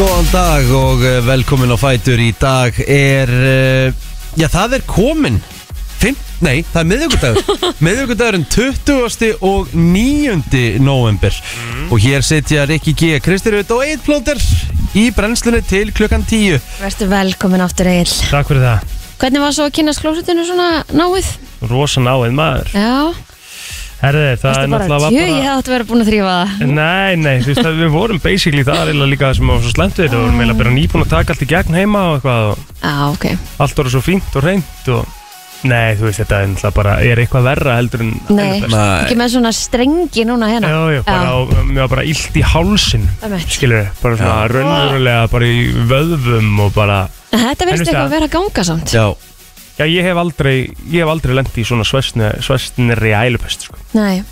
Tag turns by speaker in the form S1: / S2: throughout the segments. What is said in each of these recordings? S1: Góðan dag og eh, velkomin á Fætur í dag er, eh, já það er komin, Fimm, nei það er miðvíkudagur, miðvíkudagurinn 20. og 9. november
S2: Mm.
S1: og hér sitja Rikki G. Kristirud og Eid Plóter í brennslunni til klukkan 10.
S3: Vertu velkomin aftur Egil
S2: Takk fyrir það,
S3: Hvernig var svo að kynast klósutinu svona náið?
S2: rosa náið maður
S3: Já,
S2: Herði, það
S3: varstu
S2: er
S3: bara
S2: náttúrulega var
S3: Jú, ég hefði átt að vera búin að þrýfa það
S2: Nei, nei, þú veist að við vorum basically það er eiginlega líka það sem var svo slemt við þetta við vorum eiginlega bara nýbúin að taka allt í gegn heima og eitthvað og
S3: Já, ok
S2: allt voru svo fínt og reynd og Nei, þú veist þetta er náttúrulega bara er eitthvað verra heldur en
S3: Nei,
S2: Jú,
S3: ekki með svona strengi núna hérna
S2: jú, bara, og, mér var bara illt í hálsin
S3: Einmitt.
S2: skilur, bara svona raunverulega bara í vöðvum og bara
S3: En Þetta
S2: En
S3: verðist
S2: veistu
S3: eitthvað
S2: það?
S3: að vera að ganga samt
S1: Já,
S2: Já, ég hef aldrei, ég hef aldrei lendi í svona svestni, svestnirri ælupest sko.
S3: Nei,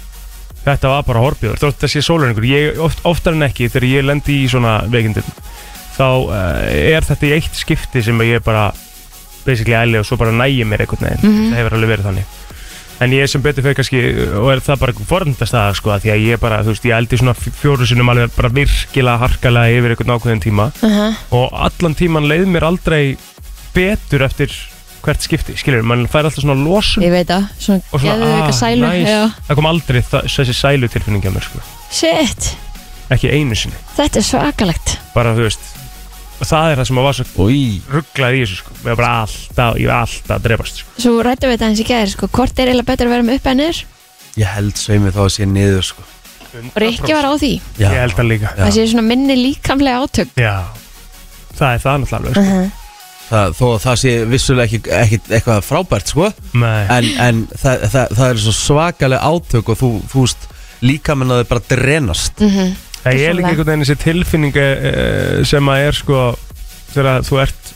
S2: Þetta var bara horfjóður, þótt þessi sólurengur Ég oft, oftar en ekki þegar ég lendi í svona veikindum Þá uh, er þetta í eitt skipti sem ég bara Basically æli og svo bara nægi mér einhvern veginn Það hefur alveg verið þannig En ég sem betur fyrir kannski Og er það bara forndast það sko af Því að ég bara, þú veist, ég eldi svona fj- fjóru sinum alveg bara virkilega harkalega yfir einhvern ákveðin tíma
S3: uh -huh.
S2: Og allan tíman leið mér aldrei betur eftir hvert skipti Skilur, mann fær alltaf svona losun
S3: ég veit það Svona,
S2: Og
S3: svona
S2: svona, ah,
S3: geðu eitthvað sælu
S2: næs.
S3: Já.
S2: Það kom aldrei það, þessi sælu tilfinningi að mér sko
S3: Shit,
S2: ekki einu sinni
S3: þetta er svakalegt
S2: bara þú veist og það er það sem að var svo
S1: Í.
S2: rugglað í þessu sko ég var bara alltaf, ég var alltaf að drefast sko.
S3: Svo rættum við þetta eins í gæðir sko Hvort er eiginlega betur að vera með upp en niður
S1: ég held sveimi þá að sé niður sko.
S3: Og Rikki var á því
S1: Já,
S2: ég held það líka
S1: Já.
S3: Það sé svona minni líkamlega átök
S2: já, það er það náttúrulega alveg,
S1: það, þó að það sé vissulega ekki, ekki eitthvað frábært sko.
S2: sko. Nei.
S1: en, en það, það, það er svo svakalega átök og þú, þú veist líka menn að þau bara drenast
S2: það Mm-hmm. er líka
S3: Persónulega.
S2: einhvern veginn þessi tilfinning eh, sem að er sko þegar þú ert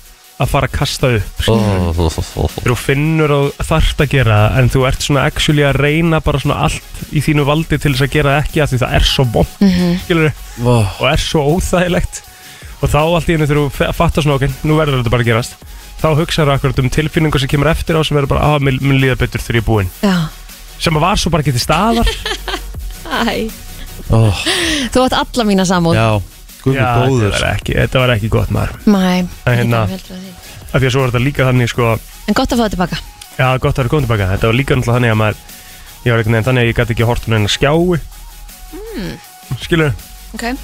S2: að fara að kasta upp sko.
S1: oh.
S2: þegar þú finnur og þarft að gera það, en þú ert svona actually að reyna bara svona allt í þínu valdi til þess að gera það ekki af því það er svo bótt mm og er svo óþægilegt og þá allt í henni þegar þú fe- fattar svona okkur, nú verður þetta bara að gerast þá hugsaður akkurat um tilfinningu sem kemur eftir á sem verður bara, að mér, mér líða betur þegar ég er búinn
S3: Já,
S2: sem að var svo bara getið staðar
S3: æ
S1: Oh.
S3: Þú átt alla mína samúð
S1: Já, guð
S2: Já,
S1: með
S2: þetta
S1: góður
S2: var, ekki, þetta var ekki gott maður
S3: Mæ,
S2: En hérna- af því að svo var þetta líka þannig sko,
S3: En gott að fá þetta baka
S2: já gott að vera komið tilbaka þetta var líka náttúrulega þannig að maður ég var einhvern veginn þannig að ég gæti ekki hort um neina skjái mm. skilur,
S3: okay.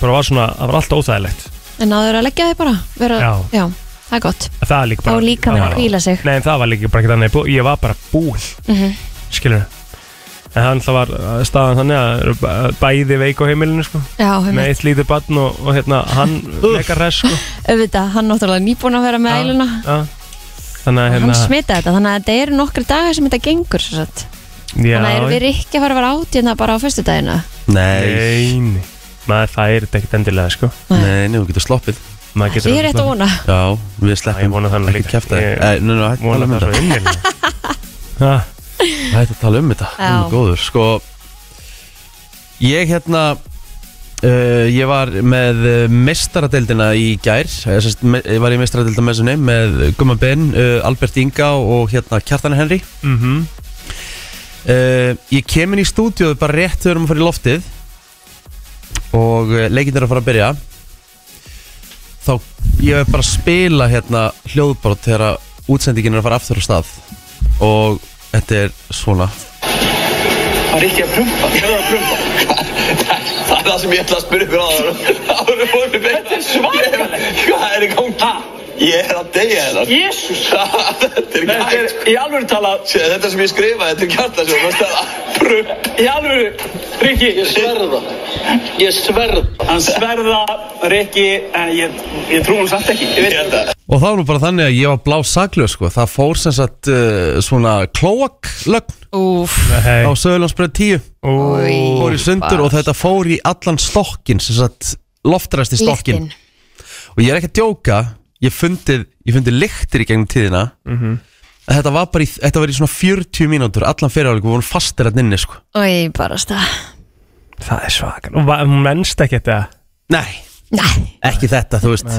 S2: bara var svona það var allt óþægilegt
S3: En náður að leggja þig bara vera,
S2: Já.
S3: það er gott
S2: það er líka
S3: Þá
S2: bara
S3: líka
S2: það
S3: með að
S2: var-
S3: hvíla sig
S2: Nei, en það var líka bara ekki þannig bú- Ég var bara búinn mm
S3: Mhm.
S2: Skilur En það náttúrulega var uh, staðan þannig að eru bæ- eh, bæði veik á heimilinu sko
S3: Já, um,
S2: Með eitt lítið barn og, og hérna hann leikar hress sko
S3: auðvitað, hann náttúrulega nýbúin að vera með
S2: Já,
S3: æluna
S2: já. Þannig að
S3: Hann
S2: hérna
S3: smita þetta, þannig að þetta eru nokkri dagar sem þetta gengur svo satt.
S2: já,
S3: Þannig að erum við ekki að fara að vera átt hérna bara á föstudagina
S1: Nei,
S2: Neini Maður færi þetta ekkert endilega sko
S1: nei, nei, þú getur sloppið
S2: Maður getur
S3: Ég er þetta vona
S1: Já,
S2: Já,
S1: við
S2: ég
S1: sleppum
S2: vona þannig
S1: ekki
S2: líka.
S1: kæft
S2: Ég-
S1: það Nú, nú, hættu að
S2: Vona
S1: tala um
S2: það svo
S1: þetta
S2: innilega Ha,
S1: Hættu að tala um þetta, guð
S3: Já.
S1: með góður Sko, ég hérna uh, Ég var með eh, meistaradeildina í gær Ég sest- me- ég var í meistaradeildina með þessunni Með Gumma Ben, uh, Albert Inga og hérna Kjartan Henry
S2: mhm
S1: uh, Ég kem inn í stúdíóðu bara rétt þegar við erum að fara í loftið og uh, leikinn er að fara að byrja þá ég er bara að spila hérna hljóðbrot þegar að útsendingin er að fara aftur á stað og þetta er svona
S4: Það er ekki að prumpa. Ég er að prumpa.
S5: Það er það sem ég ætla að spyrja ykkur áður Áður voru við beina
S4: Þetta er svakalegt.
S5: Hvað er í gangi? Ég er að deyja hennar
S4: Jésús.
S5: Þetta er
S4: Þetta er
S5: gæt
S4: í alvöru talað,
S5: Sér, þetta sem ég skrifaði, þetta er kjartasjón Það stæða Prump
S4: í alvöru, Rikki. Ég sverða. Ég sverða. Hann sverða, Rikki, en ég, ég trú hann samt ekki. Ég veit
S5: Þetta
S1: og það var nú bara þannig að ég var blá saklöð sko. það fór sem sagt uh, svona klóaklögn
S3: Úf,
S1: á
S2: Hei
S1: Söðurlandsbröð 10
S3: úi,
S1: fór í sundur og þetta fór í allan stokkin sem sagt loftræsti stokkin
S3: lyktin
S1: og ég er ekki að djóka ég fundið, ég fundið lyktir í gegnum tíðina en þetta var bara í, þetta var í svona 40 mínútur allan fyrirháleik við vorum fastir að nynni sko
S3: Úi, bara stað
S2: Það er svakar Og va- hún mennst ekki þetta
S1: nei,
S3: Nei,
S1: ekki þetta, þú veist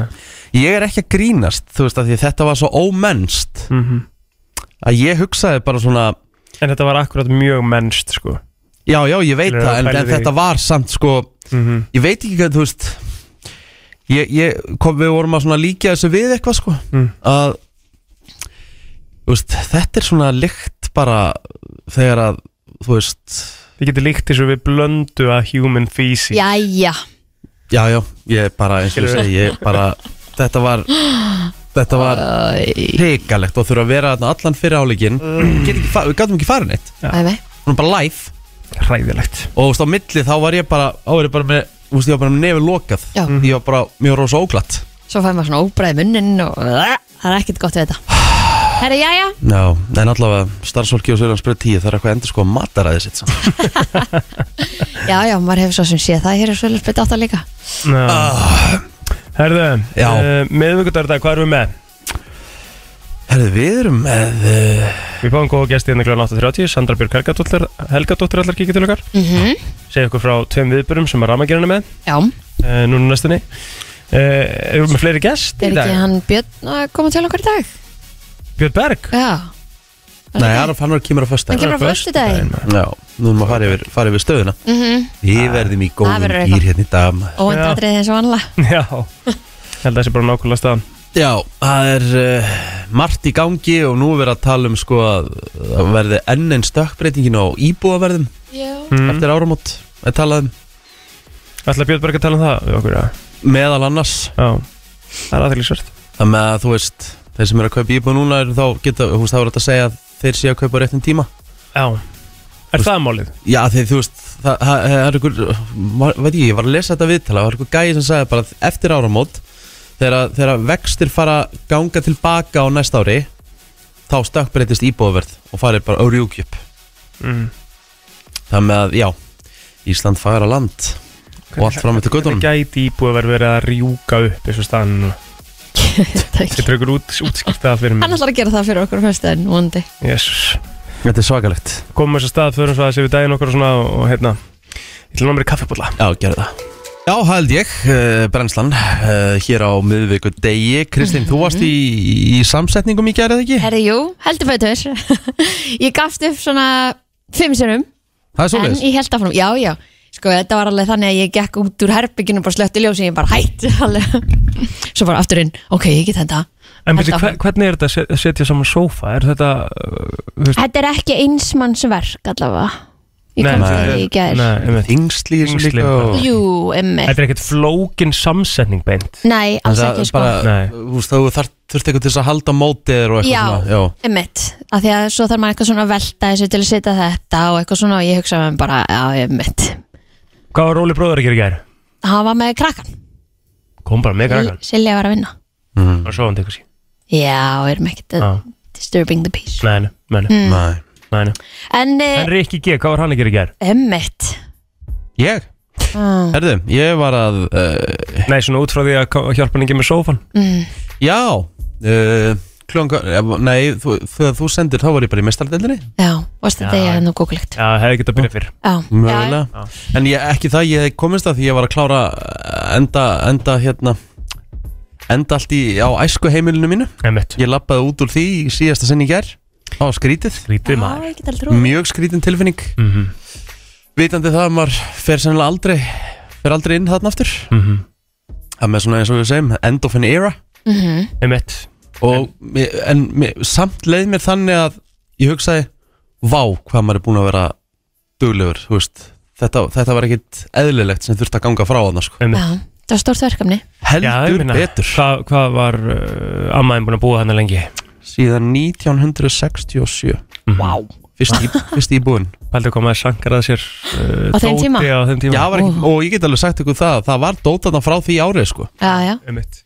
S1: ég er ekki að grínast, þú veist, af því þetta var svo ómennst
S2: Mhm.
S1: að ég hugsaði bara svona
S2: En þetta var akkurat mjög mennst sko
S1: já, já, ég veit
S2: Skilurðu,
S1: það, en,
S2: pælið
S1: en
S2: í- Mhm.
S1: þetta var samt sko, ég veit ekki hvað, þú veist ég, ég kom, við vorum að svona líka þessu við eitthvað sko
S2: Mm.
S1: að þú veist, þetta er svona lykt bara þegar að þú veist
S2: Þið getur líkt þessu við blöndu að human feces
S3: Jæja,
S1: já já, ég bara eins og ég
S2: Skilurðu?
S1: segi ég bara, þetta var þetta var hrikalegt og þurfa að vera þarna allan fyrir áleikin
S2: Mm.
S1: við gætum ekki farin eitt,
S3: æmi
S1: hún bara live
S2: Hræðilegt
S1: og þú veist á milli þá var ég bara þá var ég bara með, þú veist ég var bara með nefið lokað
S3: Já.
S1: ég var bara, mér var rosa óglatt
S3: Svo fæði maður svona óbræði munnin og það er ekkert gott við þetta Herra, jæja
S1: Já, en allavega starfsfólki og Sörjans breyð 10 það er eitthvað endur sko að mataræði sitt samt.
S3: Já, já, maður hefur svo sem séð það hér er svolítið spytt átt að líka
S1: Ah.
S2: uh. Herðu,
S1: Já.
S2: uh, miðvikudardag, hvað erum við með?
S1: Herðu, við erum með uh,
S2: Við fáum góða gesti hérna kl. 8.30 Sandra Björk Helgadóttir, Helgadóttir allar kikið til okkar Segja okkur frá tveim viðbörum sem að ramagerinu með
S3: Já,
S2: uh, Núna næstunni uh, Erum við með fleiri gest
S3: er
S2: í dag?
S3: ekki hann Björn að koma til okkar í dag?
S2: Björn Berg
S3: Já,
S1: Nei, Arf, hann var kemur á fösta
S3: hann kemur á föstudaginn
S1: Já, nú erum við að fara yfir, fara yfir stöðuna
S3: mm -hmm.
S1: Við verðum í
S3: Það
S1: góðum
S3: verður eitthvað.
S1: gýr hérna í dag maður.
S3: Óvænt
S2: Já.
S3: aðrið eins og vanlega
S2: Já, held að það sé bara nákvæmlega staðan
S1: Já, það er uh, margt í gangi og nú er verið að tala um sko að það verði enn en stökkbreytingin á íbúaverðum
S2: mm.
S1: eftir áramót að tala um
S2: Ætla Björn Berg að tala um það við okkur, já,
S1: meðal annars
S2: já. Það er aðeinsvært
S1: Það með að þú veist, þeir sem eru að kaupa íbúð núna eru þá geta, þú veist, þá er þetta að segja að þeir séu að kaupa á réttum tíma
S2: Já Er það málið?
S1: Já, þegar þú veist, það, það, það er einhver, var- veit ég, ég var að lesa þetta viðtala, það var einhver gæi sem sagði bara að eftir áramót, þegar, að- þegar að vextir fara að ganga tilbaka á næsta ári, þá stökkbreytist íbúðverð og farið bara á rjúkjöp.
S2: Mm.
S1: Það með að, já, Ísland fagra land og allt fram eftir
S2: Það
S1: göttunum.
S2: gæti íbúið að vera verið að rjúka upp eins og staðan núna Getur ykkur út, útskýrt það fyrir
S3: Hann
S2: mig
S3: ætlar að gera það fyrir okkur á föstudaginn, vondi
S2: Jesus
S1: Þetta er svakalegt.
S2: komum þess að stað, förum svo að séu daginn okkur og svona og hérna, ég ætla að ná mér í kaffibólla
S1: Já, gerðu það. Já, það held ég, uh, brennslan, uh, hér á miðvíku degi. Kristinn, þú varst í, í samsetningum í gerðið ekki?
S3: Herri, jú, heldur betur Ég gafst upp svona fimm sinum
S1: það er svo
S3: En ég held áfram, já, já Sko, þetta var alveg þannig að ég gekk út úr herbygginu og bara slötti ljósin, ég bara hætt alveg. Svo bara aftur inn, ok, ég get þetta
S2: En
S3: Held
S2: byrju, hver,
S3: áfram.
S2: hvernig er þetta að set- að setja saman sófa? Er þetta uh, þú veist,
S3: Þetta er ekki einsmannsverk allavega Ég
S2: Nei,
S3: kom
S1: nei,
S3: til því í gær
S2: Nei, einmitt.
S1: Yngsli í þessu
S2: Þyngsli.
S1: líka og...
S3: Jú, emmi
S2: Þetta er ekkert flókin samsetning beint
S3: Nei, alls
S1: Það
S3: ekki
S1: er
S3: sko
S1: bara,
S2: Nei.
S1: þú veist, þú þarf þurft eitthvað til þess að halda mótið þér og
S3: Já,
S1: eitthvað svona. Já.
S3: emmitt Af því að svo þarf maður eitthvað svona að velta þessu til að setja þetta og eitthvað svona og ég hugsa með bara, já, emmitt
S2: Hvað var Róli bróður að gera í gær?
S3: Hann var með krakkan,
S2: Kom bara með
S3: Í-
S2: krakan
S3: Silja var að vinna
S1: Mm.
S2: og svo hann tekur sér
S3: Já, erum ekkert að disturbing the peace
S2: Nei, nei, nei, nei,
S3: Mm.
S1: Nei.
S2: nei, nei.
S3: En,
S2: En
S3: eh,
S2: Rikki G, hvað var hann að gera í gær?
S3: emmitt
S1: Ég?
S3: Mm.
S1: Herðu, ég var að, uh,
S2: Nei, svona út frá því að ko- hjálpa hann ekki með sófan
S3: Mm,
S1: já, uh, kljónga, nei, þú, þegar þú sendir þá var ég bara í mestardeldinni.
S3: Já, varst þetta ég nú gókulegt Já,
S2: Já, hefði getað byrjað fyrr
S3: já,
S1: Mögulega En ég, ekki það, ég komist að því ég var að klára eh, enda, enda hérna enda allt í, á æsku heimilinu mínu
S2: Nei, mitt
S1: ég lappaði út úr því í síðasta sinn í gær á skrítið,
S2: Lítið
S3: já,
S2: maður
S3: ég get aldrei trúið.
S1: mjög skrítin tilfinning
S2: Mhm,
S1: vitandi það að maður fer sennilega aldrei fer aldrei inn þarna aftur
S2: mhm.
S1: það með svona eins og við segjum, end of an era
S2: Einmitt.
S1: og, en, en mér- samt leið mér þannig að ég hugsaði, vá hvað maður er búin að vera duglegur þú veist, þetta, þetta var ekkit eðlilegt sem þurfti að ganga frá þarna sko.
S3: Já, það var stórt verkefni
S2: Já, ég
S1: heldur
S2: meina,
S1: betur
S2: Hvað, hvað var uh, ammaðin búin að búa hann lengi?
S1: síðan 1967
S2: Vá
S1: fyrst, í, fyrst íbúin
S2: Pældu komið að sangraða sér uh,
S3: Á þeim
S2: dóti
S3: tíma?
S2: Á þeim tíma
S1: Já, var ekki, og ég get alveg sagt ykkur það það var dótana frá því árið sko.
S3: Já, já,
S2: Einmitt.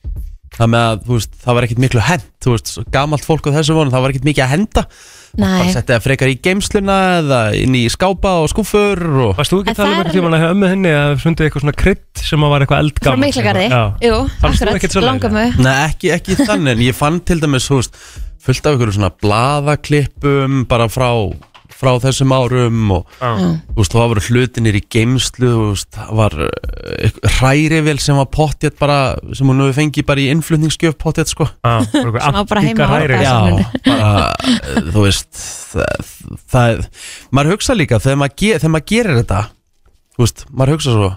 S1: það með að þú veist, það var ekkit miklu hent þú veist, svo gamalt fólk á þessu vonu það var ekkit mikið að henda bara
S3: nei
S1: setti það frekar í geimsluna eða inn í skápa og skúfur og
S2: Varst þú ekki að
S3: En
S2: tala um
S3: það er
S2: einhvern tíma að hafa ömmu henni að fundið eitthvað svona krydd sem að var eitthvað eldgammalt?
S3: Frá Miklagarði,
S2: Já
S3: jú,
S2: Fannst þú ekkert
S3: akkurat,
S2: svoleiðis?
S3: langar mig
S1: Nei, ekki, ekki þannig en ég fann til dæmis þú veist, fullt af ykkur svona blaðaklippum bara frá, frá þessum árum og
S2: Já.
S1: þú veist, þá voru hlutinir í geimslu þú veist, það var uh, hrærivel sem var pottjett bara sem hún hefur fengið bara í innflutningsgjöf pottjett sko
S2: Já, bara eitthvað
S3: Svona bara heima á
S2: antíkaræri.
S3: Árbæ.
S2: Já.
S1: Já, bara, uh, þú veist það, það maður hugsa líka þegar maður, ge, þegar maður gerir þetta þú veist, maður hugsa svo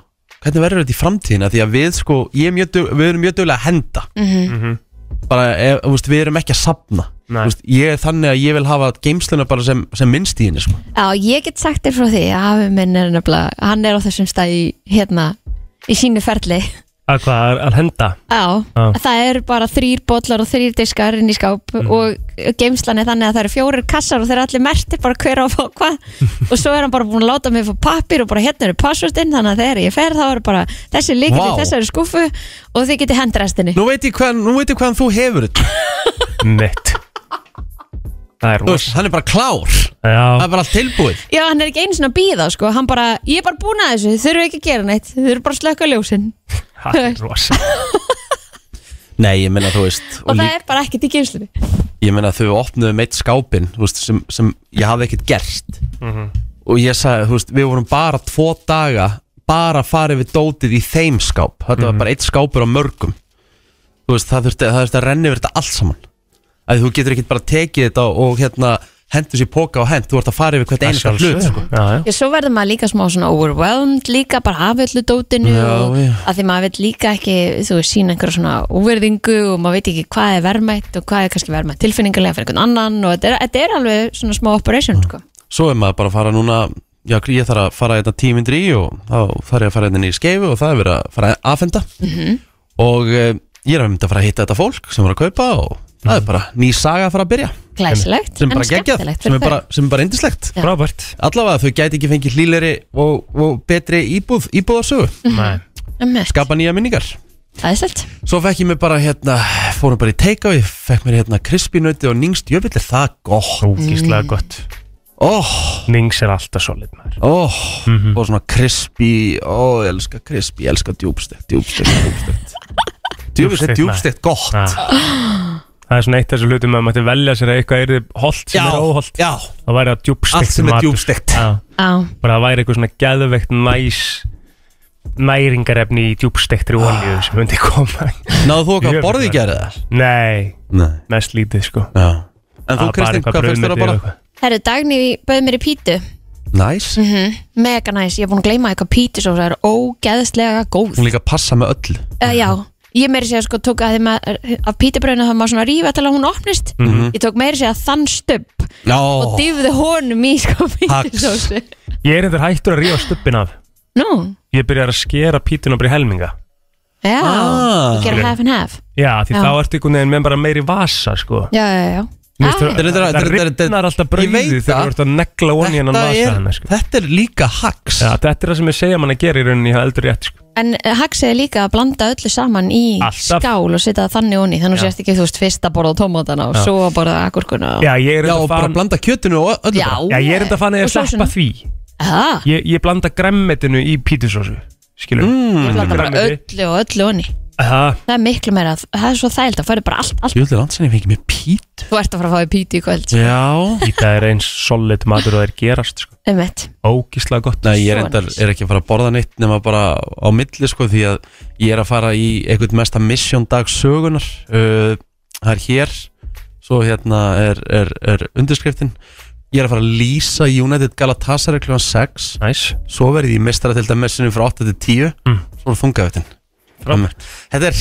S1: hvernig verður þetta í framtíðina því að við sko, ég er mjög, dug- við erum mjög duglega að henda
S3: Mhm.
S1: bara, ef, þú veist, við erum ekki að sapna
S2: Mhm. Nei.
S1: veist, ég er þannig að ég vil hafa geimsluna bara sem, sem minnst í henni sko.
S3: Já, ég get sagt þér frá því að hafi minn er nefnilega, hann er á þessum stað í, hérna, í sínu ferli
S2: Að hvað, að- að henda?
S3: Já,
S2: Já.
S3: það eru bara þrýr bollar og þrýr diskar inn í skáp og geimslan er þannig að það eru fjórir kassar og þeir eru allir merti bara hver á að fá hvað og svo er hann bara búin að láta mig fá pappir og bara hérna eru passvöldin þannig að þegar ég fer þá eru bara þessi líkil
S1: Vá.
S3: í þessari skúfu og þið geti hendrestinni
S1: nú veit ég hvað, nú veit ég hvaðan þú hefur þetta
S2: Mitt Það er
S1: Þú veist,
S2: rosa
S1: hann er bara klár það
S2: Já,
S1: er bara allt tilbúið
S3: Já, hann er ekki einu sinna að býða sko, hann bara, ég er bara búin að þessu, þið þurfum ekki að gera neitt, þið þurfum bara að slökka ljósin
S2: það er rosa
S1: nei, ég meina þú veist
S3: og
S1: og
S3: það
S1: líka,
S3: er bara ekkert í geimslunni
S1: ég meina þau opnuðu meitt skápin þú veist, sem, sem ég hafði ekkert gert og ég sagði, þú veist, við vorum bara tvo daga bara farið við dótið í þeim skáp þetta
S2: Mhm.
S1: var bara eitt skápur á mörgum þú veist, það þurfti, það þurfti að renni verið þetta allt saman að þú getur ekkert bara tekið þetta og hérna hendur sér í póka og hend, þú ert að fara yfir hvert einasta hlut sko.
S2: Já, já
S3: Já, svo verður maður líka smá svona overwhelmed líka bara af öllu dótinu
S1: Já,
S3: og
S1: já.
S3: að því maður veit líka ekki þú veist, sína einhverja svona úverðingu og maður veit ekki hvað er verðmætt og hvað er kannski verðmætt tilfinningarlega fyrir einhvern annan og þetta er, þetta er alveg svona smá operation sko.
S1: svo er maður bara að fara núna já, ég þarf að fara þetta tímindri í og þá þarf ég að fara þetta í skeifu og það er verið að fara að afhenda
S2: Mhm.
S1: og e, ég er að mynda að fara að hitta þetta fólk sem er að kaupa og það er bara ný saga að fara að byrja
S3: Mhm. glæsilegt
S1: sem er
S3: en
S1: bara geggjað,
S3: skemmtilegt
S1: sem er
S3: fyrir
S1: bara, sem er bara indislegt
S3: Já.
S2: Robert
S1: allavega þau gæti ekki fengið hlýleri og, og betri íbúð, íbúðarsögu
S2: Nei
S3: þau Skap...
S1: skapa nýja minningar
S3: það er stelt
S1: svo fekk ég mér bara hérna fórum bara í take-away, fekk mér hérna krispinöti og nýngst jöfnvill er það gott
S3: Mm.
S2: Ógíslega gott
S1: óh,
S2: Nings er alltaf solid maður Mhm.
S1: Ó, Oh. og svona crispy, ó, ég elska crispy, ég elska djúbstekt, djúbstekt, djúbstekt Djúbstekt,
S2: Djúpstekt,
S1: djúbstekt, gott
S2: Já. Ah. Það er svona eitt af þessu hlutum að maður mætti velja sér að eitthvað er holt sem er óholt
S1: já,
S2: Það væri að djúbstekt
S1: allt sem er djúbstekt
S3: á,
S2: Bara það væri eitthvað svona geðveikt næs næringarefni í djúbstektri olíu sem myndi koma
S1: Ah. Náðu þú okkar
S2: Ég-
S1: að borði í gerði það?
S2: Nei,
S1: Nei
S2: mest lítið sko
S1: Já En
S2: Það
S1: þú
S2: var bara
S1: Kristinn,
S2: eitthvað
S1: hvað fyrst þér
S2: brauðmeti
S1: að borða?
S2: og eitthvað.
S3: herru Dagný bauð mér í pítu
S1: Næs,
S3: mega næs, ég er búin að gleyma eitthvað pítu svo það er ógeðslega góð
S1: hún líka passa með öll
S3: Uh, já, ég meiri segja sko tók að því maður af pítibröðinu það maður svona rífa til að hún opnist ég tók meiri segja þann stöpp
S1: Já,
S2: Oh.
S3: og dýfði honum í sko pítisósu
S2: Ég er eitthvað hættur að rífa stuppin af
S3: Nú,
S2: Ég byrjar að skera pítuna bara í helminga
S3: já,
S1: Ah.
S3: ah. gera half and half
S2: Já, því
S3: Já.
S2: þá ertu einhvern veginn með bara meiri vasa sko
S3: Já, já, já
S2: Mér finnst Það
S3: Ah,
S1: Þetta
S2: það
S1: er- þetta er-
S2: rifnar alltaf
S1: Ég veit
S2: brauðið þegar
S1: það.
S2: þú ert að negla onni hennan
S1: þetta
S2: vasa
S1: er,
S2: hennar sko
S1: þetta er líka hacks
S2: Já, þetta er það sem ég segja mann að gera í rauninni hjá eldur rétt sko.
S3: En haksið líka að blanda öllu saman í
S2: Alltaf.
S3: skál og setja það þannig onni þannig
S2: Já.
S3: sérst ekki, þú veist, fyrst að borða tómatana og svo að borða agurkuna
S2: Já, ég er
S1: Já,
S2: enda
S1: og bara
S2: fann
S1: blanda kjötinu og öllu
S3: já,
S1: bara.
S2: Já, ég er enda fann að ég
S3: Og sósuna.
S2: sleppa því
S3: Ah,
S2: Ég, ég blanda græmmetinu í pítusósu Skilur
S3: Ég
S2: mm.
S3: blanda bara öllu og öllu onni
S2: Það,
S3: Það er miklu meira, að- það er svo þægild að fara bara allt, allt
S1: Jú, þetta er langt sem ég fengi mér pít
S3: Þú ert að fara að fá í píti í kvöld sko.
S1: Já
S2: það er eins solid matur og það er gerast sko.
S3: Einmitt.
S2: Ógíslega gott
S1: Nei, ég er,
S3: Svo
S1: endar,
S3: næs.
S1: er ekki að fara að borða neitt nema bara á milli sko því að ég er að fara í einhvern mesta mission dag sögunar uh, það er hér svo hérna er, er, er undirskriftin ég er að fara að lýsa United Galatasaray kl. 6
S2: Næs
S1: svo verið ég mistara til dæmessinu frá 8 til 10
S2: Mm.
S1: svo er þungavöttin
S2: Frábært.
S1: þetta er,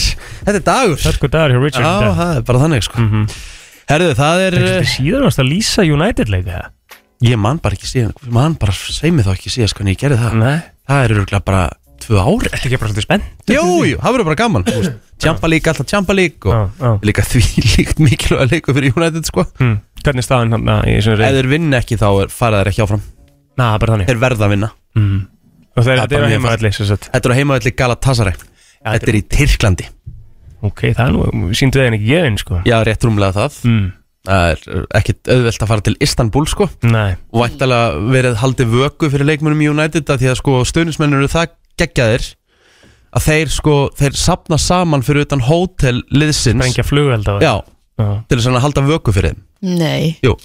S1: þetta er dagur
S2: Hörku dagur hjá Richard
S1: Já,
S2: Já,
S1: það er bara þannig sko
S2: Mhm.
S1: Herðu, það er, eh,
S2: Þetta er síðan varst að lýsa United leika
S1: ég man bara ekki síðan man bara, segi mig þá ekki síðast hvernig ég gerði það
S2: Nei
S1: það er örgulega bara tvö ári
S2: Þetta er ekki bara svolítið spennt
S1: Jú, jú, það verður bara gaman þú veist. Champa lík, alltaf champa lík og
S2: Já, já.
S1: líka því líkt mikilvæg leiku fyrir United sko
S2: hm. Hvernig er staðan hann í svona
S1: Ef
S2: reyð?
S1: þeir vinna ekki þá er- fara þeir ekki áfram
S2: Næ, bara þannig
S1: Þeir verða að vinna
S2: mm. Og það er
S1: Það er
S2: þetta
S1: bara
S2: er að
S1: mjög
S2: heima allir sem sagt
S1: Þetta er á heimavalli Galatasaray Þetta er í Tyrklandi
S2: Ok, það er nú, síndu þeirn ekki gefin sko
S1: Já, rétt rúmlega það
S2: mm.
S1: Það er ekkit auðvelt að fara til Istanbul sko
S2: Nei
S1: og væntalega verið haldið vöku fyrir leikmönum í United að því að sko stöðnismennir eru það geggjaðir að þeir sko, þeir sapna saman fyrir utan hótel liðsins
S2: Brengja flugveld á það
S1: Já, til þess að halda vöku fyrir þeim
S3: Nei
S1: Jú,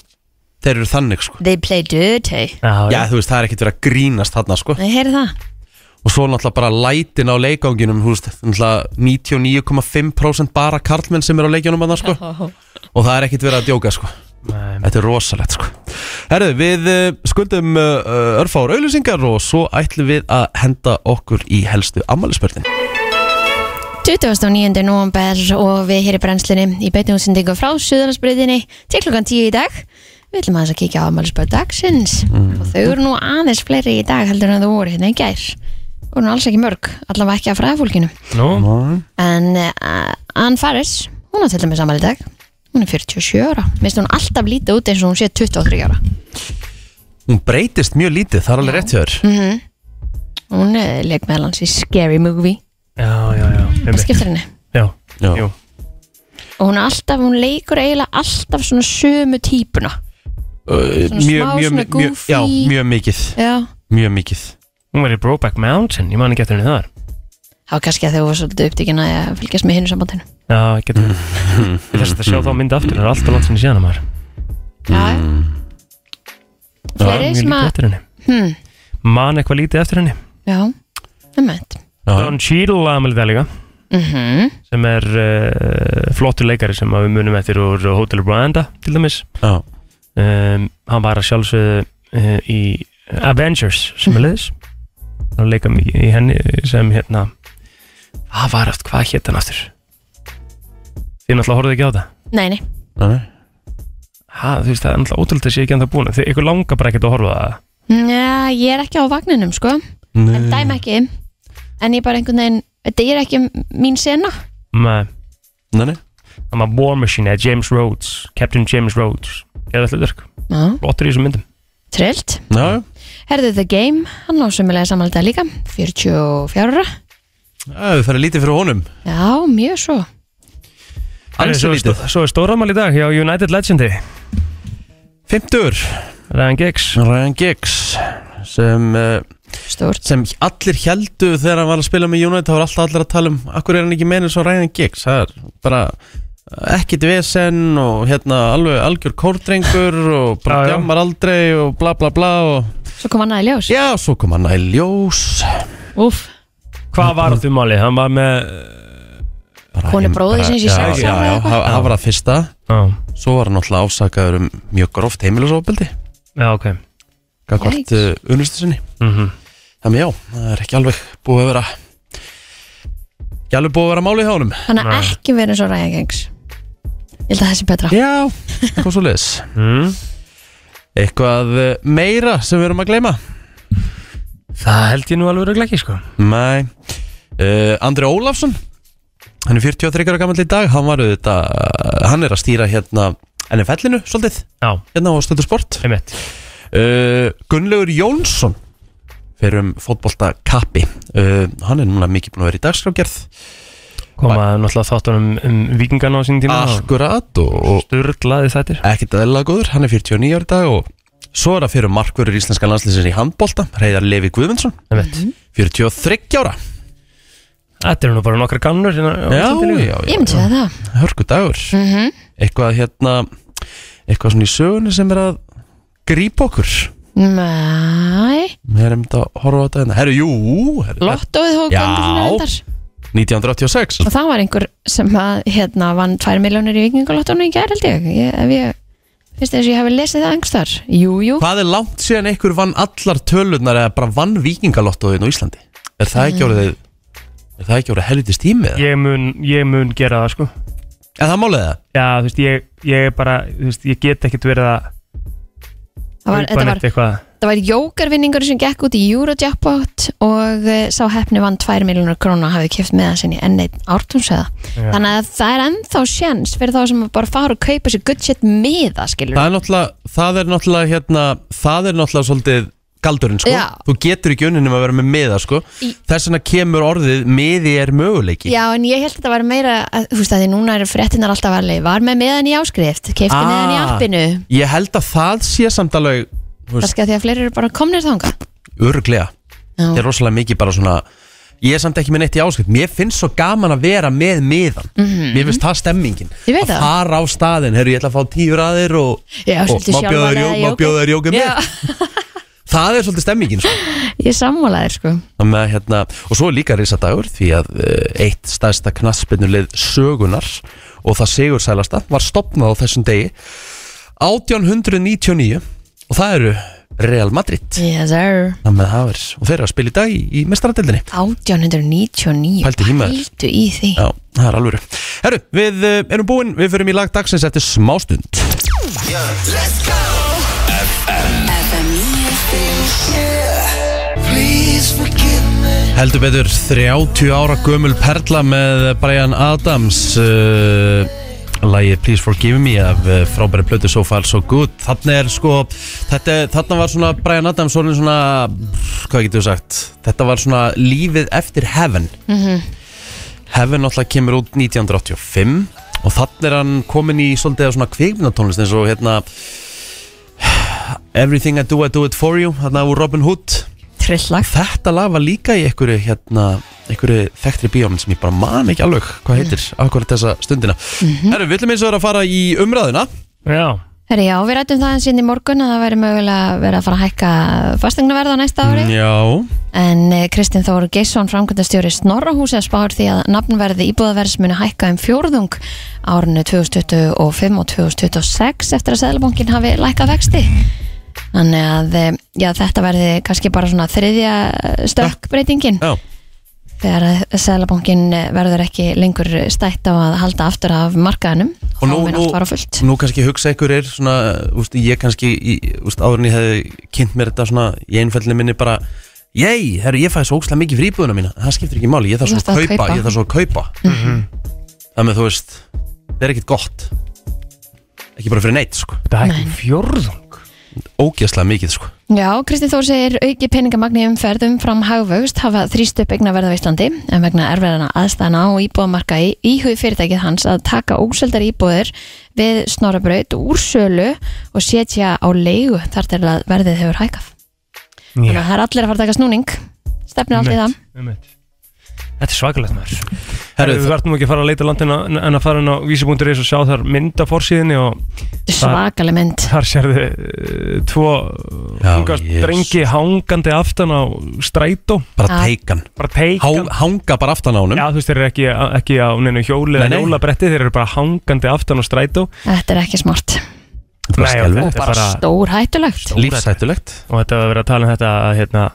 S1: þeir eru þannig sko
S3: They play dirty
S2: Já,
S1: Já, þú veist, það er ekkert verið að grínast þarna, sko
S3: Nei, heyrðu það
S1: Og svo náttúrulega bara lætin á leikanginum, þú veist, náttúrulega 99,5% bara karlmenn sem eru á leikjunum þarna, sko
S3: oh.
S1: Og það er ekkert verið að djóka, sko
S2: Nei.
S1: Þetta er rosalegt sko Herðu, við eh, skuldum uh, örfáur auðlýsingar og svo ætlum við að henda okkur í helstu ammælisbörnin
S3: 29. november og við hér í brennslinni í beinni útsendingu frá Suðurlandsbyrðinni til klukkan 10 í dag Við ætlum aðeins að kíkja á afmælisbörð dagsins og
S2: Mm.
S3: þau eru nú aðeins fleiri í dag heldur en þau voru hérna í gær og nú alls ekki mörg, allavega ekki að fræðafólkinu
S2: Nú,
S3: en uh, Ann Faris, hún á til dæmis afmæli í dag hún er 47 ára, minnst hún alltaf lítið út eins og hún sé 23 ára
S1: Hún breytist mjög lítið, það er alveg rétt hjá þér
S3: Mhm. hún uh, leik meðal hans í Scary Movie
S2: já, já, já
S3: það
S2: einmitt.
S3: skiptir henni
S2: Já,
S1: Já.
S2: jú
S3: og hún er alltaf, hún leikur eiginlega alltaf svona sömu típuna
S1: Uh,
S3: Svona smá, svona
S1: mjög,
S3: goofy.
S1: já, mjög mikið
S3: já
S1: Mjög mikið
S2: Hún var í Brokeback Mountain, ég man ekki eftir henni þar
S3: Það var kannski að þau var svolítið upptíkin að eh, fylgjast með hinn sambandinu.
S2: Já, getur við Þess að sjá þá mynd aftur, það er alltaf langt sinni síðan að maður
S3: Mm. Já, fleiri
S2: Mjög
S3: sem
S2: lítið
S3: að,
S2: eftir henni
S3: hmm,
S2: Man eitthvað lítið eftir henni
S3: já, umhett.
S1: Já,
S2: Don Cheadle aðmelið það líka
S3: Mm -hmm.
S2: sem er uh, flottur leikari sem að við munum eftir úr Hotel Rwanda til dæmis
S1: já,
S2: um, hann var að sjálfsögðu uh, í Avengers sem er leiðis hann leika mikið í henni sem hérna hvað var aftur, hvað hétt hann aftur þið náttúrulega horfðu ekki á það
S3: Nei, nei,
S1: já,
S2: ha, þú veist það er náttúrulega ótrúlega sé ekki en það búin þið ykkur langar bara ekkert að horfa á það
S3: Njá, ég er ekki á vagninum, sko,
S2: Mm.
S3: en dæm ekki, en ég bara einhvern veginn, þetta er ekki mín sena.
S2: með
S1: Nei, nei.
S2: hann var War Machine eða James Rhodes Captain James Rhodes eða alltaf þurrk
S3: Já,
S2: flottur í þessum myndum
S3: trillt.
S1: já, já.
S3: Herðu The Game, hann á sömulega samanlega líka, 44 ára.
S1: Já, Við færum lítið fyrir honum
S3: Já, mjög svo.
S2: Herri,
S1: Ansi
S2: svo, er
S1: lítið
S2: stó- svo er stóramál í dag hjá United Legendi
S1: Fimmtur,
S2: Ryan Giggs
S1: Ryan Giggs sem, eh,
S3: Stórt.
S1: sem allir heldu þegar hann var að spila með United þá var alltaf allir að tala um Akkur er hann ekki meina svo Ryan Giggs Það er bara ekkit vesen og hérna alveg algjör kórdrengur og bara
S2: Já, já.
S1: djammar aldrei og bla bla bla og
S3: Svo kom hann að í ljós.
S1: Já, svo kom hann að í ljós
S3: Úf,
S2: hvað var aftur máli hann var með
S1: Bara
S3: Konu
S1: heim-
S3: bróðir
S1: bara-
S3: síns í
S1: Já, Já,
S3: sex ára
S1: já,
S3: eða eitthvað.
S1: það það var að fyrsta
S2: á,
S1: Svo var hann alltaf ásakaður um mjög gróft heimilisofbeldi
S2: já ok
S1: Gagvart
S3: Yikes.
S1: eh, unnustu sinni
S2: mm
S1: Þannig já, það er ekki alveg búið að vera Ekki alveg búið að vera málið hjá honum
S3: hann að
S2: Nei.
S3: ekki verið svo ræðagengs. Ég held að það sé betra.
S1: Já, eitthvað svo leiðis
S2: Mm.
S1: Eitthvað eh, meira sem við erum að gleyma
S2: Það held ég nú alveg örugglega ekki sko
S1: Nei uh, Andri Ólafsson Hann er 43 ára gamall í dag Hann var auðvitað, hann er að stýra hérna NFL-inu svolítið
S2: Já,
S1: Hérna á Stöðu Sport
S2: einmitt
S1: uh, Gunnlaugur Jónsson fyrir um fótbolta kappi uh, hann er núna mikið búin að vera í dagskrágerð
S2: Koma náttúrulega þáttunum um vikingana á sín tíma og
S1: akkurat og,
S2: Sturlaði þættir
S1: og ekkert aðeinslega góður, hann er 49 ára í dag og svo er það fyrir markverður íslenska landslýsins í handbolta, reyðar Levi Guðmundsson
S2: Einmitt
S3: Mhm.
S1: 43 ára
S2: Þetta eru nú bara nokkra kannur hérna á
S1: já,
S2: Íslandi líka.
S1: já,
S3: Ég
S1: já,
S3: myndi að það.
S1: hörku dagur
S3: Mhm.
S1: eitthvað hérna eitthvað svona í sögunni sem er að grípa okkur
S3: Nei,
S1: við erum þetta að horfa á þetta hérna. herru, jú, herru,
S3: lottóið og
S1: Já.
S3: gangi fyrir endar
S1: 1986
S3: og það var einhver sem að, hérna, vann 2 miljónir í vikingulottónu í gær held ég, ég ef ég finnst þess að ég hafi lesið það engstar jú, jú,
S1: Hvað er langt síðan einhver vann allar tölurnar eða bara vann vikingalottóðin á Íslandi? Er það ekki orðið Er það ekki orðið helvitist tími? Yeah.
S2: Ég mun, ég mun gera það sko
S1: Er það málið það?
S2: Já, þú veist, ég, ég er bara, þú veist, ég get ekkert verið að
S3: það var,
S2: kaupa
S3: þetta
S2: neitt
S3: var,
S2: eitthvað
S3: það var jókarvinningur sem gekk út í Eurojackpot og uh, sá hefni vann 2 miljónir krónu og hafi kipt með það sinni enn einn ártumsveða
S2: Já.
S3: þannig að það er ennþá sjens fyrir þá sem að bara fara og kaupa sér good shit miða, skilur
S1: Það er náttúrulega, það er náttúrulega hérna, það er náttúrulega svolítið galdurinn sko
S3: Já.
S1: Þú getur ekki unninum að vera með miða sko
S3: Í-
S1: Þess vegna kemur orðið miði er möguleiki
S3: Já, en ég held að þetta var meira, að, þú veist að því núna eru fréttinar alltaf varlega, var með meðan í áskrift, keifti
S1: Ah.
S3: meðan í appinu,
S1: Ég held að það sé samt alveg
S3: það skal því að fleiri eru bara komnir þanga.
S1: örglega
S3: Já.
S1: Þetta er rosalega mikið bara svona Ég er samt ekki með neitt í áskrift Mér finnst svo gaman að vera með miðan
S3: Mhm.
S1: Mér finnst það stemmingin
S3: Ég veit
S1: Að
S3: það.
S1: fara á staðin, herru ég ætla að fá tíu raðir og,
S3: Já,
S1: og
S3: svolítið
S1: má bjóða þér
S3: sjálfan
S1: jó-
S3: eða
S1: má
S3: jóga.
S1: bjóða þér jóka með Það er svolítið stemmingin sko.
S3: Ég sammálaðir sko.
S1: með, hérna, Og svo er líka risadagur Því að eh, eitt stærsta knassbyrnulið sögunar Og það sigur sælasta Var stopnað á þessum degi 1899 og það eru Real Madrid
S3: Yes sir
S1: Þannig að það er, og þeir eru að spila í dag í, í mestaradeldinni
S3: 1899
S1: Pældu í maður.
S3: Pældu í því
S1: Já, það er alvöru Herru, við uh, erum búin, við förum í lag dagsins eftir smástund
S6: FM 957
S1: Heldur betur 30 ára gömul perla með Brian Adams uh, Lægið Please Forgive Me af uh, frábæri plötu So Far So Good Þannig er sko, þetta, þarna var svona Brian Adams svona, svona hvað getur við sagt Þetta var svona lífið eftir Heaven Heaven náttúrulega kemur út 1985 og þannig er hann komin í svolítið af svona kvikmyndatónlist eins og hérna Everything I Do I Do It For You þarna úr Robin Hood
S3: Trillag
S1: þetta lag var líka í einhverju hérna, einhverju þekktri bíómynd sem ég bara man ekki alveg hvað heitir akkurat þessa stundina Herru, við viljum eins og vera að fara í umræðuna
S2: Já,
S3: Herri já, við rættum það eins inn í morgun að það væri mögulega verið að fara að hækka fastegnaverð á næsta ári
S1: Já
S3: En eh, Kristinn Þór Gesson, framkvæmdastjóri Snorrahúsi, spáir því að nafnverði íbúðaverðs muni hækka um fjórðung árinu 2025 og 2026 eftir að Seðlabankin hafi lækkað vexti. Þannig að eh, já, þetta verði kannski bara svona þriðja eh, stökkbreytingin
S1: Já,
S3: þegar að Seðlabankin eh, verður ekki lengur stætt á að halda aftur af markaðanum og þá
S1: nú-
S3: mun
S1: nú-
S3: allt fara á fullt.
S1: nú kannski hugsa ykkur er svona, úst, ég kannski í- úst, áður en ég hefði kynnt mér þetta svona í einfællinu minni bara Jæj, herru, ég fæði svo óslega mikið fríbúðuna mína Það skiptir ekki máli, ég þarf
S3: Þú
S1: svo
S3: þarft að
S1: að kaupa,
S3: kaupa.
S1: Ég þarf svo að kaupa
S2: Mhm.
S1: Þannig að þú veist, það er ekkit gott Ekki bara fyrir neitt, sko
S2: þetta er ekki fjórðung
S1: Ógeðslega mikið, sko
S3: Já, Kristinn Þór segir auki peningamagni umferðum fram hagvöxt hafa þrýst upp eigna verða á Íslandi en vegna erfæðana aðstæðana á íbúðamarka í íhug fyrirtækið hans að taka óseldar íbúðir við snorabraut úr sölu og setja á leigu þar til að verðið hefur hækkað. Þannig að það er allir að fara að taka snúning, stefnir allir í það.
S2: Þetta er svakalegt maður
S1: Herru,
S2: Við verðum ekki að fara að leita landina en að fara inn á vísi.is og sjá þar mynd af fórsíðinni og
S3: Þetta er svakaleg mynd.
S2: þar sérðu uh, tvo
S1: Já,
S2: ungar
S1: Jesus.
S2: drengi hangandi aftan á strætó
S1: bara
S3: Já.
S1: teikan
S2: bara teikan
S1: Há- hanga bara aftan á honum
S2: Já, þú veist, þeir eru ekki, ekki á neinu hjóli
S1: Nei,
S2: eða
S1: nei.
S2: hjólabretti, þeir eru bara hangandi aftan á strætó
S3: Þetta er ekki smart.
S1: Þetta er bara
S2: Nei,
S1: skelfilegt.
S2: þetta er bara,
S3: Stór hættulegt.
S1: Lífshættulegt
S2: og þetta var verið að tala um þetta að, hérna,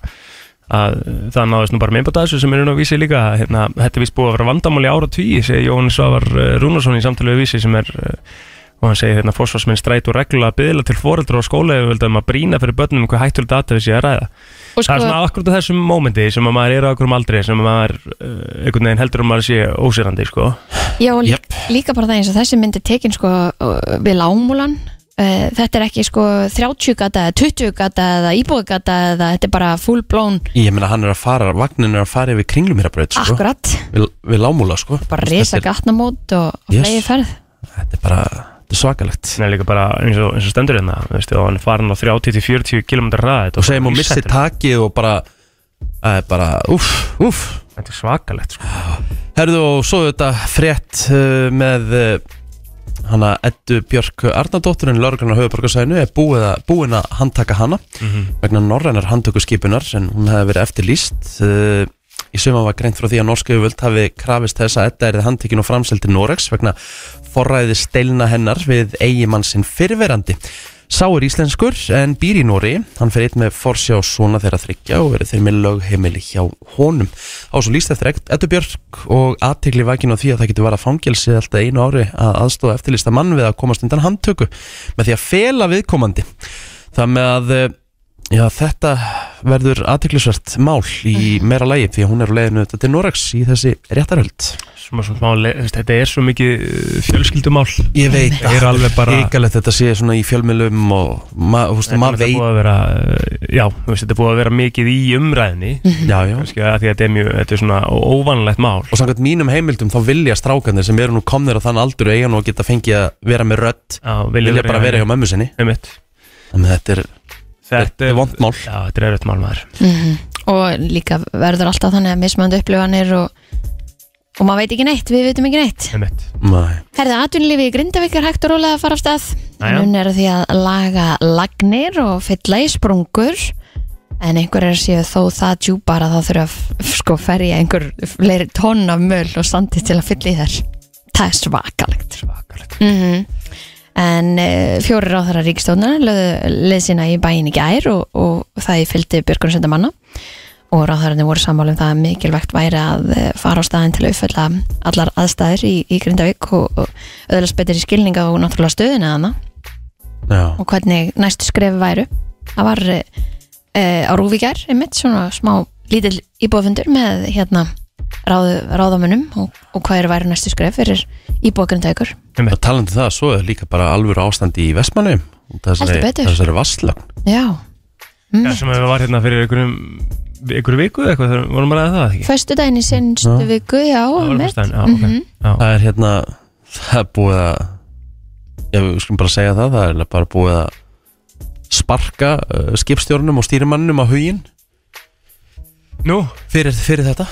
S2: að það náðist nú bara meimbata þessu sem er nú að vísi líka að, hérna, þetta er víst búið að vera vandamáli ára tví segir Jóhann Svavar eh, Rúnarsson í samtalið vísi sem er eh, og hann segir hérna fósfarsminn strætu reglulega að byðla til foreldra og skólaöfvöld um að brýna fyrir börnum um hvað hættulega data við sé að ræða
S3: Og
S2: það er svona
S3: sko,
S2: akkurat á þessum mómenti sem að maður er á okkurum aldrei sem að maður uh, einhvern veginn heldur um að maður sé ósýrandi sko.
S3: já, og lí-
S1: Jep.
S3: líka bara það eins og þessi mynd er tekin sko uh, við lámúlan uh, þetta er ekki sko 30 gata eða 20 gata eða íbúi gata eða þetta er bara full blown
S1: Ég meina hann er að fara, vagnin er að fara yfir kringlum hérna bröð sko.
S3: akkurat,
S1: við, við lámúla sko
S3: bara
S1: Þetta
S3: risa
S1: er-
S3: gatnamót og, og
S1: Yes.
S3: flegi ferð
S1: Þetta er bara, þetta er svakalegt
S2: Nei, líka bara eins og, eins og stendur hérna þú veist, og hann er farin á 30-40 km ræð
S1: Og segjum hún missi takið og bara Það er bara, úff, úff
S2: Þetta er svakalegt sko.
S1: Herðu og svo þetta frétt uh, með uh, hana Eddu Björk Arnardótturin lauruglan á höfuborgarsæðinu er búið að, búin að handtaka hana
S7: Mhm.
S1: vegna norrænar handtökuskipunar sem hún hefði verið eftirlýst uh, í suma var greint frá því að norska yfirvöld hafi krafist þess að Edda erið handtekin og framseld til Noregs vegna forræði steilna hennar við eigimann sinn fyrverandi Sá er íslenskur en býr í Nóri hann fer eitt með forsjá svona þeirra þryggja og verið þeir með lögheimili hjá honum á svo líst eftir Eddu Björk og aðtegli vakin á því að það getur vara fangelsi alltaf einu ári að aðstóða eftirlista mann við að komast undan handtöku með því að fela viðkomandi það með að eh, já, þetta verður aðteglisvert mál í
S2: Mhm.
S1: meira lægi því að hún er á leiðinu þetta til Noregs í þessi réttarhöld
S2: Smá, smá, smá, le- þú veist, Þetta er svo mikið uh, fjölskyldumál
S1: Ég veit
S2: Það er alveg bara
S1: Ríkalegt þetta sé svona í fjölmjölum og ma, hústu,
S2: Þetta er
S1: maður
S2: náttúrulega
S1: veit
S2: búið að vera, uh, Já, þú veist, þetta er búið að vera mikið í umræðinni
S1: já, já.
S2: kannski að því að þetta er mjög Þetta er svona ó- óvanlegt mál
S1: og samkvæmt mínum heimildum þá vilja strákanir sem eru nú komnir á þann aldur og eiga nú að geta fengið að vera með rödd
S2: Já,
S1: vilja bara vera hjá mömmu sinni
S2: Einmitt.
S1: þannig að þetta er,
S2: Þetta er
S1: vond mál
S2: Já, þetta er erfitt mál maður
S3: Mhm. og líka verður alltaf þannig að mismöndu upplifanir og, og maður veit ekki neitt, við veitum ekki neitt
S2: Einmitt.
S1: Nei.
S3: Herðið, atvinnulífi í Grindavík er hægt og rólega að fara af stað.
S2: Jæja.
S3: Nun er því að laga lagnir og fylla í sprungur en einhverjar séu þó það djúpar að það þurfa að f- sko ferja einhver fleiri tonn af möl og sandi til að fylla í þær. Það er svakalegt.
S2: Svakalegt
S3: Mm -hmm. en uh, fjóri ráðara ríkistónar leð sína í bæin í gær og, og það í fylgdi björgunarsönda manna og ráðararnir voru sammála um það að mikilvægt væri að eh, fara á staðin til að uppfella allar aðstæður í, í Grindavík og, og öðlast betur í skilninga og náttúrulega stöðina hana
S1: Já,
S3: og hvernig næstu skrefi væru það var e, á Rúvíkjær einmitt svona smá lítill íbúðfundur með hérna ráð, ráðamönnum og, og hvað eru væru næstu skref fyrir íbúðgrindaukur
S1: og talandi um það, svo er líka bara alvöru ástandi í Vestmannum
S3: Heldur
S1: Þessari,
S3: betur.
S1: þessari vasslögn
S3: já,
S2: Já, sem við var hérna fyrir einhverjum einhverju viku eða eitthvað, þegar við vorum að ræða það ekki?
S3: föstu daginn í sinnstu
S1: Já.
S3: viku, já,
S2: Það var
S3: einmitt Mhm,
S2: föstudaginn, já, ok. Já.
S1: Það er hérna, það er búið að Já, við skulum bara segja það, það er bara búið að sparka uh, skipstjórnum og stýrimannum á huginn
S2: Nú,
S1: fyrir, fyrir þetta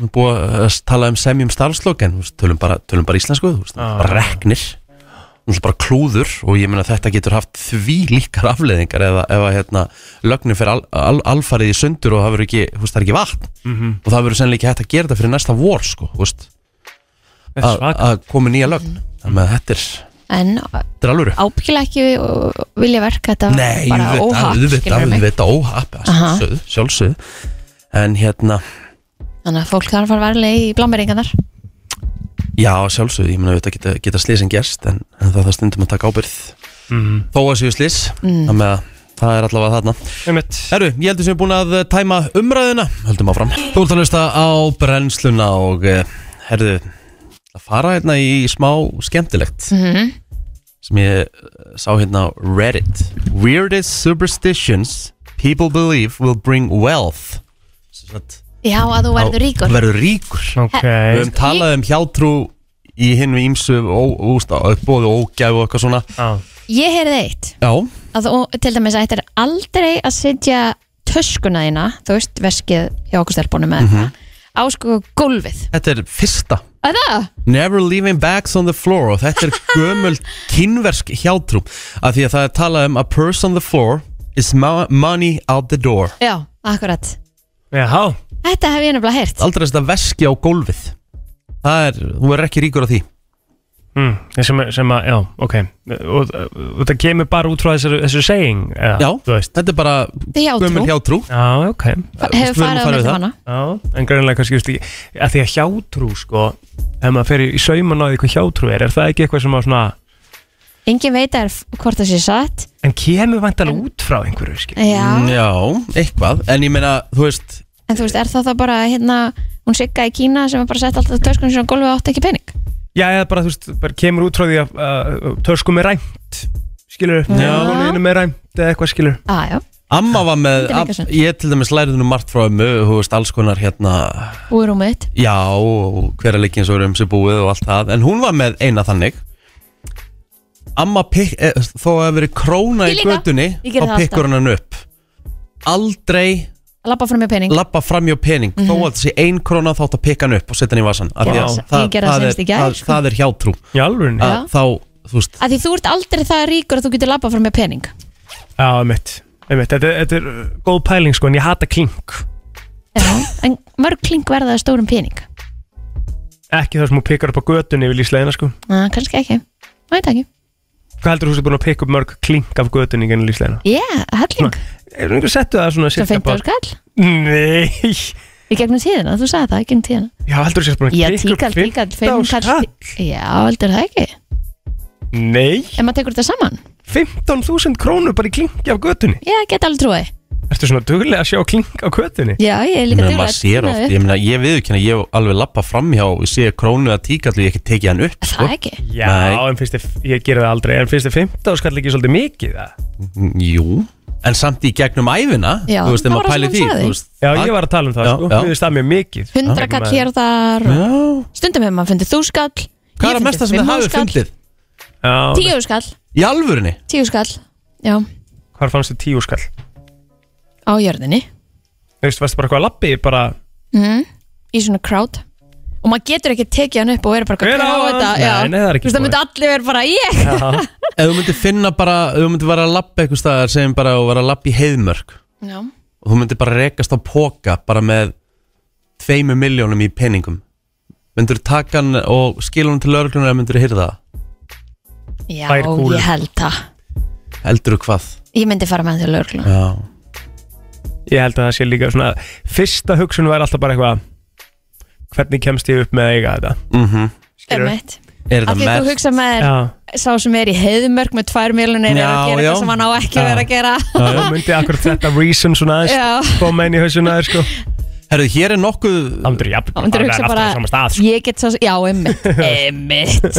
S1: Nú er búið að tala um semjum starfslokk en þú veist, tölum bara, tölum bara íslensku þú veist,
S2: Já.
S1: bara reknir þú veist, bara klúður og ég meina þetta getur haft því líkar afleðingar ef, að- ef að hérna, lögnin fyrir al, al, alfarið í sundur og það verður ekki, þú veist, það er ekki vatn
S2: Mhm.
S1: og það verður sennilega ekki hægt að gera þetta fyrir næsta vor sko, þú veist,
S2: þetta er
S1: að
S2: svaka.
S1: að komi nýja lögn þannig að þetta er,
S3: en
S1: þetta er alvöru
S3: ábyggilega ekki uh, vilja verka þetta
S1: Nei,
S3: bara
S1: auðvitað,
S3: óhapp
S1: auðvitað,
S3: skilurðu mig?
S1: auðvitað óhapp að
S3: Aha.
S1: sjálfsögðu, sjálfsögðu en hérna,
S3: þannig að fólk þarf að fara varlega í blámeringarnar
S1: já sjálfsögðu ég meina auðvitað geta, geta slísin gerst en, en það það stundum að taka ábyrð
S2: Mhm.
S1: þó að séu slís þannig að það er allavega þarna
S2: Einmitt.
S1: Herru, ég heldur sem við búin að eh, tæma umræðuna höldum áfram Þú ert að hlusta á brennsluna og eh, herru að fara hérna í smá skemmtilegt
S8: Mm.
S3: Mhm.
S1: sem ég eh, sá hérna á Reddit Weirdest superstitions people believe will bring wealth Sem sagt,
S3: já, að þú verður
S1: á-
S3: ríkur
S1: Verður ríkur
S2: Ok,
S1: Við höfum talað um hjátrú í hinu ímsu og uppbóðu og ógæfu og eitthvað svona
S2: já,
S3: ég heyrði eitt
S1: Já,
S3: að þú, til dæmis, ættir aldrei að setja töskuna þína, þú veist, veskið hjá okkur stelpunum með mm á sko gólfið.
S1: Mhm. þetta er fyrsta
S3: Að það?
S1: Never leaving bags on the floor og þetta er gömul kynversk hjátrú af því að það er talað um a purse on the floor is mo- money out the door
S3: Já, akkurat.
S2: já,
S3: Þetta hef ég nefnilega heyrt.
S1: aldrei þess að veski á gólfið það er, þú er ekki ríkur á því
S2: mm, sem, að- sem að, já, ok og, og það kemur bara út frá þessu, þessu saying eða,
S1: Já,
S2: þú veist
S1: þetta er bara
S3: Þetta er hjátrú.
S1: gömul hjátrú
S2: Já, ok
S1: við
S3: Hefur
S1: skulum
S3: farið á
S1: fara við
S3: mellum
S1: það.
S3: hana.
S2: Já, en greinlega kannski, veist, ég, að því að hjátrú, sko ef maður fer í- í sauman á því hvað hjátrú er er það ekki eitthvað sem að svona
S3: Engin veit er hvort það sé satt.
S2: en kemur vantalega út frá einhverju, skil
S3: Já,
S1: Mm, Já, eitthvað, en ég meina, þú veist
S3: en þú veist, er það þá bara hérna, hún sigga í Kína sem er bara sett alltaf töskunum sína á gólfið og átti ekki pening?
S2: Já, eða bara, þú veist, bara kemur út frá því að uh, töskum er ræmt skilur, konunum er ræmt eða eitthvað skilur
S3: Á, já,
S1: Amma var með,
S3: Þetta er líka
S1: am- ég til dæmis lærið nú margt frá ömmu, þú veist, alls konar hérna
S3: úr um þitt.
S1: Já, og hver að leikinn svo er um sig búið og allt það En hún var með eina þannig Amma pikk, eh, þó að verið króna
S3: Ég
S1: í
S3: líka.
S1: götunni
S3: Ég geri
S1: Þá
S3: það alltaf.
S1: pikkur hann upp Aldrei
S3: Lappa fram með pening.
S1: labba fram hjá pening Þó
S3: Mhm.
S1: að þessi ein króna þá átt að pikka hann upp og setja hann í vasan Af því að
S2: Ég
S1: það-
S3: gerði það
S1: það
S3: seinast
S1: er-
S3: í gær,
S1: það-
S3: sko.
S1: Það er hjátrú
S2: Í alvörunni?
S1: Að Þá, þú veist
S3: Af því þú ert aldrei það ríkur að þú getur lappa fram með pening.
S2: Já, einmitt, einmitt. Þetta, þetta er uh, góð pæling sko, en ég hata klink
S3: Já, en mörg klink verða að stórum pening.
S2: Ekki það sem hún pikkar upp á götunni yfir lísleðina sko
S3: Næ, kannski ekki. Næ, þetta ekki.
S2: Hvað heldur þú sem búin að pikka upp mörg klink af götunni í gennum lísleðina?
S3: Já, helling.
S2: Er einhver settu það svona
S3: Svo
S2: sirka
S3: finnst þú
S2: bara-
S3: skall.
S2: Nei
S3: Í gegnum tíðina, þú sagði það, í gegnum tíðina.
S2: Já, heldur þú sem búin að
S3: Já,
S2: pikka
S3: tíkall,
S2: upp
S3: tíkall,
S2: 15
S3: fimm kall.
S2: skall
S3: Já, heldur það ekki.
S2: Nei,
S3: En maður tekur þetta saman.
S2: 15.000 krónur bara í klinki af götunni
S3: Já, get alveg trúið.
S2: Ertu svona duglega að sjá klink á götunni?
S3: Já, ég er
S1: Ég
S3: líka
S1: meina, maður sér
S3: tína
S1: oft,
S3: upp.
S1: ég meina, ég viðurkenna, ég hef alveg labba fram hjá og sé krónu að tíka allir, ég hef ekki tekið hann upp, sko
S3: Það ekki.
S2: Já,
S1: Nei.
S2: en finnst þið, ég gerði það aldrei En finnst þið 15 skall ekki svolítið mikið það?
S1: Mm, Jú, en samt í gegnum æfina
S3: Já,
S1: þú veist, ef maður
S3: það var það
S1: pæli
S3: sem
S1: því
S3: hann sagði.
S1: þú veist,
S2: Já, ég var að tala um það
S1: Já,
S2: sko,
S1: já.
S2: við það mjög mikið
S3: Hundra
S2: Ekki
S3: kall
S2: maður.
S3: hér og þar. og
S1: Já,
S3: Stundum hefur maður fundið þú skall.
S1: Hvað er að mesta sem þið hafið fundið?
S2: Já,
S3: Tíu skall,
S1: Í alvörinni?
S3: tíu skall. Já,
S2: hvar fannst þið tíu skall?
S3: á jörðinni.
S2: Þú veist, varstu bara hvað lappi, bara
S3: mm. í svona crowd og maður getur ekki tekið hann upp og vera bara
S2: Hver
S3: hver
S2: á
S3: á
S2: hann?
S3: þetta
S2: Nei, nei, það er ekki
S3: Þú veist, það
S2: búið.
S3: myndi allir vera bara ég
S2: Já,
S1: Ef þú myndir finna bara, ef þú myndir vera að lappa eitthvað staðar segjum bara að vera að lappa í heiðmörk
S3: Já.
S1: og þú myndir bara rekast á póka bara með tveimu miljónum í peningum myndir taka hann og skila hann til örglunar eða myndir hýrða það
S3: Já,
S2: Tvær kúlur.
S3: ég held það
S1: Heldur þú hvað?
S3: Ég myndi fara með hann til lögreglu
S1: Já
S2: Ég held að það sé líka svona Fyrsta hugsun var alltaf bara eitthvað Hvernig kemst ég upp með að eiga þetta Skilurðu?
S3: Ömmett
S1: Mhm. Er
S3: Af
S1: þetta
S3: því þú
S1: mest?
S3: hugsa með þér
S2: Já,
S3: Sá sem er í heiðmörk með tvær miljonir Er
S1: Já,
S3: að gera
S1: já.
S3: eitthvað sem hann á ekki að vera að gera
S2: já, já, myndi akkurat þetta reason svona
S3: Já.
S2: aðeins koma inn í hausuna aðeins sko
S1: Herðu, hér er nokkuð
S2: Það myndir jafn,
S3: Það myndir
S2: bara
S3: hugsa
S2: aftur
S3: bara
S2: á sama stað sko.
S3: Ég get svo Já, ömmett Ömmett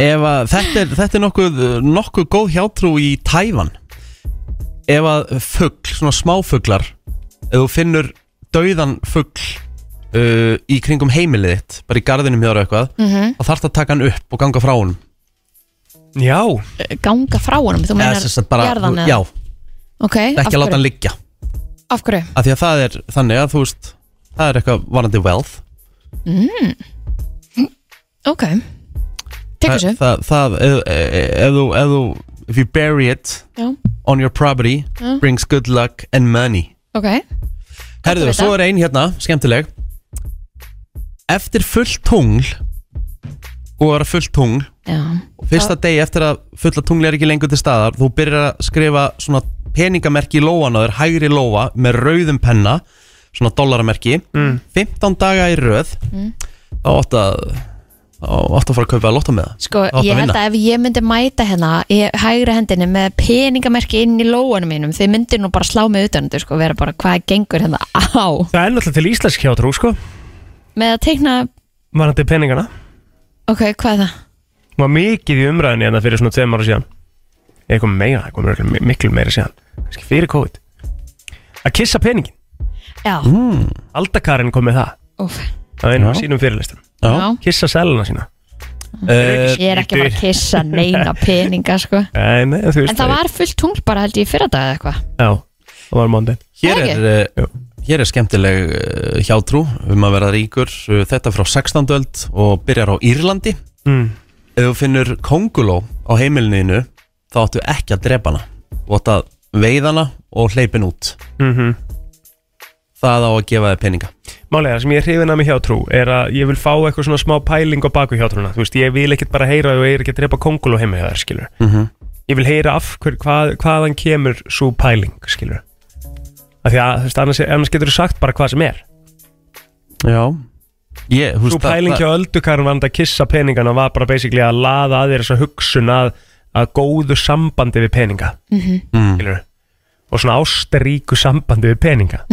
S1: ef að, þetta, er, þetta er nokkuð, nokkuð góð hjátrú í Tævan Ef að fugl, svona smáfuglar Ef þú finnur dauðan fugl uh, í kringum heimilið þitt Bara í garðinum hjá þér og eitthvað
S3: Mhm.
S1: Þá þarf það að taka hann upp og ganga frá honum
S2: Já,
S3: Ganga frá honum Þú
S1: Eða
S3: meinar
S1: sem sagt bara-
S3: jarðan
S1: Já,
S3: eða? Ok
S1: ekki að láta hann liggja
S3: Af hverju?
S1: af því að það er þannig að þú veist það er eitthvað varandi wealth
S9: Mm.
S3: Ok Tek
S1: það,
S3: þessu
S1: það, það ef, ef, ef þú ef þú if you bury it
S3: Já
S1: on your property
S3: Já.
S1: brings good luck and money
S3: Ok
S1: herðu
S3: að
S1: svo er ein hérna skemmtileg eftir fullt tungl og er fullt tungl
S3: Já
S1: og fyrsta degi eftir að fulla tungli er ekki lengur til staðar þú byrjar að skrifa svona peningamerki í lóan á þér, hægri lóa með rauðum penna, svona dollaramerki 15 daga í röð
S3: Mm.
S1: þá átt að þá átt að fara að kaupa að lotta með það
S3: Sko,
S1: Þá átt
S3: ég
S1: að
S3: held
S1: vinna.
S3: að ef ég myndi mæta hérna í hægri hendinni með peningamerki inn í lóanum mínum þið myndir nú bara slá mig utan þetta sko, vera bara hvað gengur hérna á
S2: það er náttúrulega til íslensk hjátrú sko
S3: með að teikna,
S2: Varandi peningana
S3: ok, hvað er það?
S2: Hún var mikið í umræðinni hérna fyrir svona tveim ára síðan Eitthvað meira, eitthvað miklu, miklu meira síðan Kannski fyrir COVID Að kissa peningin,
S3: Já,
S2: aldakarinn kom með það
S3: úf
S2: Það er einu
S1: Hmm. Já.
S2: af sínum fyrirlistum
S3: Já.
S2: Kissa seluna sína
S1: Eh,
S3: Ég er ekki bara að kissa neina peninga sko.
S2: Nei, nei, þú veist
S3: En það var fullt tungl bara held ég í fyrradag eða eitthvað
S2: Já, það var mándin
S1: hér er
S3: Það ekki?
S1: eh,
S2: Jú.
S1: hér er skemmtileg eh, hjátrú um að vera ríkur Eh, þetta er frá 16. öld og byrjar á Írlandi
S2: mm.
S1: ef þú finnur konguló á heimilinu þá áttu ekki að drepa hana þú átt að veiða hana og hleypin út
S2: mm
S1: það á að gefa þér peninga
S2: Málega, það sem ég er hrifin að mig hjátrú er að ég vil fá eitthvað svona smá pæling á baku hjátrúna Þú veist, ég vil ekkert bara heyra og ég er ekki að drepa kongul og heimi hjá þær, skilur
S1: Mhm.
S2: Ég vil heyra af hver, hvað, hvaðan kemur svo pæling, skilur Af því að, þú veist, annars, annars getur þú sagt bara hvað sem er
S1: Já ég, þú
S2: Svo
S1: veist, það-
S2: pæling hjá öldukarinn var að kissa peningana var bara basically að laða að þér þessa hugsun að, að góðu sambandi við peninga
S3: Mhm.
S1: Mm.
S2: skilur og svona ástaríku sambandi við peninga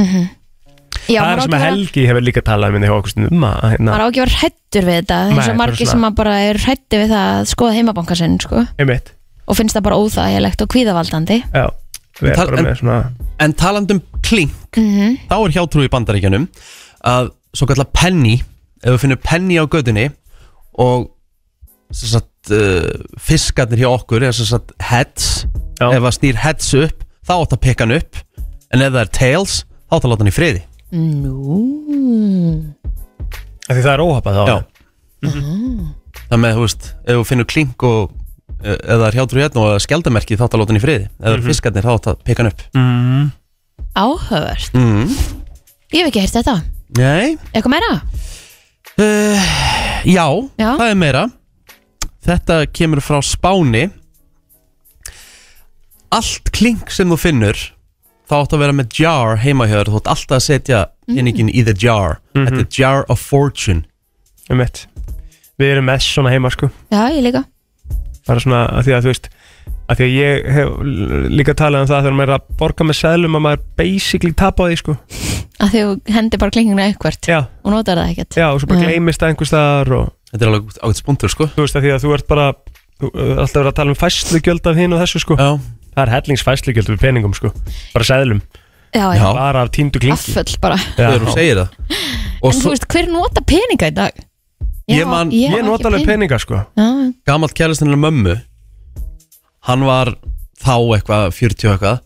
S2: það
S3: Já, maður
S2: er
S3: á
S2: sem
S3: ekki
S2: að
S3: vera-
S2: Helgi hefur líka talað um í okkur stundum að hérna,
S3: maður á ekki að vera hrættur við þetta
S2: Nei,
S3: eins
S2: bara
S3: og margir
S2: svona-
S3: sem að bara er hrættir við það að skoða heimabanka sinn sko,
S2: einmitt
S3: og finnst það bara óþægilegt og kvíðavaldandi
S2: já, við
S1: En tal-
S2: erum bara
S1: en-
S2: með svona
S1: En talandum klink Þá er hjátrú í bandaríkjanum að svo kallar penny ef þú finnur penny á gödunni og sem sagt, uh, fiskarnir hjá okkur eða sem sagt heads
S2: Já.
S1: ef það snýr heads upp þá átt að pikka hann upp en ef það er tails þá átt að láta hann í friði
S2: Mhm.
S3: Nú
S2: af því það er óhafað þá
S1: Já Það með, þú veist, ef þú finnur klink og eh, ef það er hjátrú hérna og skjaldamerki þá átt að láta hann í friði ef
S2: Mhm.
S1: það eru fiskarnir þá átt að pikka hann upp
S3: Áhört,
S1: mm.
S3: ég hef ekki heyrt þetta
S1: Nei
S3: Eitthvað meira?
S1: Uh, já,
S3: Já.
S1: það er meira Þetta kemur frá Spáni Allt klink sem þú finnur þá átt að vera með jar heima hjá þér þú átt alltaf að setja
S3: Mhm.
S1: peningin í the jar Þetta er jar of fortune
S2: Mhm. einmitt við erum með svona heima sko
S3: Já, ég líka
S2: bara svona af því að þú veist af því að ég hef l- líka talað um það þegar maður er að borga með seðlum að maður basically tapa á því sko
S3: að því þú hendir bara klinginu eitthvert
S2: já,
S3: og notar það ekkert
S2: já og svo bara
S3: Nei.
S2: gleymist það einhvers þar og
S1: Þetta er alveg ágætt spunktur sko
S2: þú veist að því að þú ert bara þú, uh, alltaf verið að tala um fæslugjöld af hinn og þessu sko
S1: Já,
S2: það er hellingsfæslugjöld við peningum sko bara seðlum,
S3: Já, já,
S1: já,
S2: bara af tíndu klingi
S3: afföll bara
S1: þegar þú segir það Og
S3: En
S1: svo
S3: þú veist, hver nota peninga í dag?
S1: Ég man-
S2: ég nota alveg peninga sko
S3: peninga
S1: gamalt kælistinlega mömmu hann var þá eitthvað 40 og eitthvað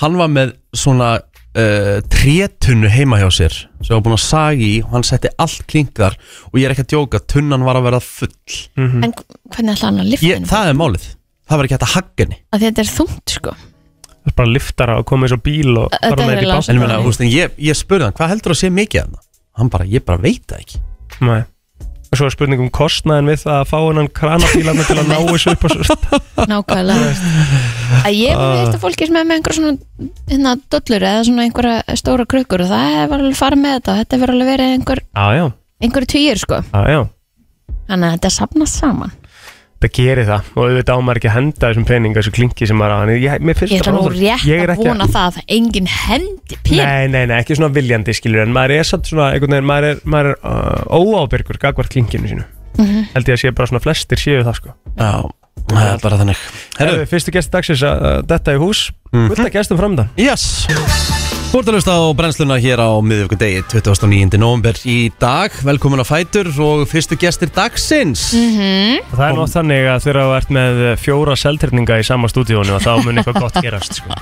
S1: hann var með svona uh, trétunnu heima hjá sér sem var búin að saga í og hann setti allt klingar og ég er ekki að djóka tunnan var að vera full
S2: Mhm.
S3: En hvernig ætla hann að lifta
S1: ég,
S3: henni?
S1: það er málið, það var ekki hægt að hagga henni
S3: Að þetta er þungt sko
S2: það er bara liftara og komið svo bíl og
S3: Þetta
S2: fara
S3: er
S2: með þetta í
S3: eiginlega
S2: bát
S1: en ég, meina, þú veist, en ég, ég spurði hann, hvað heldur að sé mikið hann? hann bara, ég bara veit það ekki
S2: Nei. og svo er spurning um kostnaðin við það að fá hennan kranabílarna til að ná þessu upp á svo
S3: nákvæmlega að ég hef veit að fólki sem er með einhver svona hérna, dollur eða svona einhverja stóra krukkur og það hefur alveg farið með þetta og þetta hefur alveg verið einhver,
S2: Já, já,
S3: einhver týr sko
S2: já, já
S3: þannig að þetta sapnast saman
S2: Það gerir það og auðvitað ámar ekki að henda þessum pening þessu klinki sem maður á hann ég, mér finnst
S3: ég ætla
S2: bara
S3: nú
S2: óþarft.
S3: rétt
S2: Ég er
S3: að
S2: ekki
S3: vona það að engin hendi píl
S2: Nei, nei, nei, ekki svona viljandi skilur en maður er samt svona, einhvern veginn, maður er, maður er uh, óábyrgur gagvart klinkinu sínu
S3: Mhm.
S2: held ég að sé bara svona flestir séu það sko
S1: Já, það er bara þannig Herru,
S2: Herðu, fyrstu gest dagsins að uh, detta í hús
S7: Mhm.
S2: fullt að gestum framdan
S1: yes Þú ert að hlusta á brennsluna hér á miðvíkundegi 29. november í dag Velkomin á Fætur og fyrstu gestir dagsins
S3: Mhm.
S2: og það er nátt þannig að þegar þú ert með uh, fjóra seltirninga í sama stúdíónu að þá mun eitthvað gott gerast sko.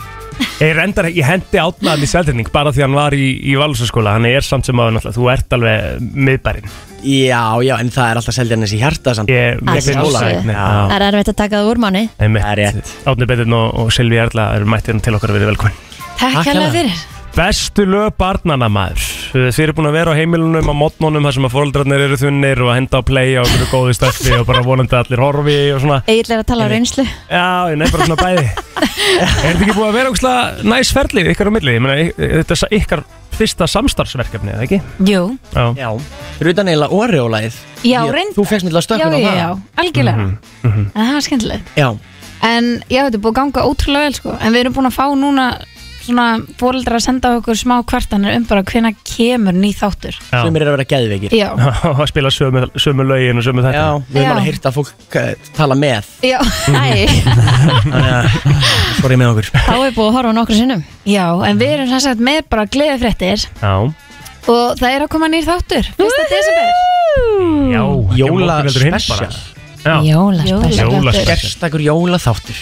S2: ég rendar, ég hendi átnaðan í seltirning bara því hann var í, í valsaskóla hann er samt sem að náttúrulega, þú ert alveg miðbærin
S7: Já, já, en það er alltaf seljarnes í hjarta samt
S2: ég,
S3: Að sjálfsögðu.
S2: Já.
S3: það er erfitt að taka það úr manni
S7: Það er rétt.
S2: Átni Betin og, og Silvi Erla eru mættir til okkar að vera velkomin
S3: takk hérlega
S7: hérlega.
S3: fyrir
S2: Bestu lög barnana maður Þið eru búin að vera á heimilunum á mótnunum þar sem að fóreldrarnir eru þunnir og að henda á play á einhverju góðu stöffi og bara vonandi að allir horfi og svona
S3: Egil er að tala á reynslu
S2: Já, ég nefnir bara svona bæði Er þetta ekki búið að vera ógslag næs ferlið ykkar á milli? Ég meina, y- þetta er sa- ykkar fyrsta samstarfsverkefni, eða ekki?
S3: Jú,
S2: Já,
S7: Já, rutan eiginlega orjólaðið
S9: Já, reynd-
S7: Þú fegst nýttilega
S9: já,
S7: stökkun á
S9: já,
S7: það
S9: já, algjörlega
S2: Mhm,
S9: en það var skemmtilegt
S7: já.
S9: en já, þetta er búið að ganga ótrúlega vel sko. en við erum búin að fá núna svona fóreldrar að senda okkur smá kvartanir um bara hvena kemur ný þáttur
S2: Já.
S7: Sumir eru að vera geðveikir
S9: já,
S2: að spila sömu, sömu lögin og sömu
S7: Já,
S2: þetta
S7: við
S9: Já.
S7: erum alveg hýrt að fólk eh, tala með
S9: já,
S3: æ,
S7: Þannig að, sorry með okkur
S3: þá er búið að horfa nokkru sinnum
S9: já en við erum sem sagt með bara gleðifréttir
S7: Mm.
S2: Já,
S9: og það er að koma nýr þáttur fyrsta desember
S2: já um
S7: Jóla
S2: special
S7: special
S2: Já,
S3: Jóla,
S2: Jóla special
S7: Gerstakur jóla þáttur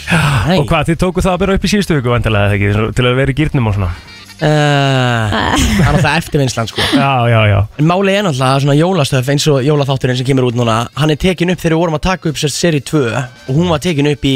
S7: Nei
S2: Og hvað, þið tókuð það að byrja upp í síðustu viku vandilega, ekki? Svo- Til að vera í gýrnum og svona
S7: Eh,
S9: Ah.
S7: Það er það eftirvinnslan sko
S2: Já, já, já
S7: En Máli er náttúrulega að svona jólastöf eins og jólaþátturinn sem kemur út núna Hann er tekin upp þegar við vorum að taka upp sér seri 2 Og hún var tekin upp í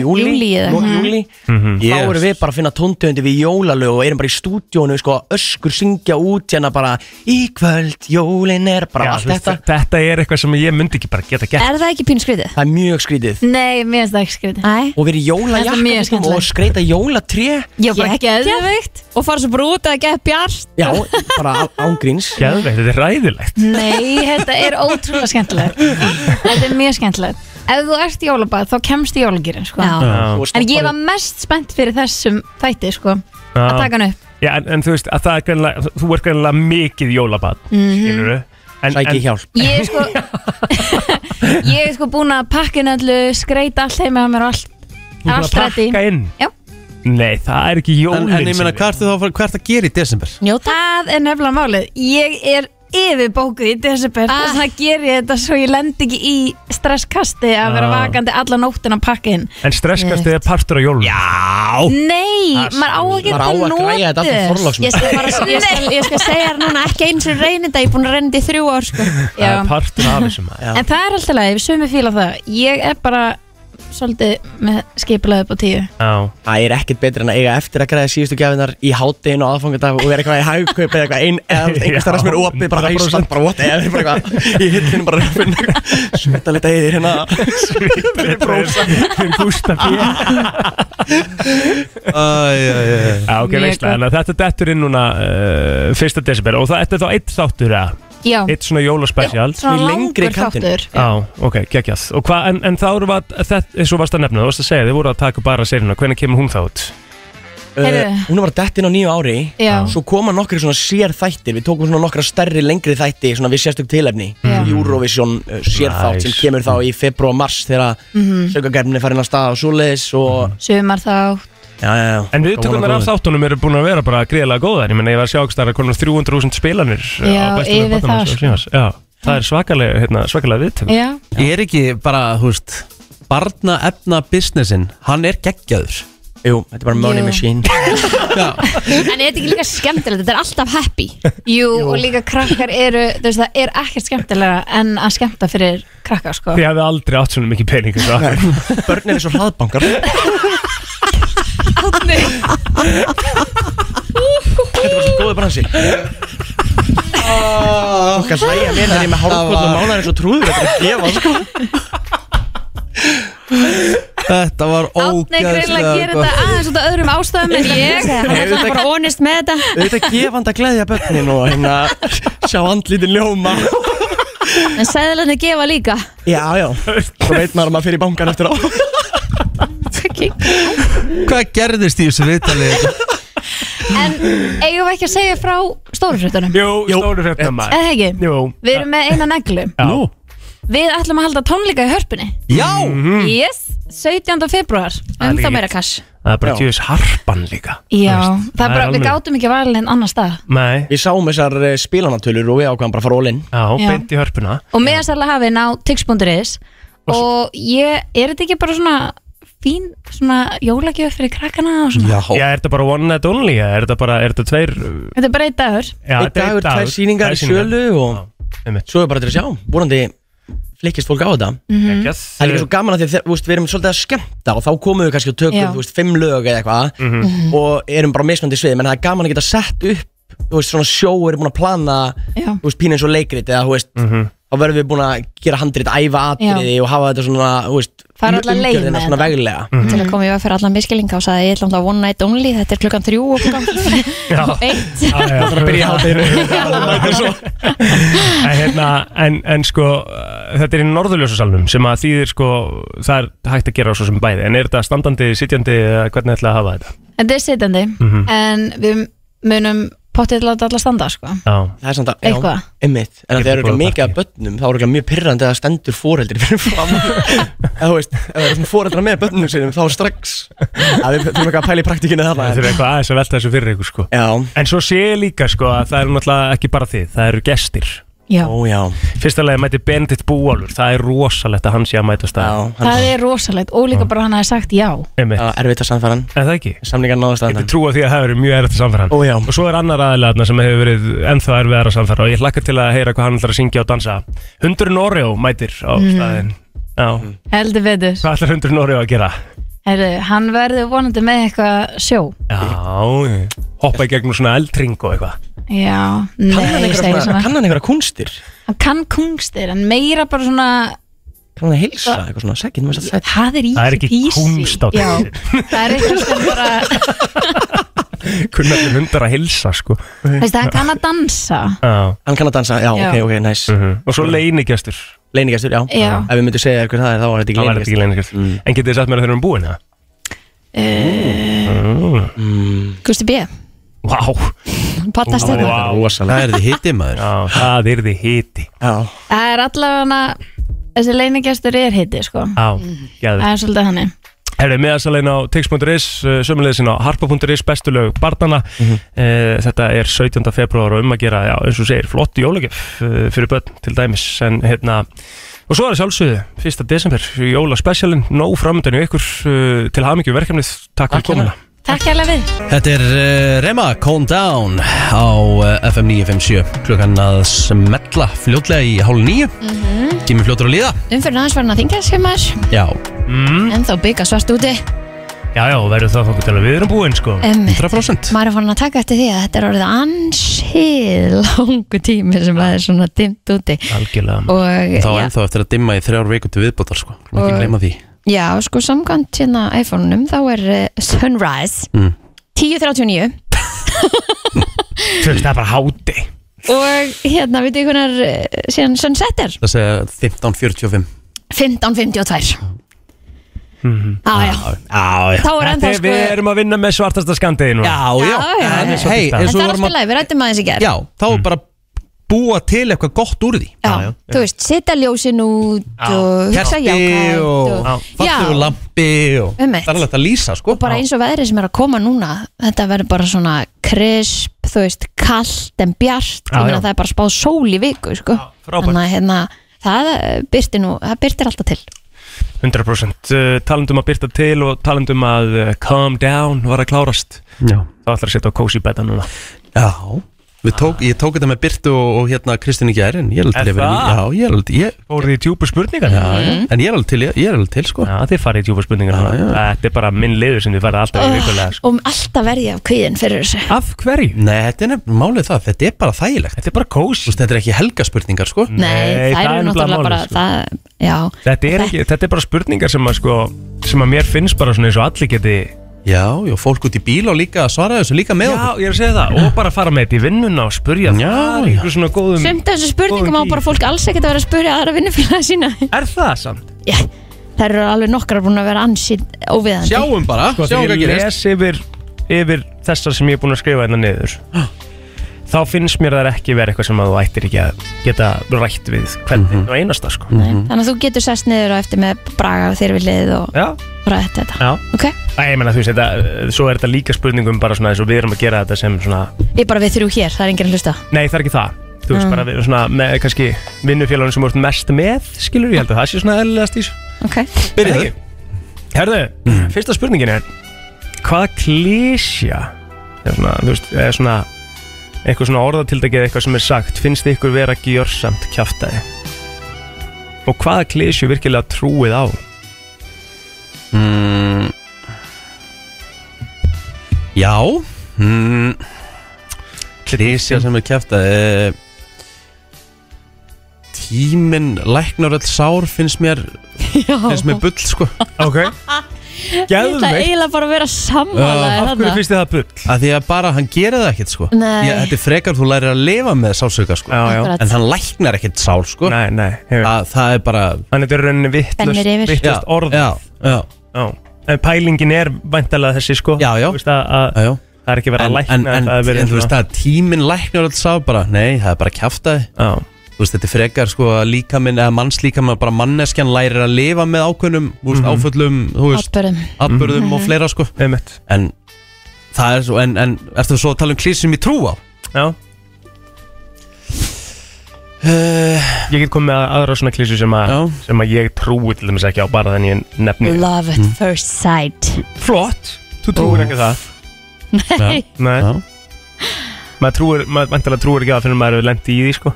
S7: júli
S3: Júlí eða-
S7: lok
S9: Mhm.
S7: júlí
S2: Mhm. Mm-hmm.
S7: Þá
S1: Yes.
S7: erum við bara að finna tóntöndi við jólalög Og erum bara í stúdíónu sko öskur syngja út Hérna bara í kvöld, jólin er bara
S2: Já,
S7: allt
S2: þú veist,
S7: þetta
S2: þetta er eitthvað sem ég myndi ekki bara geta gert
S3: Er það ekki pín skrítið?
S7: Það er mjög skrítið
S9: nei, mér finnst það ekki skriði
S3: Æ,
S7: Og við erum
S9: Þetta er
S7: jólajakkum
S9: mjög skemmtilegt.
S7: og skreita jólatré
S3: já,
S9: bara geðveikt.
S3: Og fara svo bara út að geða bjart
S7: Já, bara ángríns
S2: Geðveikt, þetta er ræðilegt
S9: nei, þetta er ótrúlega skemmtilegt þetta er mjög skemmtilegt ef þú ert í jólabað þá kemst í jólagýrin sko.
S3: Já,
S2: Já,
S9: en ég var mest spennt fyrir þessum þætti sko, að
S2: já.
S9: taka hann upp
S2: Já, en, en þú veist að það er greinlega, þú er greinlega mikið jólabann, mm
S9: Mhm.
S2: -hmm. skilur en,
S7: Sæki
S2: en,
S7: hjálp
S9: Ég er sko Ég er sko búin að pakka inn öllu Skreita allt heima á mér og allt
S2: þú er að
S9: Allt ready.
S2: pakka inn
S9: Já.
S2: Nei, það er ekki
S1: En,
S2: jólin
S1: en ég meina, hvað ertu þá að fara, hvað ertu að gera í desember?
S3: njóta
S9: Það er nefnilega málið Ég er yfirbókuð í desember
S3: Ah.
S9: Þess vegna ger ég þetta svo ég lend ekki í stresskasti að vera
S2: Ah.
S9: vakandi alla nóttin að pakka inn
S2: En stresskast er partur á jólin Já
S9: Nei,
S2: Ah,
S9: maður á að
S7: Maður á
S9: geta
S7: að græja þetta allt í
S9: nótið
S7: forlásnum
S3: Ég skal, bara, ég, skal, ég skal segja þér núna ekki eins og reynir þetta, ég er búin að reyna þetta í þrjú ár sko.
S2: Það er partur af þessum maður.
S9: En það er alltaf leið, sumi fíla það Ég er bara svolítið með skipulaðið upp á tíu
S2: Já,
S7: Það er ekkert betur en að eiga eftir að græða síðustu gefinar í háttegin og aðfangadag og vera eitthvað í hagkaup eða eitthvað einn eða
S2: Já,
S7: einhver starf sem er opið bara
S2: 100%.
S7: haustan bara what eða bara eitthvað í hillinu bara að finna smetta lita yfir hérna
S2: þetta er fyrir gústa fyrir
S1: Æ, æ, æ, æ.
S2: Já, ok,
S9: Mjög
S2: veistlega,
S9: gott.
S2: þannig að þetta dettur inn núna uh, fyrsta desember og það þetta er þá eitt þáttur eða,
S9: Já,
S2: eitt svona jólaspecial
S7: í
S9: svona
S7: lengri
S9: langur
S7: kantinn.
S9: þáttur
S2: Já, ok, geggjað Og hvað, en, en þá eru var, þetta, eins og varst að nefna, þú varst að segja, þið voru að taka bara serina, hvernig kemur hún þá út?
S9: Heyrðu.
S7: Uh, hún var dett inn á nýju ári
S9: Já.
S7: svo koma nokkri svona sér þættir við tókum svona nokkra stærri lengri þætti svona við sérstök tilefni
S9: Já.
S7: Eurovision uh, sérþátt
S2: Nice.
S7: sem kemur þá í februar og mars þegar mm
S9: Mhm.
S7: -hmm. sögagefnin er farin að staða og svoleiðis og
S9: Sumar þátt
S7: já, já, já,
S2: Mm. En viðtökurnar af þáttunum eru búin að vera bara greiðlega góðar Ég menna ég var að sjá ekki starra konar 300.000 spilanir uh,
S9: Já,
S2: á bestu lög
S9: yfir
S2: barnanna
S9: það,
S2: sem
S9: sko.
S2: sýnast. Já, það er svakalega, hérna, svakalega viðtökur
S9: Já,
S1: Ég er ekki bara, þú veist Barna efna businessin, hann er geggjaður
S7: jú, þetta er bara money
S9: Jú.
S7: machine
S3: En er þetta ekki líka skemmtilegt, þetta er alltaf happy
S9: Jú, og líka krakkar eru, þú veist, það er ekkert skemmtilega en að skemmta fyrir krakkar, sko.
S2: Þið hefði aldrei átt svona mikið sko. pening eins og það.
S7: börn er eins og hlaðbankar þetta var svo góði bransi Þú kannski hlæja mér þegar ég er með hárkoll og mánar eins og trúður Þetta er að gefa sko
S1: Þetta var
S9: Átni greinlega
S1: ógæðslega
S9: gerir þetta aðeins út af öðrum ástæðum en ég
S3: Hann er
S7: Auðvitað-
S3: alltaf bara honest með þetta
S7: Auðvitað gefandi að gleðja börnin og hérna sjá andlítin ljóma
S3: En sæðilegni gefa líka
S7: Já, já, svo veit maður að maður fyrir bankan eftir á
S1: Hvað gerðist í þessu viðtali?
S9: En eigum við ekki að segja frá stórufréttunum?
S2: Jú,
S7: Jú.
S2: stóru fréttum maður
S9: Eða ekki?
S2: Jú,
S9: Við erum með eina neglu
S1: Nú
S9: Við ætlum að halda tónleika í hörpunni
S1: Já
S9: Yes, 17. februar
S2: Mhm. Hmm. er
S9: Um
S2: ekki-
S9: þá meira kass
S2: það er bara
S7: Já.
S2: tjóðis harpan líka
S9: Já,
S2: Þú veist,
S9: það er bara,
S2: alveg-
S9: við gátum ekki að varlega en annar stað
S2: Nei,
S7: Við sáum þessar eh, spilanatölur og við ákvæðum bara að fara all in
S2: já,
S9: Já.
S2: beint í hörpuna
S9: Og með þess að hafi ná tix.is Og ég, er þetta ekki bara svona fín svona jólagjöf fyrir krakkana og svona
S2: Já, er þetta bara one night only? eða Er þetta bara, er þetta tveir
S9: Þetta er bara einn dagur
S2: Já,
S7: Einn
S2: þetta er
S7: dagur, tvær sýningar í sölu og
S2: einmitt.
S7: svo er bara til að sjá Vorandi flikkist fólk á þetta
S9: Mhm.
S2: Yes.
S7: Það er líka svo gaman að því að þeir- þú veist, við erum svolítið að skemmta og þá komum við kannski og tökum
S9: Mm. Já. Mhm.
S7: þú veist, fimm lög eða eitthvað og erum bara á mismandi svið menn það er gaman að geta sett upp þú veist, svona sjó erum búin að plana
S9: Já. Mhm.
S7: þú veist, pínu eins og leikrit eða þú veist þá verðum við búin að gera handrit, æfa atriði og hafa þetta svona þú veist, um
S9: Fara alla leið
S7: umgjörðina
S9: með
S7: svona
S9: þetta.
S7: veglega
S2: Mhm.
S3: Til að koma í veg fyrir allan miskilinga og sagði ég ætla alltaf one night only Þetta er klukkan þrjú og
S7: Mhm.
S3: klukkan eitt
S2: Það er að byrja á þeirra en, hérna, en, en sko uh, þetta er í norðurljósasalnum sem að þýðir sko það er hægt að gera svo sem bæði en er þetta standandi, sitjandi eða hvernig ætlaði að hafa þetta?
S9: Þetta er sitjandi
S2: Mhm.
S9: En við munum pottið láta alla standa sko
S2: Já,
S7: það er samt að,
S9: Eitthvað.
S7: einmitt en
S2: Ég
S7: það
S2: er
S7: eru
S2: bara
S7: örugglega
S2: að
S7: mikið af börnum þá eru örugglega mjög pyrrandi að það stendur foreldri fyrir fram eða þú veist, ef það eru svona foreldra með börnum sinum þá strax að við þurfum eitthvað að pæla í praktikinu þarna
S2: það
S7: en-
S2: er eitthvað aðeins að velta þessu fyrir ykkur sko
S7: Já,
S2: En svo sé ég líka sko að það eru náttúrulega ekki bara þið, það eru gestir
S9: Já,
S7: Ó já,
S2: Fyrsta lega mæti Bendit Búalur, það er rosalegt að hann sé að mæta
S7: já
S2: stað
S7: hann-
S9: það er rosalegt og líka bara hann hafi sagt já
S2: Einmitt,
S7: Já, erfitt að sannfæra hann
S2: er það ekki?
S7: Samlingar náðast að
S2: Ég
S7: hann
S2: trúa því að það hefur verið mjög erfitt að samfæra hann
S7: Ó já,
S2: Og svo er annar aðilega sem hefur verið ennþá erfiðar að samfæra og ég hlakkar til að heyra hvað hann ætlar að syngja og dansa Hundurinn Oreo mætir á
S9: Mhm.
S2: staðinn Já,
S7: Mhm.
S9: Heldur betur
S2: hvað ætlar Hundurinn Oreo að gera?
S9: Heru, Hann verður vonandi með eitthvað sjó
S2: Já, hoppa í gegnum svona eldring og eitthvað
S9: Já, nei,
S7: kann hann
S9: ég
S7: einhverja
S9: segi
S7: svona,
S9: svona
S7: kann hann einhverja kunstir
S9: Hann kann kungstir, en meira bara svona
S7: Kann hann að heilsa, eitthvað svona, sækinn með þess að þetta
S9: Það er í
S2: Það er ekki
S9: písi.
S2: kúnst á
S9: Já,
S2: þessu.
S9: Það er eitthvað sem bara
S2: Kunnar til hundar að hilsa sko
S9: veist, Hann kann að dansa
S2: Já,
S7: Hann kann að dansa, já,
S9: Já.
S7: ok, ok, næs nice.
S2: mhm. Og svo leinigestur,
S7: Leinigestur, já
S9: Já.
S7: Ef við myndum segja eitthvað það er, þá var þetta ekki
S2: það
S7: Mm.
S2: var þetta ekki
S7: leinigestur
S2: leinigestur En getið þið sagt mér að þeir eru búin það?
S9: Eh.
S7: Mm.
S3: Gusti B,
S2: Vá,
S3: pattast
S2: Vá.
S3: þetta
S1: Það er þið hitti maður
S2: já, það er þið hiti
S7: Já,
S9: Það er allavega Þessi leinigestur er hiti, sko
S2: Já, gæður
S9: Það er svolítið hann
S2: Herri, meðasalegin á tix.is, sömulegisin á harpa.is, bestu lög barnana.
S1: Mhm.
S2: Eh, Þetta er 17. februar og um að gera, já, eins og þú segir, flott jólagjöf eh, fyrir börn til dæmis. En hérna, og svo er það sjálfsögðu, 1. desember, jólaspecialin, nóg framöndan í ykkur eh, til hafmyggju verkefnið. Takk fyrir
S7: Takk hérna.
S2: komuna.
S9: Takk hérlega við
S1: Þetta er uh, Rema Calm Down á uh, FM 957 klukkan að smetla fljótlega í hálf nýju mm -hmm. Tími fljótur að líða Mm.
S3: Umfyrir Mhm. aðeins var hann að þingja sér maður
S1: Já,
S2: Mhm.
S3: En þá bygga svart úti
S2: Já, já, verður það fokkur til að við erum búin, sko.
S3: Einmitt.
S1: 100%
S3: Maður er fann að taka eftir því að þetta er orðið ansi langu tími sem það er svona dimmt úti
S2: Algjörlega.
S3: og
S1: Þá
S3: já,
S1: ennþá eftir að dimma í þrjár vikur til viðbótar sko Má ekki
S3: Og-
S1: gleyma því
S3: já, sko samkvæmt hérna iPhone-num þá er uh, Sunrise
S1: Mm.
S3: 10.39
S2: Þú veist, það er bara háti.
S3: og hérna, veitu ég hvernar uh, síðan Sunset er?
S1: Það segja 15.45
S3: 15.52
S1: Mhm.
S3: Á, já,
S1: Já, já
S2: Mm.
S3: þá er
S2: Þetta
S3: ennþá
S2: er,
S3: sko
S2: við erum að vinna með svartasta skandiði núna.
S1: Já, já,
S3: Já,
S1: En,
S3: já. Það er
S2: svolítið
S1: hey,
S2: það.
S1: eins og við
S3: En það er
S1: vorum
S3: alltaf
S1: að
S3: leið, við rættum aðeins í gerð
S1: Já, þá er bara búa til eitthvað gott úr því
S3: Já, þú veist, setja ljósin út og hugsa
S1: Kerti
S3: jákvæmt
S1: og
S2: Já.
S1: fattu
S3: Já.
S1: lampi og
S3: Einmitt.
S1: Það er alveg að lýsa sko
S3: og bara eins og veðrið sem er að koma núna þetta verður bara svona krisp þú veist, kallt en bjart
S2: Já,
S3: ég meina
S2: já.
S3: það er bara spáð sól í viku sko.
S2: frábært.
S3: að hérna, það byrtir nú það byrtir alltaf til
S2: 100% uh, talandum að byrta til og talandum að uh, calm down var að klárast
S1: Já,
S2: þá ætlar að setja á cozy betta núna
S1: já Við tók, ég tók þetta með Byrtu og, og hérna Kristín í gær en ég er alveg til
S2: Er
S1: að vera
S2: það?
S1: Já, ég er alveg til ég,
S2: Fóruð þið í djúpa spurningar?
S1: já, mm. En ég er alveg til, ég, ég er alveg til sko
S2: Já, þið farið í djúpa spurningar
S1: Já, já. Ah.
S2: Þetta er bara minn liður sem þið farið alltaf í vikulega sko.
S3: og alltaf verði ég af kvíðin fyrir þessu
S2: Af hverju?
S1: Nei, þetta er nefnilega málið það, þetta er bara þægilegt
S2: Þetta er bara kós
S1: Þú veist, Þetta er ekki helgaspurningar sko
S3: Nei, það eru náttúrulega bara
S2: sko.
S3: það, já,
S2: Þetta er, ekki, þetta er bara spurningar sem að, sko, sem að mér finnst bara svona eins og allir geti
S1: Já, já, fólk út í bíl og líka að svara þessu líka með
S2: Já, ég er að segja það Og bara fara með þetta í vinnuna og spurja þar í
S1: Já, já.
S2: einhverju svona góðum
S3: Sumt af þessu spurningum á
S2: Góðan gír.
S3: bara fólk alls ekkert um að vera að spurja aðra vinnufélaga sína
S2: Er það samt?
S3: Já, þær eru alveg nokkrar búin að vera ansinn óviðandi
S1: Sjáum bara,
S2: Sko,
S1: sjáum
S2: þegar
S1: hvað
S2: ég
S1: gerist
S2: les yfir, yfir þessar sem ég er búin að skrifa hérna niður Þá finnst mér það ekki vera eitthvað sem að þú ættir ekki að geta rætt við hvernig
S1: Mhm.
S2: og einasta sko
S3: Nei, Þannig að þú getur sest niður og eftir með braga og þeir við lið og
S2: Já,
S3: ræða þetta
S2: já
S3: Ok,
S2: Æ, ég meina þú veist, þetta, svo er þetta líka spurningum bara svona eins og við erum að gera þetta sem svona
S3: ég bara við þrjú hér, það er enginn að hlusta
S2: Nei, það er ekki það Þú
S3: Mm.
S2: veist, bara við, svona, með kannski vinnufélagunum sem voru mest með, skilur ég held að það sé svona eðlilegast í þessu
S3: Ok,
S1: Byrjaðu Mm.
S2: Herðu, fyrsta spurningin er Hvaða klísja er svona, þú veist, er svona eitthvað svona orðatildakið eða eitthvað sem er sagt finnst ykkur vera gjörsamt kjaftaði og hvaða klísju virkilega trúið á
S1: mm. Já mm. Klísja sem er kæft að Tíminn læknar öll sár finnst mér,
S3: já
S1: finnst mér bull sko
S2: Ok
S3: Ég ætla
S2: Gæðveikt
S3: eiginlega bara að vera sammála
S1: Já,
S3: þér
S2: Af
S3: þarna.
S2: hverju finnst þið það bull?
S1: að því að bara hann gerir það ekkert sko
S3: Nei.
S1: Ég- Þetta er frekar þú lærir að lifa með sálsöka sko
S2: Já, já
S3: Akkurat.
S1: En hann læknar ekkert sál sko
S2: Nei, nei hefur.
S1: að Það er bara
S2: Þannig þetta er í rauninni
S3: Spennir yfir.
S2: vittlust
S1: já,
S2: Vittlust orð
S1: já, já,
S2: Já. En pælingin er væntalega þessi sko
S1: Já, já.
S2: Þú veist að, að
S1: já, já.
S2: það er ekki verið að
S1: En,
S2: lækna
S1: en, en,
S2: það er verið
S1: en þú veist
S2: svona-
S1: það tíminn læknar öll sár bara Nei, það er bara kjaftaði
S2: Já.
S1: þú veist, þetta er frekar sko að líkaminn eða mannslíkaminn, bara manneskjan lærir að lifa með ákveðnum, þú
S2: Mhm.
S1: veist, áföllum þú veist,
S3: Atbörðum.
S1: atbörðum og fleira sko
S2: Einmitt.
S1: en það er svo, en, en ertu svo að tala um klís sem ég trú á?
S2: Já.
S1: Uh,
S2: Ég get komið með aðra svona klísu sem, að,
S1: Já.
S2: sem að ég trúi til þess ekki á bara þannig ég nefni
S3: Love at
S1: Mm.
S3: first sight
S2: Hmm.
S3: Oh.
S2: Flott, þú trúir ekki það
S1: Já.
S3: Nei,
S2: Nei,
S1: já,
S2: maður trúir, maður vantilega trúir ekki það fyrir maður er lendi í því sko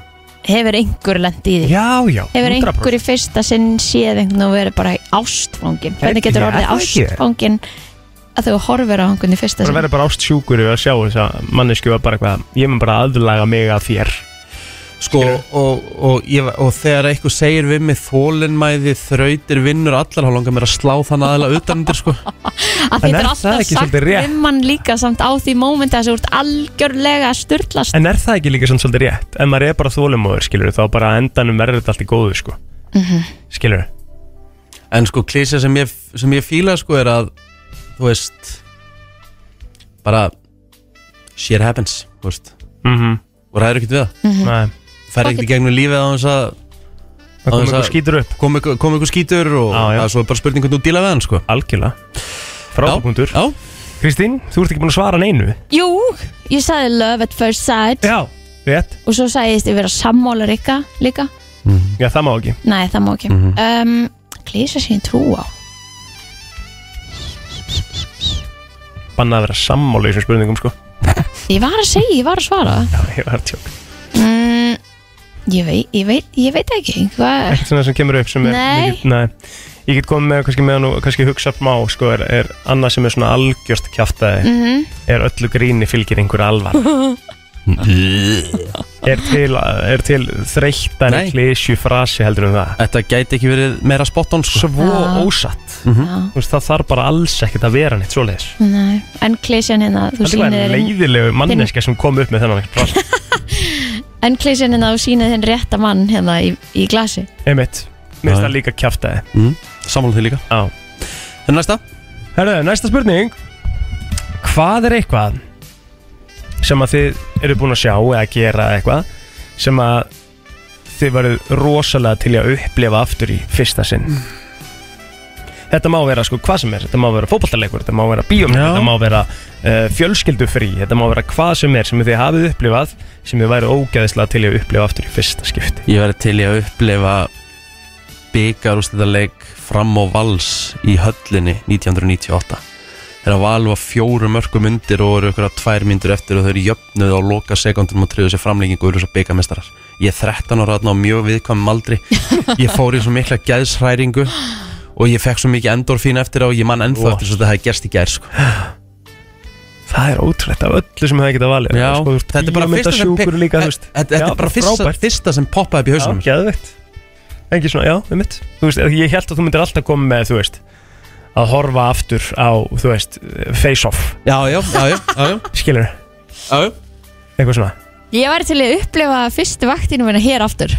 S3: hefur einhver lent í því
S2: Já, já,
S3: Hefur einhver í fyrsta sinn séð einhvern og verið bara ástfangin Hvernig
S2: Ég- ég-
S3: getur orðið
S2: það ekki.
S3: ástfangin að þú horfir á einhvern í fyrsta
S2: Það
S3: sinn
S2: verður bara ástsjúkur yfir að sjá þess að mannesku var bara eitthvað Ég mun bara aðlaga mig að þér
S1: sko og, og, ég, og þegar eitthvað segir við mig þólinmæði, þrautir, vinnur allar, þá langar mér að slá þann aðeila utanundir sko
S3: að
S2: En er
S3: þetta er
S2: það
S3: alltaf
S2: ekki
S3: sagt
S2: svolítið rétt?
S3: um hann líka samt á því mómenti að þessu úrt algjörlega að sturlast
S2: En er það ekki líka svona svolítið rétt? En maður er bara þólumóður, skilur þá bara að endanum verður þetta allt í góðu sko mm
S3: Mhm.
S2: Skilur
S1: en sko klísja sem ég, sem ég fíla sko er að þú veist bara shit happens, þú veist og ræður ekkert við það
S2: Mhm. Nei,
S1: ferði ekkert í gegnum lífið á þess að
S2: það
S1: Á
S2: kom
S1: þess
S2: eitthvað
S1: að-
S2: skýtur upp
S1: kom ykkur, kom ykkur skítur og
S2: Já, já.
S1: það er svo bara spurning hvernig þú díla við hann sko
S2: Algjörlega Frábúndur
S1: Já,
S2: Kristín, þú ert ekki búin að svara neinu
S3: Jú, ég sagði love at first sight
S2: Já Rétt
S3: og svo sagðist ég vera sammála rikka líka
S2: Já, það má ekki
S3: Nei, það má ekki
S2: Mhm.
S3: um, Klísa sín trú á
S2: Bannað að vera sammála í þessum spurningum, sko
S3: Ég var að segja, ég var að svara
S2: Já, ég var að tjóka
S3: mm, ég, veit, ég, veit, ég veit ekki Hvað
S2: Ekkert svona sem kemur upp sem er
S3: Nei.
S2: mikið- Nei Ég get komið með, kannski meðan og kannski hugsa upp má, sko Er, er annað sem er svona algjört kjáftæði Er öllu gríni fylgir einhver alvar Er til, er til þreyttan
S1: Nei.
S2: klísju frasi heldur um það
S1: þetta gæti ekki verið meira spot on sko
S2: Svo
S1: Mhm.
S3: Já.
S2: ósatt
S3: Já,
S2: Þú veist, það þarf bara alls ekkert að vera neitt svoleiðis
S3: nei. En klísjan hérna þú
S2: Þetta
S3: sýnir
S2: var
S3: þinn-
S2: leiðilegu manneska sem kom upp með þennan frasa
S3: En klísjan hérna þú sýnið þinn rétta mann hérna í, í glasi
S2: Einmitt, mér finnst
S1: Já. Mhm.
S2: það líka kjáftæði
S1: Sammála því líka
S2: Já
S1: En næsta
S2: Herðu, næsta spurning Hvað er eitthvað sem að þið eru búin að sjá eða gera eitthvað sem að þið varuð rosalega til í að upplefa aftur í fyrsta sinn
S1: Mm.
S2: Þetta má vera sko hvað sem er Þetta má vera fótballtaleikur, þetta má vera bíómynd
S1: Já.
S2: Þetta má vera uh, fjölskyldufrí Þetta má vera hvað sem er sem þið hafið upplifað sem þið væri ógæðislega til í að upplefa aftur í fyrsta skipti
S1: Ég verði til í að upplifa byggarústæðarleik fram og vals í höllinni 1998 er að valva fjóru mörgum undir og eru ykkur að tvær myndur eftir og þau eru jöfnuð á loka sekundum og triðu sér framlengingu og eru svo byggamestarar ég er 13 ára þarna á mjög viðkvæmum aldri ég fór í svo mikla gæðsræringu og ég fekk svo mikið endorfín eftir á og ég man ennþá
S2: Vá.
S1: eftir þess að þetta hefði gerst í gær sko.
S2: Það er ótrúlegt af öllu sem það geta valið
S1: Já,
S2: sko,
S1: þetta er bara fyrsta sem, e-
S2: Sjókur líka, þú veist
S1: þetta, þetta
S2: Já,
S1: er bara fyrsta,
S2: frábært.
S1: fyrsta sem poppaði upp í hausunum
S2: Já, geðveikt Engi svona, já, við mitt Þú veist, ég held að þú myndir alltaf koma með, þú veist Að horfa aftur á, þú veist, face-off
S1: já, já, já, já, já,
S2: Skilur,
S1: já, já.
S2: eitthvað svona
S3: Ég væri til að upplifa fyrstu vaktinu minna hér aftur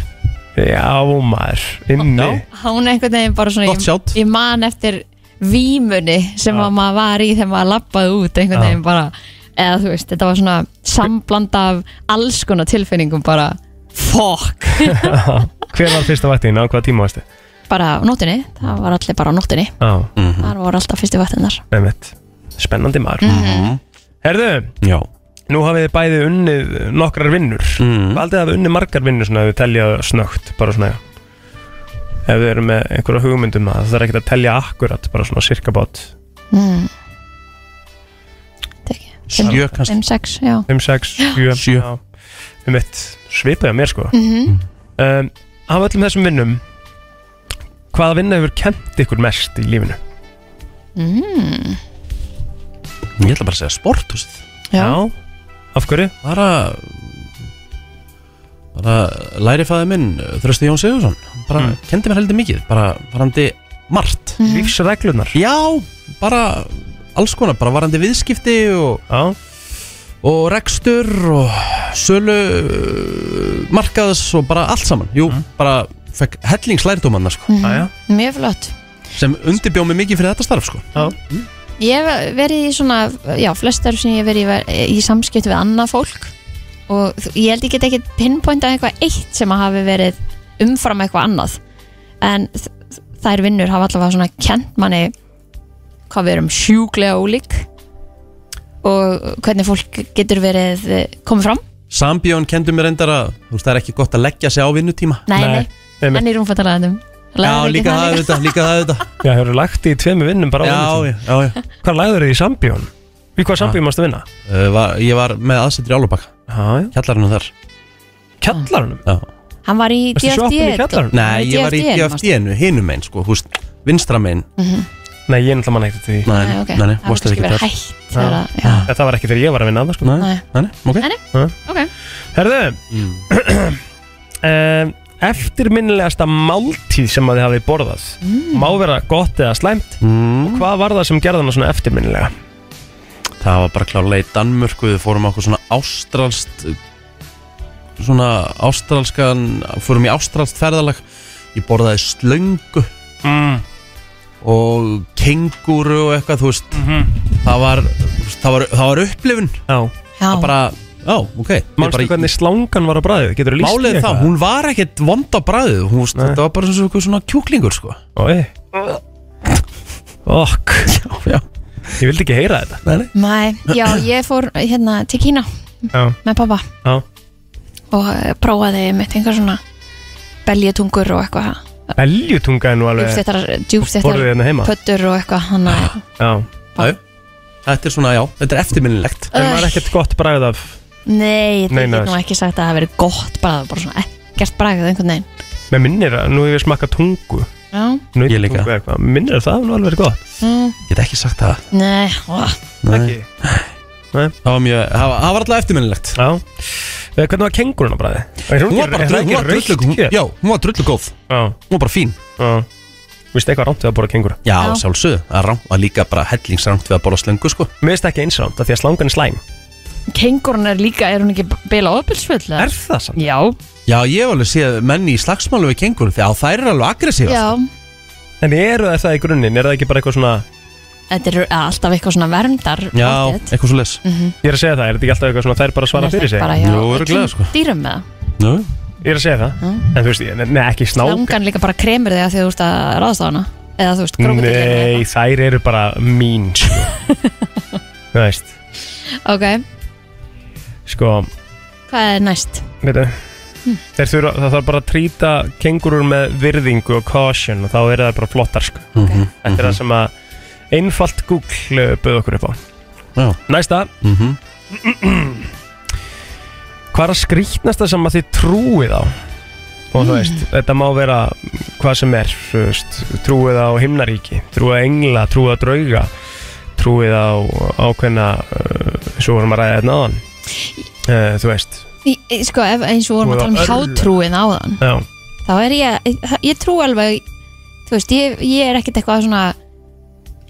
S2: Já, maður, inni
S1: Já.
S3: Hún er einhvern veginn bara svona
S1: Gott sjátt.
S3: Ég man eftir vímunni sem
S2: Já.
S3: að maður var í þegar maður lappaði út einhvern
S2: Já.
S3: veginn bara eða þú veist, þetta var svona sambland af alls konar tilfinningum bara fokk
S2: Hver var fyrsta vaktin, á hvaða tíma varstu?
S3: bara á nóttinni, það var allir bara á nóttinni
S2: Já,
S3: þar voru alltaf fyrstu vaktinnar
S2: með mitt Spennandi maður Herðu,
S1: já.
S2: nú hafið þið bæði unnið nokkrar vinnur
S1: Mm.
S2: Valdið að hafa unnið margar vinnur svona ef við telja snögt, bara svona Ef við erum með einhverja hugmyndum að það er ekkert að telja akkurat, bara svona cirka bát
S3: mm. Tekki,
S1: sjö kannski
S3: 5-6, já
S2: 5, 6, 7
S1: Sjö. Mhm.
S2: Um eitt svipaði að mér sko
S3: mm
S2: um, Af öllum þessum vinnum Hvaða vinna hefur kent ykkur mest í lífinu?
S3: mm.
S1: ég ætla bara að segja sporthúsið
S3: Já.
S2: Af hverju?
S1: bara bara lærifæði minn eh, Þrösti Jón Sigursson hann bara
S2: Mm.
S1: kendi mér heldur mikið bara varandi margt
S2: Mm. Lífsreglunar
S1: já, bara alls konar bara varandi viðskipti og,
S2: Já,
S1: og rekstur og sölu uh, markaðs og bara allt saman jú, bara fekk hellingslærdómanna sko,
S3: Mm
S2: aðja
S3: Mjög flott
S1: sem undirbjóð mig mikið fyrir þetta starf sko.
S3: Ég hef verið í svona, já, flestar sem ég hef verið í, ver- í samskipt við annað fólk og þú- ég held ég get ekki pinpointað eitthvað eitt sem að hafi verið umfram eitthvað annað en þ- þ- þær vinnur hafa allavega svona kent manni hvað við erum sjúklega ólík og hvernig fólk getur verið eh, komið fram
S1: Sambjón kendi mér endar að þú veist það er ekki gott að leggja sig á vinnutíma
S3: Nei,
S2: Nei,
S3: nei,
S2: einmitt.
S3: en í rúmfattalæðandum
S1: Já, líka það auðvitað, líka það auðvitað
S2: Já, hefur lagt í tveimu vinnum bara á
S1: Já,
S2: vinnum
S1: já, já, já.
S2: Hvað lagður þið í sambjón? Í hvað sambjón mástu vinna?
S1: Uh, var, Ég var með aðsettur í Álubak
S2: Já, já
S1: Kjallarinn þar
S2: Kjallarunum?
S1: já.
S3: Hann var í
S2: Varstu í sjoppunni í kjallarunum?
S1: Nei, ég var í DFD-inu, hinum einn sko, húst, vinstra megin
S2: Nei, ég er náttúrulega mann ekkert til því
S1: Nei,
S3: Nei, ok,
S1: nei, nei,
S3: það var
S1: varst það
S3: kannski
S1: ekki
S3: verið
S1: þar
S3: hægt þegar að, já,
S2: En Það var ekki þegar ég var að vinna að það sko
S1: Nei, nei,
S3: Nei.
S1: nei, ok
S3: Nei, ok
S2: Herðu
S1: Mm.
S2: um, Eftirminnilegasta máltíð sem að þið hafið borðað
S3: Mm.
S2: Má vera gott eða slæmt
S1: Mm.
S2: Hvað var það sem gerði hana svona eftirminnilega?
S1: Það var bara klálega í Danmörku Við fórum á okkur svona ástralst Svona ástralskan Fórum í ástralst ferðalag Ég borðaði slöngu
S2: Mm.
S1: og kenguru og eitthvað, þú veist
S2: Mhm.
S1: það, var, þú veist, það var það var upplifun
S2: Já
S3: Já,
S1: það bara, já, ok ég
S2: Mástu
S1: bara,
S2: hvernig slangan var á bræðu? Getur þú lýst
S1: Málið er það, hún var ekkert vond á bræðu hún, veist,
S2: Nei.
S1: Þetta var bara eins og einhver svona kjúklingur sko.
S2: Ói Okk
S1: já.
S2: Ég vildi ekki heyra þetta
S3: Nei, já, ég fór hérna til Kína
S2: Já,
S3: með pappa
S2: já
S3: og eh, prófaði mitt einhver svona beljetungur og eitthvað
S2: Beljutunga er nú alveg
S3: djúpstettar, djúpstettar
S2: Borðið hérna heima
S3: pöttur og eitthvað hann að
S2: Já
S1: Þetta er svona, já, þetta er eftirminnilegt
S2: En var ekkert gott bræð af
S3: Nei, það
S2: Nei,
S3: er
S2: nei.
S3: nú ekki sagt að það hafi verið gott bara, bara svona ekkert bragð einhvern veginn
S2: Með minnir að nú hef ég smakað tungu
S3: Já,
S2: Nautungu
S1: Ég líka.
S2: eitthvað. Minnir að það hafi nú alveg verið gott
S3: mm,
S1: Ég get ekki sagt það
S3: nei, ó,
S1: Nei.
S2: Ekki
S1: Það var, mjög, það var, það var alltaf eftirminnilegt
S2: Já Eh, Hvernig var kengurinn á bræði?
S1: Hún var bara drullu, hún var drullu, hún, já, hún var drullu góð
S2: Já
S1: Hún var bara fín
S2: Já Vistu eitthvað rámt við að bora kengur
S1: Já,
S3: Já.
S1: sjálfsögðu, það er rám- það er líka bara hellingsrangt við að borða slöngu sko
S2: Mér veist ekki eins rámt af því að slangan er slæm
S3: kengurinn er líka, er hún ekki beila ofbilsfull?
S2: Er það samt?
S3: Já,
S1: Já, ég hef alveg séð menni í slagsmálu við kengur Þegar þær eru alveg sko. aggressíva
S3: já
S2: En eru það það í grunninn? Er það ekki bara eitthvað svona
S3: Þetta er alltaf eitthvað svona verndar
S1: já
S3: outfit.
S1: eitthvað svo les
S2: Ég er að segja það, er þetta ekki alltaf eitthvað svona þær bara svara
S3: Þetta er
S2: fyrir sig?
S3: Mhm. bara, já,
S1: Jú, örugglega,
S3: öllum
S1: sko.
S3: Dýrum með það
S2: Ég er að segja það, en þú veist, ne, ne, ekki snáka
S3: langan líka bara kremur þig að því að þú ert að ráðast á hana hérna eða þú veist, krókudil
S2: Nei, þær eru bara mín, sko Þú veist,
S3: ok,
S2: sko,
S3: hvað er næst?
S2: veitu
S3: Hm.
S2: Þeir þurfa, það þarf bara að trýta kengurur með virðingu og caution og þá eru það bara flottar, sko
S1: Mhm,
S2: Þetta er það sem að einfalt Google eh, bauð okkur upp á
S1: Já.
S2: Næsta
S1: Mhm.
S2: Hvað er að skrýtnasta sem að þið trúið á? Og
S3: Hmm.
S2: þú veist, þetta má vera hvað sem er þú veist, Trúið á himnaríki, trúið á engla, trúið á drauga Trúið á ákveðna, uh, svo vorum að ræða þetta náðan uh, Þú veist,
S3: Í- í- Sko, ef, eins og vorum að tala um
S2: Voða örlög.
S3: hjátrúin á þann
S2: já,
S3: þá er ég, eh, ég trú alveg þú veist, ég, ég er ekkert eitthvað svona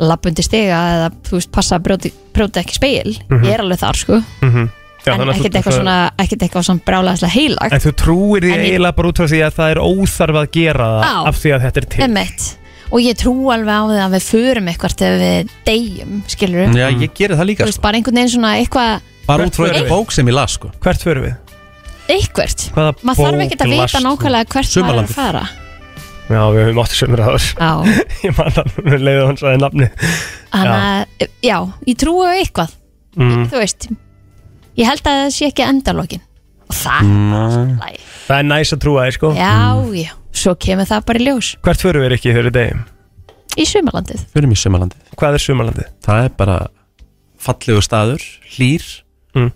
S3: lappundi stiga eða þú veist, passa að brjóti, brjóti ekki speil ég er alveg þar, sko
S2: mm já
S3: en
S2: Mhm. þannig að þú-
S3: ekkert eitthvað svona, ekkert eitthvað svona brálaðislega heilagt
S2: En þú trúir því
S3: En ég-
S2: eiginlega bara út af því að það er óþarf að gera það
S3: Á.
S2: Af því að þetta er til
S3: Emmett og ég trú alveg á því að við förum eitthvað þegar við deyjum, skilur
S2: Mm,
S3: við
S1: Já, ég gerir það líka
S3: þú veist,
S1: sko.
S3: bara einhvern veginn svona eitthvað
S1: Bara út frá einhver
S2: Hvert-
S1: bók sem ég las sko.
S2: Hvert förum við?
S3: eitthvert,
S2: Hvaða
S3: maður þarf ekkert
S2: bók
S3: að vita
S2: last þú?
S3: nákvæmlega hvert maður er að
S1: Sumarlandið.
S3: fara
S2: Já, við höfum átt sömur að þess
S3: á,
S2: Ég man að hún leiði hans aðeins nafni
S3: hann að, já, ég trúi á eitthvað
S2: mm.
S3: þú veist ég held að það sé ekki endalokin og
S1: Mm.
S3: það
S1: Nei.
S3: er læg
S2: Það er næs að trúa þér sko
S3: já, já, svo kemur það bara í ljós
S2: Hvert förum við ekki þegar við degum?
S3: í sumalandið
S1: Förum í sumalandi
S2: Hvað er sumarlandið?
S1: Það er bara fallegu staður, hlýr
S2: Mm.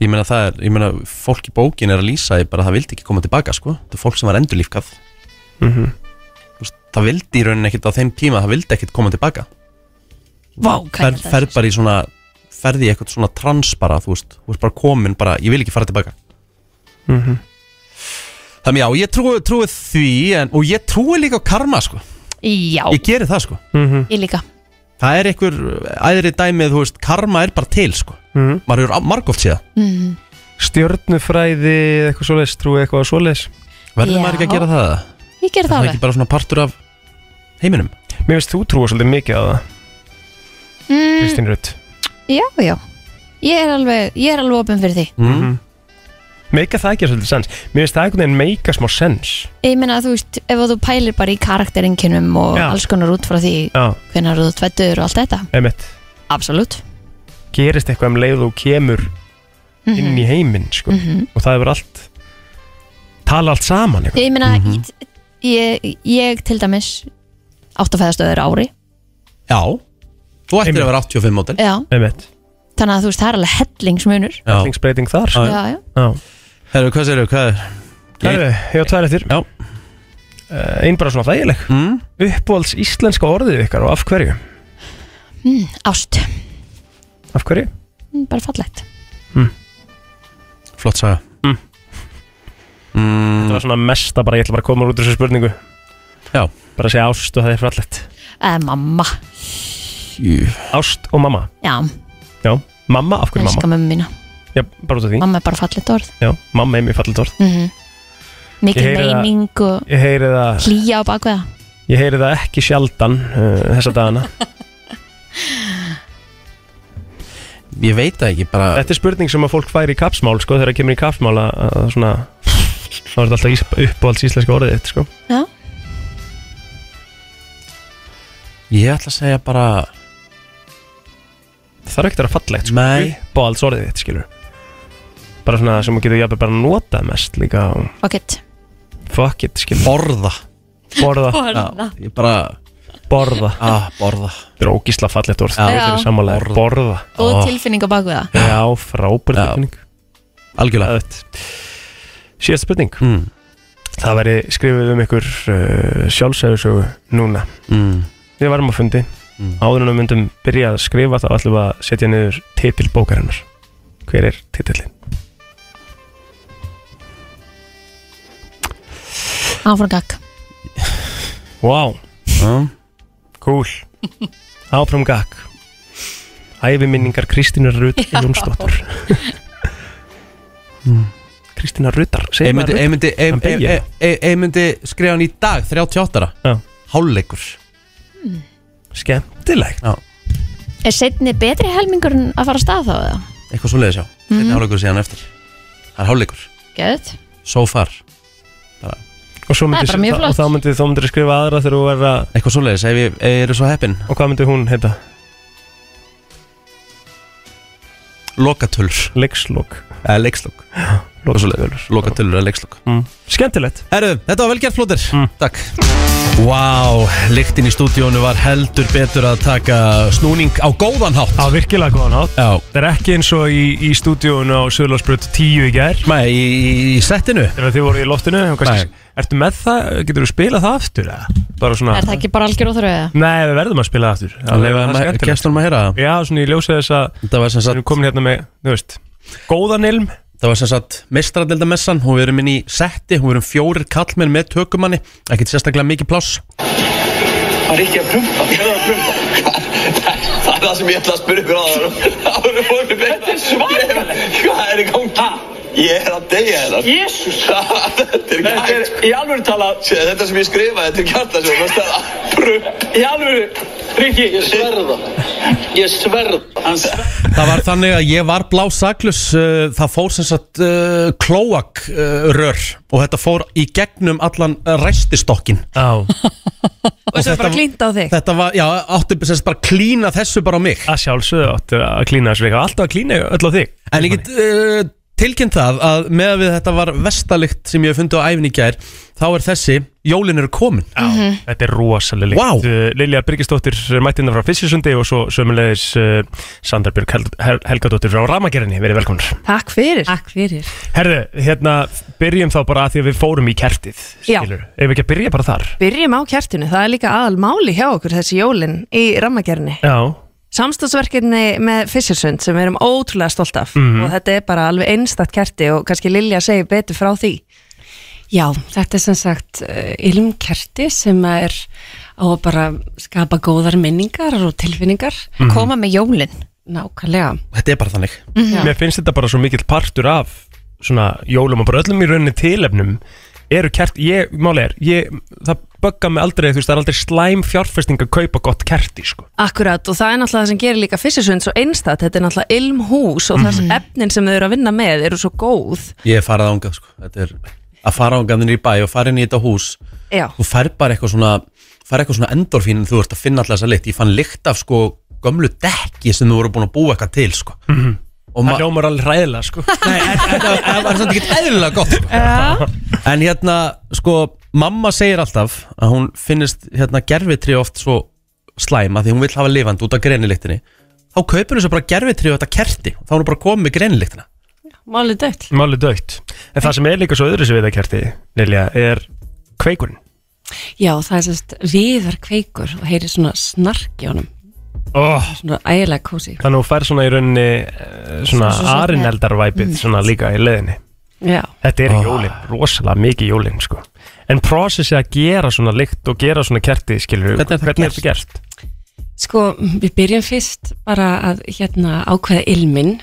S1: Ég meina það er, ég meina fólk í bókin er að lýsa því bara að það vildi ekki koma tilbaka sko Það er fólk sem var endurlífkað
S2: Mm
S1: Þú veist, Það vildi í rauninni ekkert á þeim tíma, það vildi ekkert koma tilbaka
S3: Vá,
S1: Fer,
S3: hvað er það?
S1: Ferð bara í svona, ferði í eitthvað svona trans bara, þú veist Þú veist bara komin bara, ég vil ekki fara tilbaka
S2: Mhm.
S1: Þannig já, ég trúi, trúi því en, og ég trúi líka á karma sko
S3: Já,
S1: Ég geri það sko
S2: Mhm.
S3: ég líka
S1: Það er einhver æðri dæmið, þú veist, karma er bara til sko
S2: Mhm.
S1: Maður eru margóft séð
S3: mm.
S2: Stjörnufræði, eitthvað svoleiðis, trúið eitthvað svoleiðis
S1: Verður
S3: Já.
S1: maður ekki að gera það?
S3: Ég ger það
S1: Það er ekki
S3: alveg
S1: bara svona partur af heiminum
S2: Mér finnst þú trúa svolítið mikið á það,
S3: mm,
S2: Kristín Rutt
S3: Já, já Ég er alveg, ég er alveg opinn fyrir því
S1: mm.
S2: Mhm. Meika það ekki svolítið sens Mér finnst það einhvern veginn meika smá sens
S3: Ég meina að þú veist, ef þú pælir bara í karakterinkinum og
S2: Já.
S3: alls konar út frá því
S2: Já,
S3: hvenær þú tvettur og allt þetta
S2: emitt
S3: Absolutt
S2: Gerist eitthvað um leið og þú kemur
S3: Mhm.
S2: inn í heiminn sko. Og það hefur allt Tala allt saman eitthvað
S3: Ég meina,
S1: Mhm.
S3: mm ég, ég til dæmis átt að fæðast öðru ári
S1: Já Þú ættir
S2: Einmitt.
S1: að vera 85 mótil
S3: Já,
S2: Emitt
S3: þannig að þú veist, það er alveg hellingsmunur
S2: Allingsbreyting þar sko.
S1: Já.
S3: Já, já
S2: Já.
S1: Herru, hvað segirðu, hvað er?
S2: Herru, ég á tvær eftir
S1: Já.
S2: Eh, Einn bara svona þægileg
S1: Mm?
S2: Uppbóls íslenska orðið ykkar og af hverju?
S1: Mhm.
S3: Mm, Ást,
S2: Af hverju?
S3: Mm, bara fallegt
S1: Flott saga
S2: Mm.
S1: Mm,
S2: Það var svona mesta bara, ég ætla bara að koma úr þessu spurningu
S1: Já.
S2: Bara að segja ást og það er frallegt
S3: Eða Eh, mamma,
S1: jú.
S2: Ást og mamma
S3: já,
S2: Já, mamma, af hverju
S3: elska
S2: mamma?
S3: mömmu mína
S2: Já, bara út af því
S3: Mamma er bara fallegt orð
S2: Já, mamma er mjög fallit orð
S3: mm -hmm. Mikið
S2: Ég heyri það.
S3: meining og
S2: Ég heyri það,
S3: hlýja á bakveða
S2: ég heyri það ekki sjaldan uh, þessa dagana
S1: Ég veit það ekki bara
S2: Þetta er spurning sem að fólk fær í kapsmál sko, þegar það kemur í kapsmál að, að svona þá er þetta alltaf ís, uppbóls íslenska orðið þitt sko.
S1: Ég ætla að segja bara
S2: Það er ekkert að vera fallegt sko.
S1: Nei.
S2: uppbóls orðið þitt skilur Bara svona sem þú getur jafnvel bara notað mest líka og
S3: Fokkitt
S2: fuck it skilur
S1: Borða
S2: Borða,
S1: Já, Ég bara
S2: borða
S1: ah, Borða
S2: Þetta er ógísla fallegt orð
S1: Já.
S2: Ég er sammála.
S1: Borða.
S2: Borða
S1: Ó.
S3: Góð tilfinning á bakveða
S2: Já, frábært
S1: Já.
S2: tilfinning
S1: Algjörlega
S2: Þetta Síðast spurning
S1: mm.
S2: Það væri skrifið um ykkur uh, sjálfsæðusögu núna
S1: Mm.
S2: Við varum á fundi mm.
S1: Mm.
S2: Áður en við myndum byrja að skrifa þá ætlum við að setja niður titil bókarinnar Hver er titillin?
S3: Áfram gakk
S2: Vá, wow,
S1: Já.
S2: cool Áfram gakk Æviminningar Kristínar Rut Jónsdóttur Kristínar Rutar
S1: Mm. Ég
S2: Segir
S1: myndi,
S2: maður
S1: ég myndi, ég-
S2: Hann beygir.
S1: ég- ég- ég myndi skrifa hann í dag 38
S2: Já.
S1: Hálfleikur
S3: Hmm.
S2: Rutar Skemmtilegt
S3: Er setni betri helmingur en að fara af stað þá eða?
S1: Eitthvað svo leiðis já Þetta
S3: Mhm.
S1: er hálfleikur síðan eftir Það er hálfleikur
S3: Gæðið
S1: So far
S2: Og, svo
S3: Það er
S2: myndi,
S3: bara mjög
S2: og
S3: flott.
S2: þá myndir þú myndir skrifa aðra þegar þú verða
S1: Eitthvað svo leiðis Ef ég ef ég er svo heppin
S2: Og hvað myndir hún heita?
S1: Lokatöls
S2: Leikslokk
S1: eða leikslokk
S2: Loka tölur.
S1: Loka tölur eða leikslokk
S2: Mm. Skemmtilegt Mm.
S1: Herru, þetta var velgjart flóttir Takk Vá, wow, lyktin í stúdíónu var heldur betur að taka snúning á góðan hátt
S2: Á virkilega góðan átt
S1: Já,
S2: Það er ekki eins og í, í stúdíónu á Söðlarsbröð 10 í gær
S1: með í, í settinu
S2: Þegar þið voru í loftinu og kannski,
S1: Nei.
S2: Ertu með það? Getur þú spilað það aftur? Eða? Bara svona
S3: Er það ekki bara algjör óþröðu eða?
S2: Nei, við verðum að spila það aftur Það er- það er skemmtilegt.
S1: Gestunum að heyra það
S2: Já, svona ég ljósið þess að
S1: Þetta var sem
S2: Við erum
S1: sagt,
S2: komin hérna með, þú veist Góðan ilm
S1: þetta var sem sagt meistradildamessan Hún við erum inn í setti, hún við erum fjórir kallmenn með tökumanni Ekkert sérstaklega mikið pláss
S4: Var ekki að prumpa? Ég var að prumpa.
S5: Það er það sem ég ætla að spyrja ykkur á það Áður fórum við beint Þetta er svakalegt Hvað er í gangi? Ég er að deyja hérna
S4: Jésús!
S5: Þetta er ekki
S4: Þetta er
S5: hægt
S4: í alvöru talað,
S5: Sér, Þetta sem ég skrifaði, þetta er kjarta sem Það er að prump
S4: í alvöru, Rikki, ég sverða, ég sverða, hann sverða.
S1: Það var þannig að ég var blá saklus uh, Það fór sem sagt uh, klóak uh, rör Og þetta fór í gegnum allan uh, ræstistokkin
S2: Já,
S1: Og
S9: Svo bara klínt á þig
S1: Þetta var, já, átti sem sagt bara klína þessu bara á mig
S2: að sjálfsögðu áttu að klína þessu leika Alltaf að klína öll á þig
S1: En ég get uh, tilkynnt það að með að við þetta var vestalikt sem ég hef fundið á æfin í gær Þá er þessi, jólin eru komin
S2: Já,
S8: Mhm.
S2: þetta er rosalega líkt
S1: Vá.
S2: wow. Lilja Byrgisdóttir mættinda frá Fissisundi og svo sömulegis uh, Sandra Björg Hel Hel Helgadóttir frá Ramagerinni, verið velkomnar
S8: Takk fyrir
S9: Takk fyrir
S2: Herðu, hérna, byrjum þá bara að því að við fórum í kertið
S8: Já.
S2: skilur. Ef ekki að byrja bara þar
S8: Byrjum á kertinu, það er líka aðal máli hjá okkur þessi jólin í rammagerni
S2: Já,
S8: Samstagsverkirni með Fissersund sem við erum ótrúlega stolt af
S2: Mhm.
S8: og þetta er bara alveg einstakt kerti og kannski Lilja segir betur frá því
S10: Já, þetta er sem sagt eh, ilmkerti sem að er á að bara skapa góðar minningar og tilfinningar.
S2: Mhm.
S3: Koma með jólin
S10: Nákvæmlega.
S1: Þetta er bara þannig
S2: mér finnst þetta bara svo mikill partur af svona jólum og bara öllum í rauninni tilefnum eru kert, ég, máli er ég, það bögga mig aldrei, þú veist, það er aldrei slæm fjárfesting að kaupa gott kerti, sko
S8: Akkurat og það er náttúrulega það sem gerir líka Fissersund svo einstakt, þetta er náttúrulega ilmhús og þess
S2: Mhm.
S8: efnin sem þau eru að vinna með eru svo góð
S1: Ég hef farið ángað, sko Þetta er að fara ángað niður í bæ og fara inn í þetta hús
S8: Já,
S1: Þú fær bara eitthvað svona fær eitthvað svona endorfín en þú ert að finna alltaf þessa lykt Ég fann lykt af sko gömlu dekki sem þú voru búin að búa eitthvað til sko mm -hmm. Og
S2: Mhm. Það
S1: maður
S2: ljómar alveg ræðilega, sko
S1: Nei, en- en það það var samt ekki eðlilega gott sko. En hérna, sko Mamma segir alltaf að hún finnist hérna gerfitri oft svo slæma því hún vill hafa lifandi út af greinilyktinni Þá kaupir hún svo bara gerfitri og þetta kerti og þá er hún bara komið með greinilyktina
S10: Málið dött.
S2: Máli dögt En það sem er líka svo öðru sem við það kerti Lilja, er kveikurinn
S10: Já, það er sem sagt viðar kveikur og heyri svona snark í honum.
S2: oh,
S10: Svona ægilega kósi.
S2: Þannig að þú fær svona í rauninni eh, Svona arineldar-væpið Svona líka í leiðinni
S10: Já.
S2: Þetta
S1: Ah.
S2: er jólin, rosalega mikið jólin sko. En prosessið að gera svona lykt og gera svona kerti, skilur
S1: Hvernig er það
S2: þetta gert?
S10: Sko, við byrjum fyrst bara að hérna ákveða ilminn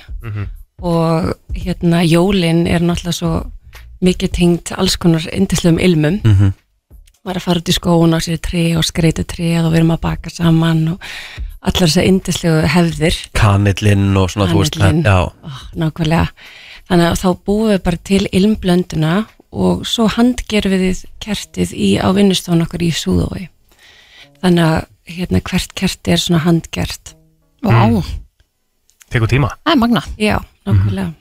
S10: og hérna jólinn er náttúrulega svo mikið tengt alls konar yndislegum ilmum. Mm -hmm. Var að fara út í skóun á sér tré og skreita tré og við erum að baka saman og allar þessar yndislegu hefðir.
S1: Kanillinn og svona, þú veist
S10: Kanillinn.
S1: Já,
S10: Ó, Ah, nákvæmlega. Þannig að þá búum við bara til ilmblönduna og svo handgerum við kertið í, á vinnustofan okkur í súðói. Þannig að hérna, hvert kerti er svona handgert.
S3: Vá,
S1: Mm.
S2: Tekur tíma.
S3: það er magna
S10: Já, nákvæmlega.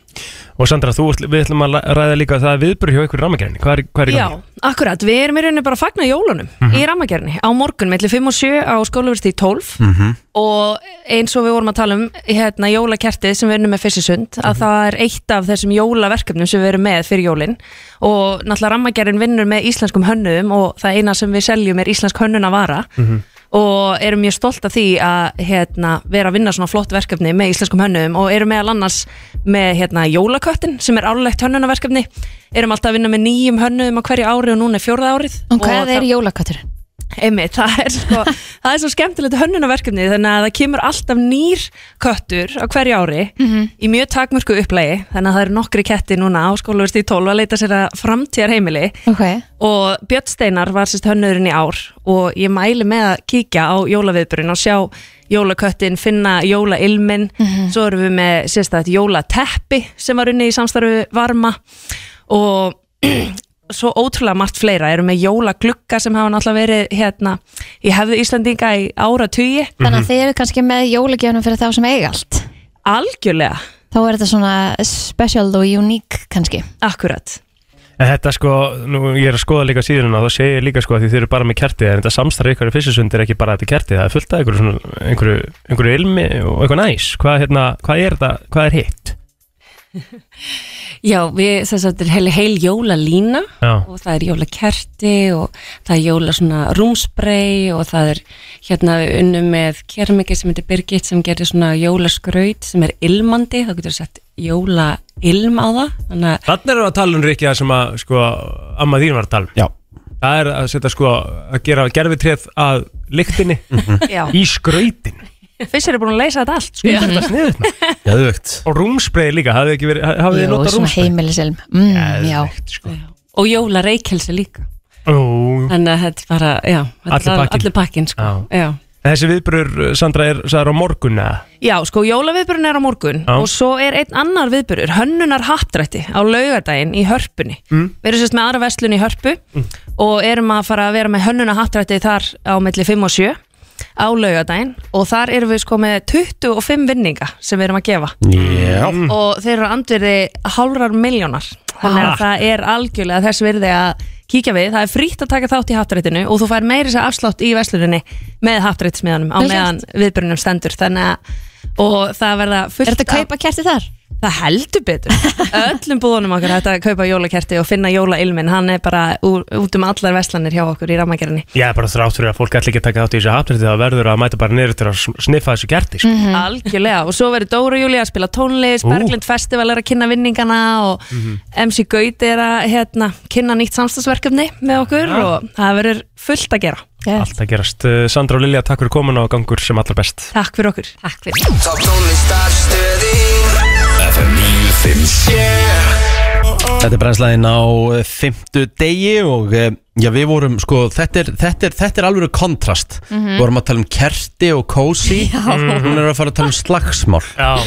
S2: Og Sandra, þú, ætl- við ætlum að la- ræða líka að það er viðbyrð hjá ykkur rammagerðinni. Hvað er, Mhm. hvað er í
S8: Já,
S2: gangi?
S8: akkurat, við erum í rauninni bara að fagna jólunum í rammagerni á morgun mellir 5 og 7 á skólaversti 12
S1: Mhm.
S8: og eins og við vorum að tala um hérna jólakertið sem við erum með Fissisund að það er eitt af þessum jólaverkefnum sem við erum með fyrir jólin og náttúrulega rammagerin vinnur með íslenskum hönnum og það eina sem við seljum er íslensk hönnun að vara
S1: Mhm.
S8: og erum mjög stolt af því að hérna, vera að vinna svona flott verkefni með íslenskum hönnum og erum meðal annars með hérna, jólaköttin sem er árlegt hönnunarverkefni erum alltaf að vinna með nýjum hönnum á hverju ári og núna er fjórða árið
S3: Og hvað
S8: það-
S3: er jólakatturinn?
S8: Einmitt, það er svo, það er svo skemmtilegt hönnunarverkefni þannig að það kemur alltaf nýr köttur á hverju ári
S3: Mhm.
S8: í mjög takmörku upplægi þannig að það eru nokkri ketti núna á skólaverst í 12 að leita sér að framtíðar heimili
S3: Ok,
S8: og Björn Steinar var sérst hönnurinn í ár og ég mæli með að kíkja á jólaviðburinn og sjá jólaköttin, finna jólailmin svo erum við með sérst að jólateppi sem var unni í samstarfu varma og svo ótrúlega margt fleira, erum með jólaglugga sem hafa náttúrulega verið hérna í hefðu Íslandinga í Mhm. ára tugi
S2: Mhm.
S3: þannig að þið eru kannski með jólagjöfnum fyrir þá sem eiga allt
S8: algjörlega
S3: þá er þetta svona special og unique kannski
S8: Akkurat
S2: En þetta sko, nú ég er að skoða líka síðan og þá segir ég líka sko að því þið eru bara með kertið en þetta samstarf ykkur í fyrstisundir er ekki bara þetta kertið það er fullt af einhverju, svona, einhverju, einhverju ilmi og eitthvað næs hvað, hérna, hvað er þetta, hvað er hitt?
S10: Já, við, þess að þetta er heil, heil jólalína
S2: Já.
S10: og það er jólakerti og það er jóla svona rúmsprey og það er hérna unnum með kermiki sem heitir Birgit sem gerir svona jólaskraut sem er ilmandi, þá getur sett jólailm á það, þannig að
S2: Þannig erum við að tala um Rikki það sem að sko, amma þín var að tala um
S1: Já.
S2: Það er að setja sko að gera gerfitréð að lyktinni
S8: Já.
S2: í skrautin
S8: Fissir er búin að leysa þetta allt sko.
S2: Þetta er sniðut
S1: Geðvögt
S2: Og rúmspreið líka, hafið þið ekki verið, hafið þið
S3: Jú,
S2: notað sko.
S3: svona
S2: rúmspreið?
S3: heimilisilm mm, Já,
S10: og jólareikelsi líka
S2: Ó,
S10: þannig að þetta er bara, já, þetta
S2: Allur
S10: er
S2: pakkinn.
S10: allir pakkin sko.
S2: Já.
S10: já.
S2: En Þessi viðbrur, Sandra, er, það er á morgun eða?
S8: Já, sko, jólaviðburinn er á morgun
S2: Já.
S8: og svo er einn annar viðburur, hönnunar hattrætti á laugardaginn í Hörpunni.
S2: Mm.
S8: Við erum sérst með aðra vestlun í Hörpu og erum að fara að vera með hönnunar hattrætti þar á milli 5 og 7 á laugardaginn og þar erum við sko með 25 vinninga sem við erum að gefa
S1: Já
S8: og þeir eru andverði hálfrar miljónar þannig að það er algjörlega þess virði að kíkja við, það er frítt að taka þátt í haftrættinu og þú fær meiri sér afslátt í versluninni með haftrættismiðanum á
S3: Vel
S8: meðan viðbörunum stendur þannig að og það verða fullt
S3: er þetta að kaupa kerti þar?
S8: af, það heldur betur öllum búðunum okkar þetta að kaupa jólakerti og finna jólailmin, hann er bara úr, út um allar verslanir hjá okkur í rammagerðinni
S2: Ég er bara þrátt fyrir að fólk ætla ekki að taka þátt í þessu hafnir það verður að mæta bara niður til að sniffa þessu gerti sko.
S3: Mhm.
S8: algjörlega og svo verður Dóra Júli að spila tónlist
S2: Ú.
S8: Berglind Festival er að kynna vinningana og
S2: Mhm.
S8: MC Gauti er að hérna, kynna nýtt samstagsverkefni með okkur og það verður fullt að gera
S2: Allt að gerast. Uh, Sandra og Lilja, takk fyrir komin og gangur sem allra best.
S8: Takk fyrir okkur Takk fyrir
S6: Top tónlistarstöðin FM 957
S1: Þetta er brennslæðin á fymtu degi og eh, já, við vorum sko, þetta er, þetta er, þetta er alveg kontrast Við vorum að tala um kerti og kósi Hún er að fara að tala um slagsmál
S2: Já,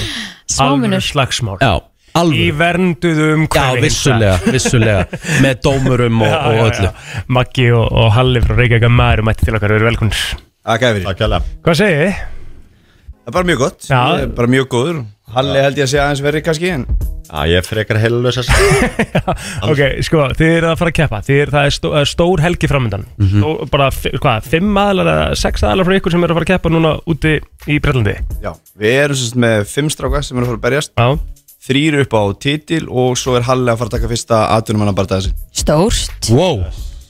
S3: Smámunur.
S2: slagsmál.
S1: Já,
S2: Í
S1: alveg
S2: vernduðu
S1: Já,
S2: umhverfi.
S1: vissulega, vissulega Með dómurum og, og öllu
S2: Maggi og, og Halli frá Reykjavík maður mætti til okkar, við erum velkomnir.
S11: Takk fyrir Takk hella
S2: Hvað segið þið?
S11: Það er bara mjög gott
S2: Já.
S11: Ég er Bara mjög góður Halli held ég að segja aðeins verri kannski en Já, ég er frekar heilalösa Já,
S2: Ok, sko, þið eru að fara að keppa. Þið eru, það er stó, það er stór helgi framöndan. Mm
S1: Mhm.
S2: Stó, bara, fi- hvað, fimm aðlar eða sex aðlar frá ykkur sem eru að fara að keppa núna úti í Brellandi.
S11: við erum sérst með fimm stráka sem eru að fara að berjast
S2: Já.
S11: Þrýr upp á titil og svo er Halli að fara að taka fyrsta atvinnumann að barða þessi
S3: Stórst
S1: Wow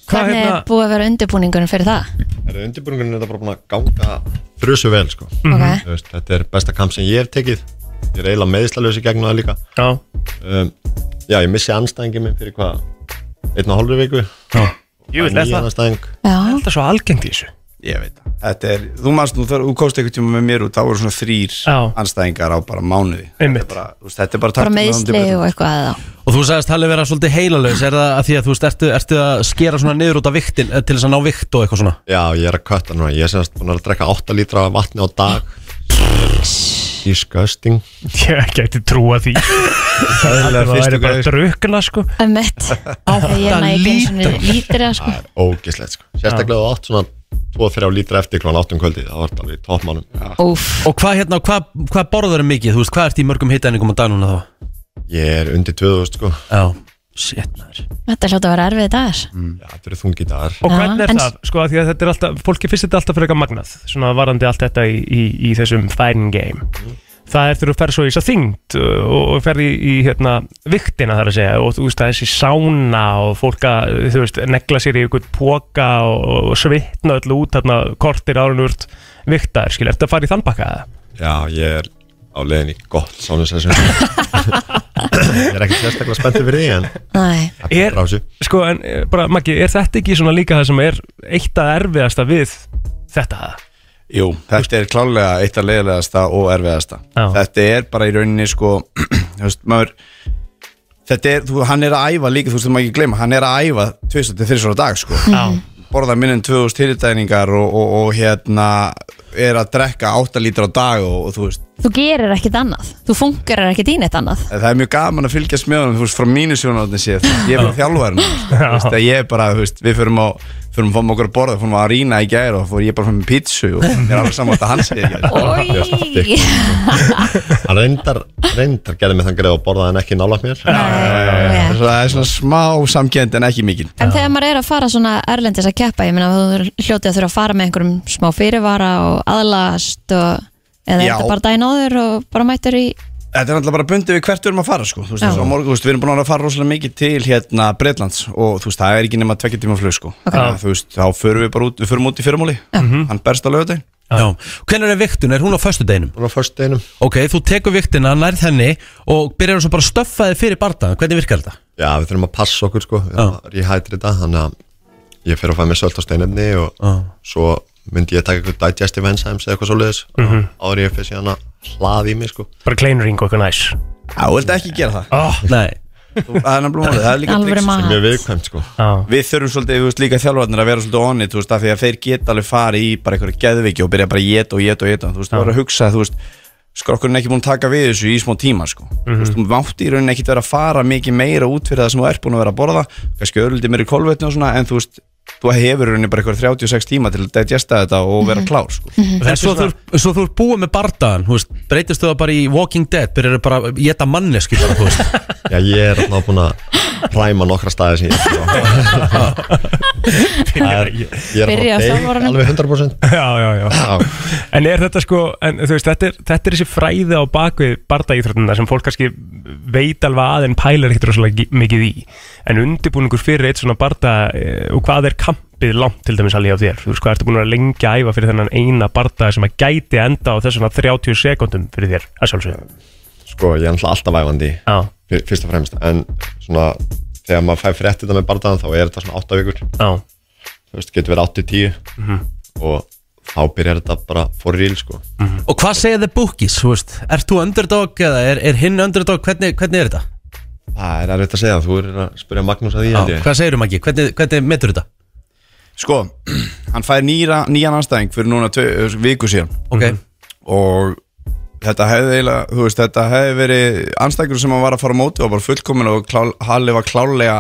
S11: Hvað
S3: Hvernig
S11: hérna-
S3: er búið að vera undirbúningunum fyrir það?
S12: Það er undirbúningunum þetta bara búin að ganga frusu vel sko.
S3: Ok.
S12: Þú veist, Þetta er besta kamp sem ég hef tekið Ég er eiginlega meðslalösi gegn það líka
S2: Já,
S12: um, já ég missi anstæðingi minn fyrir hvað einn og hálfri viku
S2: Jú,
S12: veit
S11: það.
S12: anstæðing
S3: Já
S2: Þetta er svo algengt í þessu
S11: Ég veit það Þetta er, þú manst nú, þegar þú komst einhvern tíma með mér út þá voru svona þrýr anstæðingar á bara mánuði Þetta er bara, þú veist, þetta er bara
S3: Bara
S11: taktum
S3: meðsli og eitthvað eða
S1: Og þú sagðist Halli vera svolítið heilalaus Er það að því að þú veist, ertu, ertu að skera svona niður út af viktin eh, Til þess að ná vikt og eitthvað svona
S12: Já ég er að kötta núna, ég er semast búin að drekka 8 lítra af vatni á dag Disgusting
S2: Ég gæti trúa því Það
S12: Eðlilega
S2: væri
S12: fyrstu
S2: bara
S12: gæði.
S2: að drukna sko
S3: Ömmett Átta lítra Lítra sko
S12: Ógislegt sko, sérstaklega þú átt svona 2-3 lítra eftir klána 8 um kvöldið Það var þetta alveg í toppmánum
S3: Úf
S1: Og hvað hérna, hvað, hvað borður er mikið? Þú veist, hvað ert í mörgum hitæningum á dag núna þá?
S12: Ég er undir 2000 sko
S1: Já, shit maður
S3: Þetta hljóta að vera erfið dagar
S12: Já, þetta eru þungi dagar
S2: Og hvernig er
S3: en-
S2: það? Sko að því að þetta er alltaf Fólki finnst þetta alltaf fyrir eitthvað magnað Svona varandi allt þetta í, í, í þessum fighting game Það er þegar þú fer svo í þess að þyngd uh, og, og fer í, í hérna, viktina þar að segja og þú veist það er þessi sána og fólk að þú veist negla sér í ykkur póka og, og svitna öll út þarna kortir árunur viktaðir skilja, ertu að fara í þann bakka eða?
S12: Já, ég er á leiðin í gott sánusessum Ég er ekki sérstaklega spenntið fyrir því en
S3: Nei
S2: er, sko, en eh, bara, Maggi, er þetta ekki svona líka það sem er eitt að erfiðasta við þetta?
S11: Jú, þetta er klálega eitt af leiðilegasta og erfiðasta
S2: Já.
S11: Þetta er bara í rauninni sko þú veist, maður, Þetta er, þú, hann er að æfa líka þú veist það má ekki gleyma, hann er að æfa 2003 á dag sko
S2: Já.
S11: Borða minn en 2000 tilitæningar og, og, og hérna er að drekka 8 lítra á dag og, og þú veist
S3: þú gerir ekkit annað þú fungerar ekkit í neitt annað
S11: En Það er mjög gaman að fylgjast með honum, þú veist, frá mínu sjónarhóttin séð, ég er bara þjálfærin, þú veist, að ég er bara, þú veist, við förum á, förum að fáum okkur að borða, fórum að rýna í gæri og fór ég bara fram með pítsu og mér er alveg saman að hann segir gæri.
S3: Í-
S12: Hann reyndar, reyndar gerði mig þann greið og borðaði hann ekki nála mér
S11: Það er svona smá samkend en ekki mikil.
S3: En þegar maður er að fara svona erlendis að keppa, ég meina þú hljótið að þurfa að fara með einhverjum smá fyrirvara og aðlast og eða er
S11: Já.
S3: þetta bara dæn áður og bara mættur í
S11: Þetta er náttúrulega bara bundið við hvert við erum að fara sko. Þú veist,
S3: Já.
S11: eins og á morgun, þú veist, við erum búin að vera að fara rosalega mikið til hérna Breitlands og þú veist, það er ekki nema tvekja tíma flug sko.
S1: Ok.
S11: Þannig að, Þú veist, þá förum við bara út, við förum út í fyrramóli, hann berst á lögadaginn.
S1: Já. Hvernig er viktun? Er hún á föstudeginum?
S12: Hún á föstudeginum
S1: Ok, þú tekur viktina, nærð henni og byrjar svo bara að stöffa þig fyrir barndagann Hvernig virkar þetta?
S12: Já, við þurfum að passa okkur sko Rehydrata, þannig að ég fer að fæða mér sölt á steinefni og svo myndi ég taka eitthvað digestive enzymes eða eitthvað svoleiðis mm
S2: Mhm.
S12: áður en ég fyrir síðan að hlaði í mig sko
S2: Bara kleinring og eitthvað næs
S11: Já, þú vilt ekki gera það
S2: oh.
S1: Nei
S11: Þú- Það er náttúrulega málið, það er líka
S3: Alvöru
S11: trix
S3: mat. Sem er
S12: viðkvæmt sko
S11: Við þurfum svolítið, þú veist, líka þjálfarnir að vera svolítið onnit, þú veist, af því að þeir geta alveg farið í bara einhverju geðviki og byrja bara að geta og geta og geta Þú veist, þú verður að hugsa, þú veist, skrokkurinn er ekki búin að taka við þessu í smá tíma, sko Þú veist, þú mátt í rauninni ekkit vera að fara mikið meira út fyrir það sem þú ert búin að vera að borða kannski örlítið meira í kolvetni og svona, en þú veist, þú hefur í rauninni bara einhverju 36 tíma til að digesta þetta og vera klár, sko
S1: En svo þú, svo þú er búið með barndagann, þú veist, breytist þú það bara í Walking Dead, byrjar bara að geta manneski bara, þú veist
S12: Já, ég er alltaf búin að præma nokkra staði sem ég er á. Það er- Ég er að
S3: Byrja á
S12: fara að deyja
S3: sjálfvaranum.
S12: alveg 100%
S2: Já, já, já En er þetta sko, en, þú veist, þetta er, þetta er þessi fræði á bakvið bardaíþrótuna sem fólk kannski veit alveg að en pælar ekkert rosalega gi- mikið í En undirbúningur fyrir eitt svona barda eh, og hvað er kampið langt til dæmis alveg á þér Þú veist, hvað ertu búin að vera lengi að æfa fyrir þennan eina barda sem að gæti enda á þessum að 30 sekundum fyrir þér, að sjálfsögum
S12: Sko, ég er alltaf alltaf væfandi fyr- Fyrst og fremst En svona, þegar maður fær frétt þetta með bardaðan Þá er þetta svona 8 vikur
S2: Já
S12: Þú veist, getur verið 8-10
S1: Mhm.
S12: Og þá byrjar þetta bara for real, sko
S1: Og hvað segja þið bookies, þú veist, ert þú underdog eða er, er hinn underdog, hvernig, hvernig er þetta?
S12: Það er erfitt að segja, þú er að spyrja Magnús að því held
S1: Já,
S12: ég.
S1: hvað segir um ekki, hvernig, hvernig metur þetta?
S11: Sko, hann fær nýra, nýjan anstæðing fyrir núna tvö, ö, viku síðan
S1: Ok.
S12: Mhm.
S11: Og þetta hefði eiginlega, þú veist, þetta hefði verið anstæðingur sem hann var að fara á móti og bara fullkomin og klá, Halli var klálega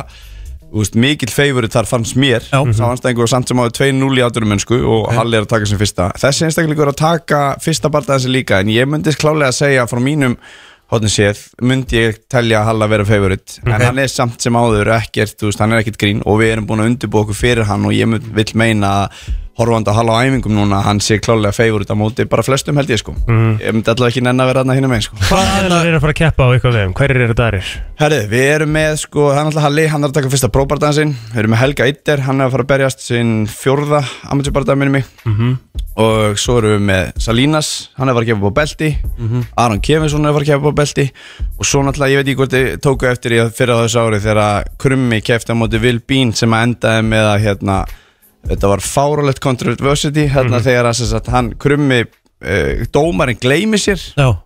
S11: þú veist, mikill feyfurinn þar fannst mér Já. sá anstæðingur samt sem áður 2-0 í aðdurum mennsku og Halli er að taka sem fyrsta þessi einstaklingur er að taka fyrsta barndaðan sem líka en ég myndist klálega að segja frá mínum hóttin séð, myndi ég telja Halla vera feyfuritt, en
S1: Ok.
S11: hann er samt sem áður ekkert, þú veist, hann er ekkert grín og við erum búin að undirbúa okkur fyrir hann og ég mun- vill meina að horfandi að Halla á æfingum núna, hann sé klálega feyfuritt á móti bara flestum held ég sko
S12: Mm.
S2: Mhm.
S11: ég myndi allavega ekki nenn að vera hann að hinna megin sko
S2: Hvað er það að fara að keppa á eitthvað vegum? Hverjir eru þetta aðrir?
S11: Herðu, við erum með sko, það er náttúrulega Halli, hann er að taka fyrsta próbardansinn Við erum með Helga Eitter, hann er að fara að berjast sinn fjórða amatjörbardag minni mig
S2: Mhm.
S11: Og svo erum við með Salinas, hann er að fara að gefa upp á belti
S2: Mhm.
S11: Aron Kevinsson er að fara að gefa upp á belti Og svo náttúrulega, ég veit ekki hvort þið tóku eftir í að fyrra á þessu ári Þegar að Krummi kefti á móti Will Bean sem að endaði með að hérna Þetta var fáralegt controversy
S2: Mhm.
S11: hérna þegar að sem sagt, hann Krummi, uh, dómarinn gleymi sér
S1: Já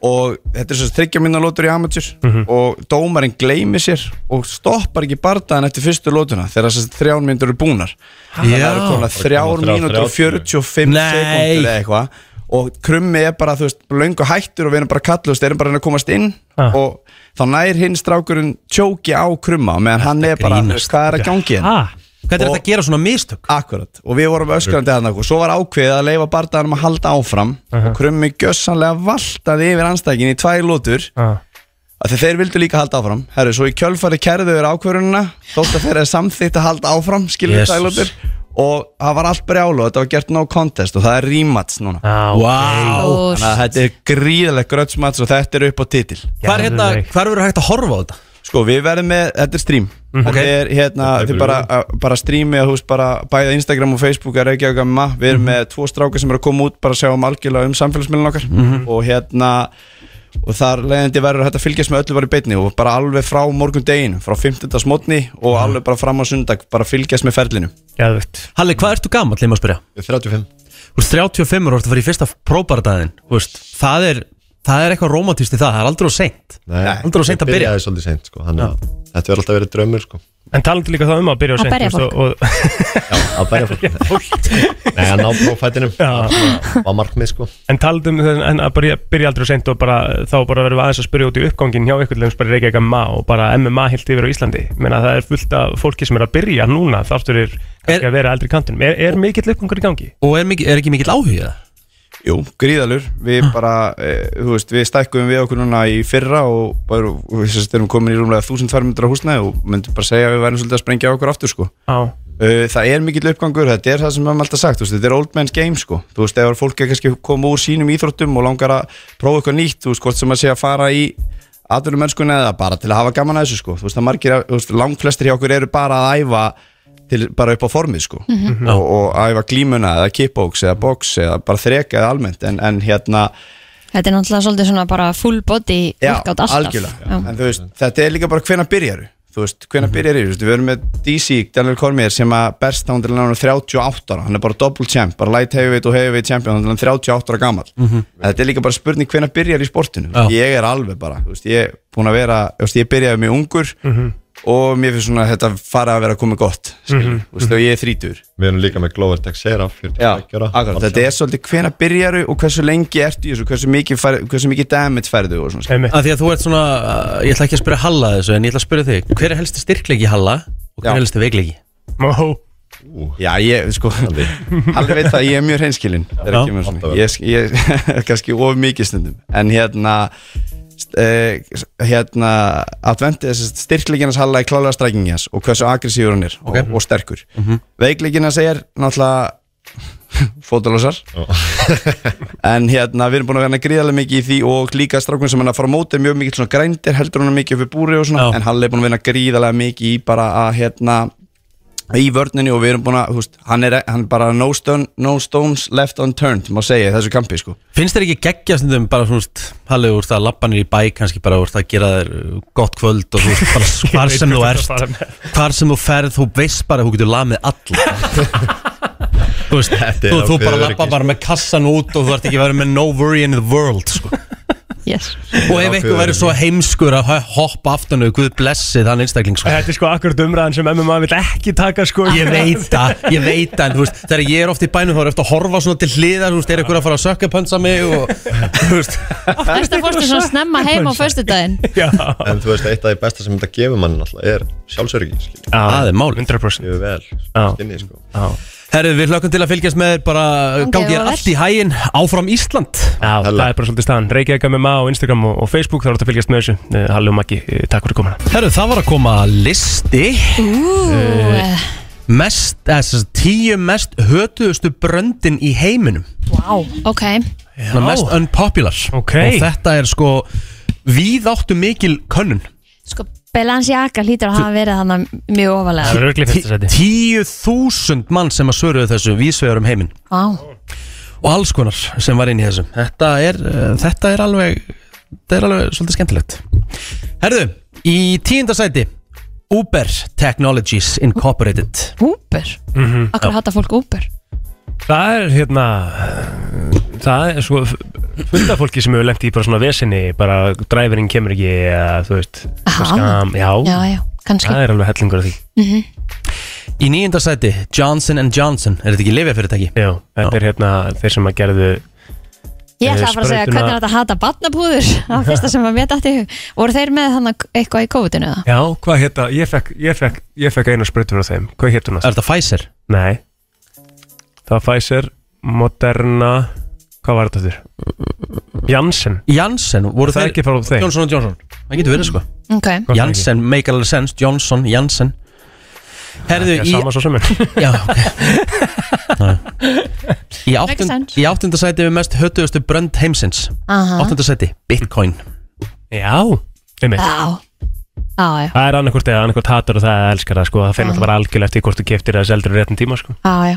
S11: og þetta er svo þryggja minna lótur í amatjör og dómarinn gleymir sér og stoppar ekki bardaðan eftir fyrstu lótuna þegar þessar þrjár myndur eru búnar þannig að það eru konar þrjár mínútur og 45 sekundur eða eitthvað og krummi er bara, þú veist, löngu hættur og við erum bara kallust, erum bara að reyna að komast inn
S2: Ah.
S11: og þá nær hinn strákurinn tjóki á krumma á meðan hann er bara, þú veist, hvað er að gangi hérna
S2: ah.
S1: Hvernig er þetta að gera svona mistök?
S11: Akkurat, og við vorum öskrandi þarna og svo var ákveðið að leifa bardaðanum að halda áfram og krummi gjössanlega valtaði yfir anstækin í tvær lótur að þeir vildu líka halda áfram Herru, svo í kjölfari kærðu yfir ákvörunina þótt að þeir er samþýtt að halda áfram skilur yes.
S1: Jesus.
S11: tvær lótur og það var allt brjálu og þetta var gert no contest og það er rímats núna
S2: ah,
S1: Vá.
S11: Þannig að þetta er gríðalegt grötsmats og þetta er upp á titil
S1: Hvað er hérna, hvað verður hægt að horfa á þetta?
S11: Sko, við verðum með, þetta er stream Þetta er hérna, þetta er bara, að- bara streami að þú veist bara bæða Instagram og Facebook að Reykjavík Gamma, við erum með tvo stráka sem eru að koma út bara að sjá um algjörlega um samfélagsmiðlun okkar
S1: Mhm.
S11: og hérna og þar leiðandi verður hægt að fylgjast með öllu bara í beinni og bara alveg frá morgun deginu frá 15. smotni og alveg bara fram á sundag bara fylgjast með ferlinu
S2: Gæðvögt
S1: Halli, hvað ertu gammal, leið maður að spyrja?
S12: Ég er 35
S1: Þú veist, 35 og þú ert að fara í fyrsta próbardaginn, þú veist, það er það er eitthvað romantist í það, það er aldrei of seint aldrei of seint að byrja
S12: Byrjaði svolítið seint sko, þannig að þetta verður alltaf verið draumur sko
S2: En talandi líka það um að byrja
S12: Að
S2: á
S12: berja fólk. Já, að berja fólk Nei, að ná prófætinum Það var markmið sko
S2: En taldum en að byrja, byrja aldrei seint og bara, þá bara verðum við aðeins að spyrja út í uppgangin hjá ykkur lems bara reykja MMA og bara MMA hilt yfir á Íslandi menna það er fullt af fólki sem er að byrja núna þáttur er kannski að vera eldri kantinum er, er mikill uppgangur í gangi?
S1: Og er, mikil, er ekki mikill áhuga?
S11: Jú, gríðalur Við bara, eh, þú veist, við stækkum við okkur núna í fyrra og bara, og við sérst erum komin í rúmlega 1200 húsnæði og myndum bara segja að við verðum svolítið að sprengja okkur aftur sko
S2: Já.
S11: Uh, Það er mikill uppgangur, þetta er það sem við höfum alltaf sagt, þú veist, þetta er old man's game sko Þú veist, ef fólk er kannski koma úr sínum íþróttum og langar að prófa eitthvað nýtt, þú veist, hvort sem að sé að fara í aðurum mennskunni eða bara til að hafa gaman að þessu sko Þú veist, það margir, að- þú veist, langflestir hjá okkur eru bara að æfa til, bara upp á formið sko
S13: Mhm.
S11: og, og æfa glímuna eða kickbox eða box eða bara þreka eða almennt en, en hérna,
S3: Þetta er náttúrulega svolítið svona bara full body
S11: Já,
S3: workout alltaf
S11: algjörlega, en þú veist, þetta er líka bara hvena byrjaru, þú veist, hvena byrjaru þú veist, við erum með DC, Daniel Cormier sem að berst hann til hann er 38 ára hann er bara double champ, bara light heavyweight og heavyweight champion hann er 38 ára gammal
S1: Mhm.
S11: þetta er líka bara spurning hvena byrjar í sportinu ég er alveg bara, þú veist, ég er búin að vera þú veist, ég byrjaði mjög ungur
S2: Mhm.
S11: og mér finnst svona að þetta fara að vera komið gott skilur,
S12: Mhm.
S11: þú veist, og ég er þrítur
S12: Við erum líka með Glover Texera
S11: Já, akkurat, þetta er svolítið hvena byrjaru og hversu lengi ertu í þessu, hversu mikið, fær, hversu mikið damage færðu og svona
S2: um
S11: skilur.
S1: Af því að þú ert svona, uh, ég ætla ekki að spyrja Halla að þessu en ég ætla að spyrja þig, hver er helsti styrklegi í Halla og hver er helsti veikleiki?
S2: Mó
S11: Já, ég, sko Allir veit það, ég er mjög reynskilinn þegar
S1: Já.
S11: kemur svona. Ég, ég er kannski of mikið stundum En hérna Uh, hérna adventið styrkleikinas halla er klálega strækingas og hversu aggressífur hann er og, og sterkur mm -hmm. veikleikinas er náttúrulega fótalósar en hérna við erum búin að vera gríðarlega mikið í því og líka strákun sem hann að fara á móti er mjög mikið svona grændir, heldur hann mikið upp í búri og svona, en Halli er búin að vera gríðarlega mikið í bara að hérna í vörninni og við erum búin að, þú veist, hann er hann bara no, stone, no stones left unturned má segja í þessu kampi sko
S1: Finnst þér ekki geggja stundum bara svona Hallið úr það að lappa nýr í bæ kannski bara úr það að gera þér uh, gott kvöld og þú veist bara hvar
S2: veit
S1: sem þú
S2: hvert þú ert að fara
S1: ert hvar sem þú ferð, þú veist bara að þú getur lamið alla þú veist,
S12: er
S1: þú, þú
S12: ákveðið
S1: bara
S12: öryggi,
S1: lappa bara með kassan út og þú ert ekki verið með no worry in the world sko.
S3: yes.
S1: og ef einhver verið svo heimskur að hoppa aftanu, guð blessi þann einstakling sko.
S2: Þetta er sko akkurat umræðan sem MMA vil ekki taka sko
S1: Ég veit það, ég veit það En þú veist, þegar ég er oft í bænum þá er eftir að horfa svona til hliðar Þú veist, er einhver að fara að sökkapönsa mig og Þú veist
S3: Þetta fórstu svona snemma heim á föstudaginn
S12: En þú veist, eitt af því besta sem þetta gefur mann alltaf er sjálfsöryggi skilur.
S1: Það er mál
S2: 100%
S12: Ég er vel skinni sko
S1: Herðu, við hlökkum til að fylgjast með þér bara
S2: Gangi
S1: gangi
S2: vel.
S1: er allt í hæginn áfram Ísland
S2: Já, það er bara svolítið staðan Reykjavík MMA á Instagram og, og Facebook þá er þetta að fylgjast með þessu Eh, Halli og Maggi, eh, takk fyrir komuna
S1: Herðu, það var að koma listi
S3: Ú.
S1: uh, Mest, þess að tíu mest hötuðustu bröndin í heiminum
S3: Wow, ok
S1: Svona mest unpopular
S2: okay.
S1: Og þetta er sko, við áttu mikil könnun
S3: Sko, Balenciaga hlýtur að hafa verið þannig mjög ofalega
S1: Tíu þúsund mann sem að svöruðu þessu vísvegar um heiminn
S3: Vá,
S1: og alls konar sem var inn í þessu þetta er, uh, þetta er alveg þetta er alveg svolítið skemmtilegt Herðu, í tíunda sæti Uber Technologies Incorporated
S3: Uber?
S2: Mhm.
S3: akkur hata fólk Uber
S2: Það er hérna Það er sko fullt af fólki sem hefur lengt í bara svona vesinni bara dræfirinn kemur ekki eða þú veist
S3: Aha.
S2: skam, já,
S3: Já, já, kannski
S2: það er alveg hellingur af því
S3: Mhm.
S1: Í nýjunda sæti Johnson Johnson, er þetta ekki lifjafyrirtæki?
S2: Já, þetta er hérna þeir sem að gerðu eh,
S3: Ég ætla að fara að segja hvernig er þetta að hata batnabúður Það var fyrsta sem var mér dætti Voru þeir með þannig eitthvað í COVID-inu? eða?
S2: Já, hvað hérna, ég fekk, ég fekk, ég fekk eina sprautur á þeim, hvað hérna hún?
S1: Er þetta Pfizer?
S2: Nei, það var Pfizer, Moderna, hvað var þetta þurr? Janssen
S1: Janssen, voru
S2: það
S1: þeir-
S2: ekki frá þeim?
S1: Johnson Johnson, það getur verið sko
S3: Ok
S1: Janssen, make alveg sense, Johnson, Janssen Herðu
S2: Já,
S1: í
S2: sama svo sem er.
S1: Já, ok Já. Í,
S3: Makes
S1: áttund,
S3: sense.
S1: í áttunda sæti við mest hötuðustu brönd heimsins
S3: Aha.
S1: Áttunda sæti, Bitcoin
S2: Já, einmitt
S3: Já, já, já,
S2: Það er annarkvort eða annarkvort hatur og það elskar það sko, það finnir alltaf bara algjörlega eftir hvort þú keftir eða seldur í réttin tíma sko.
S3: já, já.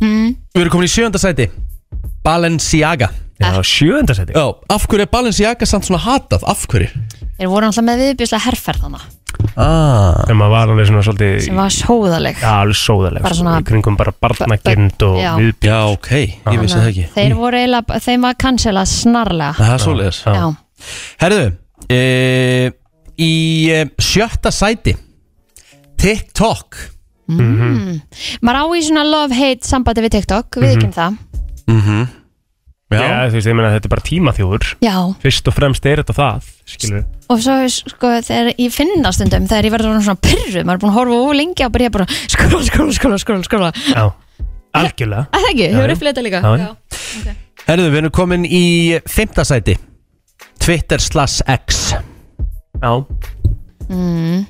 S3: Mm.
S1: Við erum komin í sjöunda sæti Balenciaga
S2: Já, sjöunda sæti
S1: Já, af hverju er Balenciaga samt svona hatað, af hverju?
S3: Þeir voru alltaf með viðbjörslega herferð þannig
S1: ah.
S2: sem að var alveg svona svolítið
S3: sem var sóðaleg
S2: Já, alveg sóðaleg
S3: Bara
S2: sko,
S3: svona-
S2: í kringum bara barnagirnd og
S3: Já.
S2: viðbjörn
S1: Já, ok, ég
S3: Þannig að Þeir voru eiginlega, þeim var cancelað snarlega
S1: Það er svoleiðis
S3: Ah. Já.
S1: Herðu e, Í e, sjötta sæti TikTok
S2: Mhm.
S3: Mm. Maður á í svona love-hate sambandi við TikTok, við ekki um það
S1: mm -hmm.
S2: Já. þú veist, ég meina þetta er bara tímaþjóður
S3: Já.
S2: Fyrst og fremst er þetta það, skilur
S3: Og svo sko þegar ég finna stundum þegar ég verður orðin svona pyrru, maður er búin að horfa og lengi og bara ég er bara skróla, skróla, skróla, skróla, skróla
S2: Já, algjörlega
S3: Að það ekki,
S1: Já,
S3: hefur
S1: já.
S3: upplýtt þetta líka
S1: Já, já. Herðu, við erum komin í fymta sæti Twitter slash X
S2: Já
S3: Mm.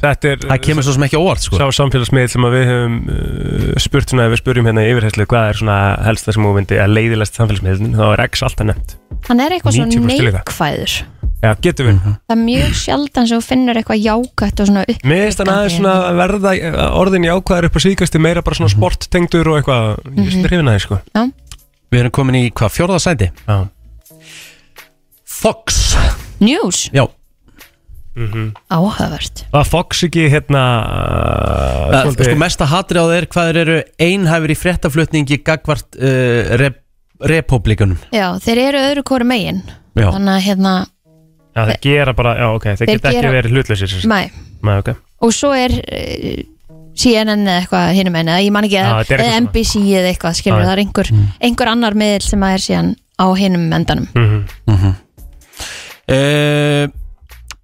S2: Þetta er
S1: Það kemur svo sem ekki óvart sko
S2: Sá samfélagsmiðl sem að við höfum uh, spurt svona, ef við spurjum hérna í yfirherslu hvað er svona helst það sem þú myndi að leiðilegst samfélagsmiðlun, þá er X alltaf nefnt
S3: Hann er eitthvað svona
S2: 90% líka.
S3: neikvæður
S2: Já, getur við
S1: Mhm.
S3: Það er mjög sjaldan sem þú finnur eitthvað jákvætt og svona upp
S2: Mér finnst hann aðeins svona að verða eh, orðin jákvæðar upp á síðkastu meira bara
S1: Mhm.
S2: svona sporttengdur og eitthvað, ég finnst hrifin aðeins sko
S3: Mhm. Já.
S1: Við erum komin í hvað, fjórða sæti
S2: Já
S1: Fox
S3: News
S1: Já
S3: Áhugavert
S2: Mhm. Var Fox ekki hérna
S1: Það,
S2: Ah, svolítið-
S1: sko mesta hatri á þeir hvað þeir eru einhæfur í fréttaflutningi gagvart uh, rep republikunum
S3: Já, þeir eru öðru kóru megin
S1: Já.
S3: Þannig að hérna,
S2: Já, þeir gera bara, já ok, þeir
S3: Þeir
S2: geta ekki
S3: gera-
S2: verið hlutlausir sem sagt.
S3: mæ
S2: Nei, ok
S3: Og svo er eh, CNN eða eitthvað hinum enn eða ég man ekki
S2: Já, þetta er
S3: eða
S2: eitthvað
S3: eða
S2: svona.
S3: NBC eða eitthvað
S2: Já,
S3: skilur
S2: Mm. já.
S3: það er einhver, einhver annar miðl sem að er síðan á hinum endanum
S2: Mhm.
S1: uh, Mhm.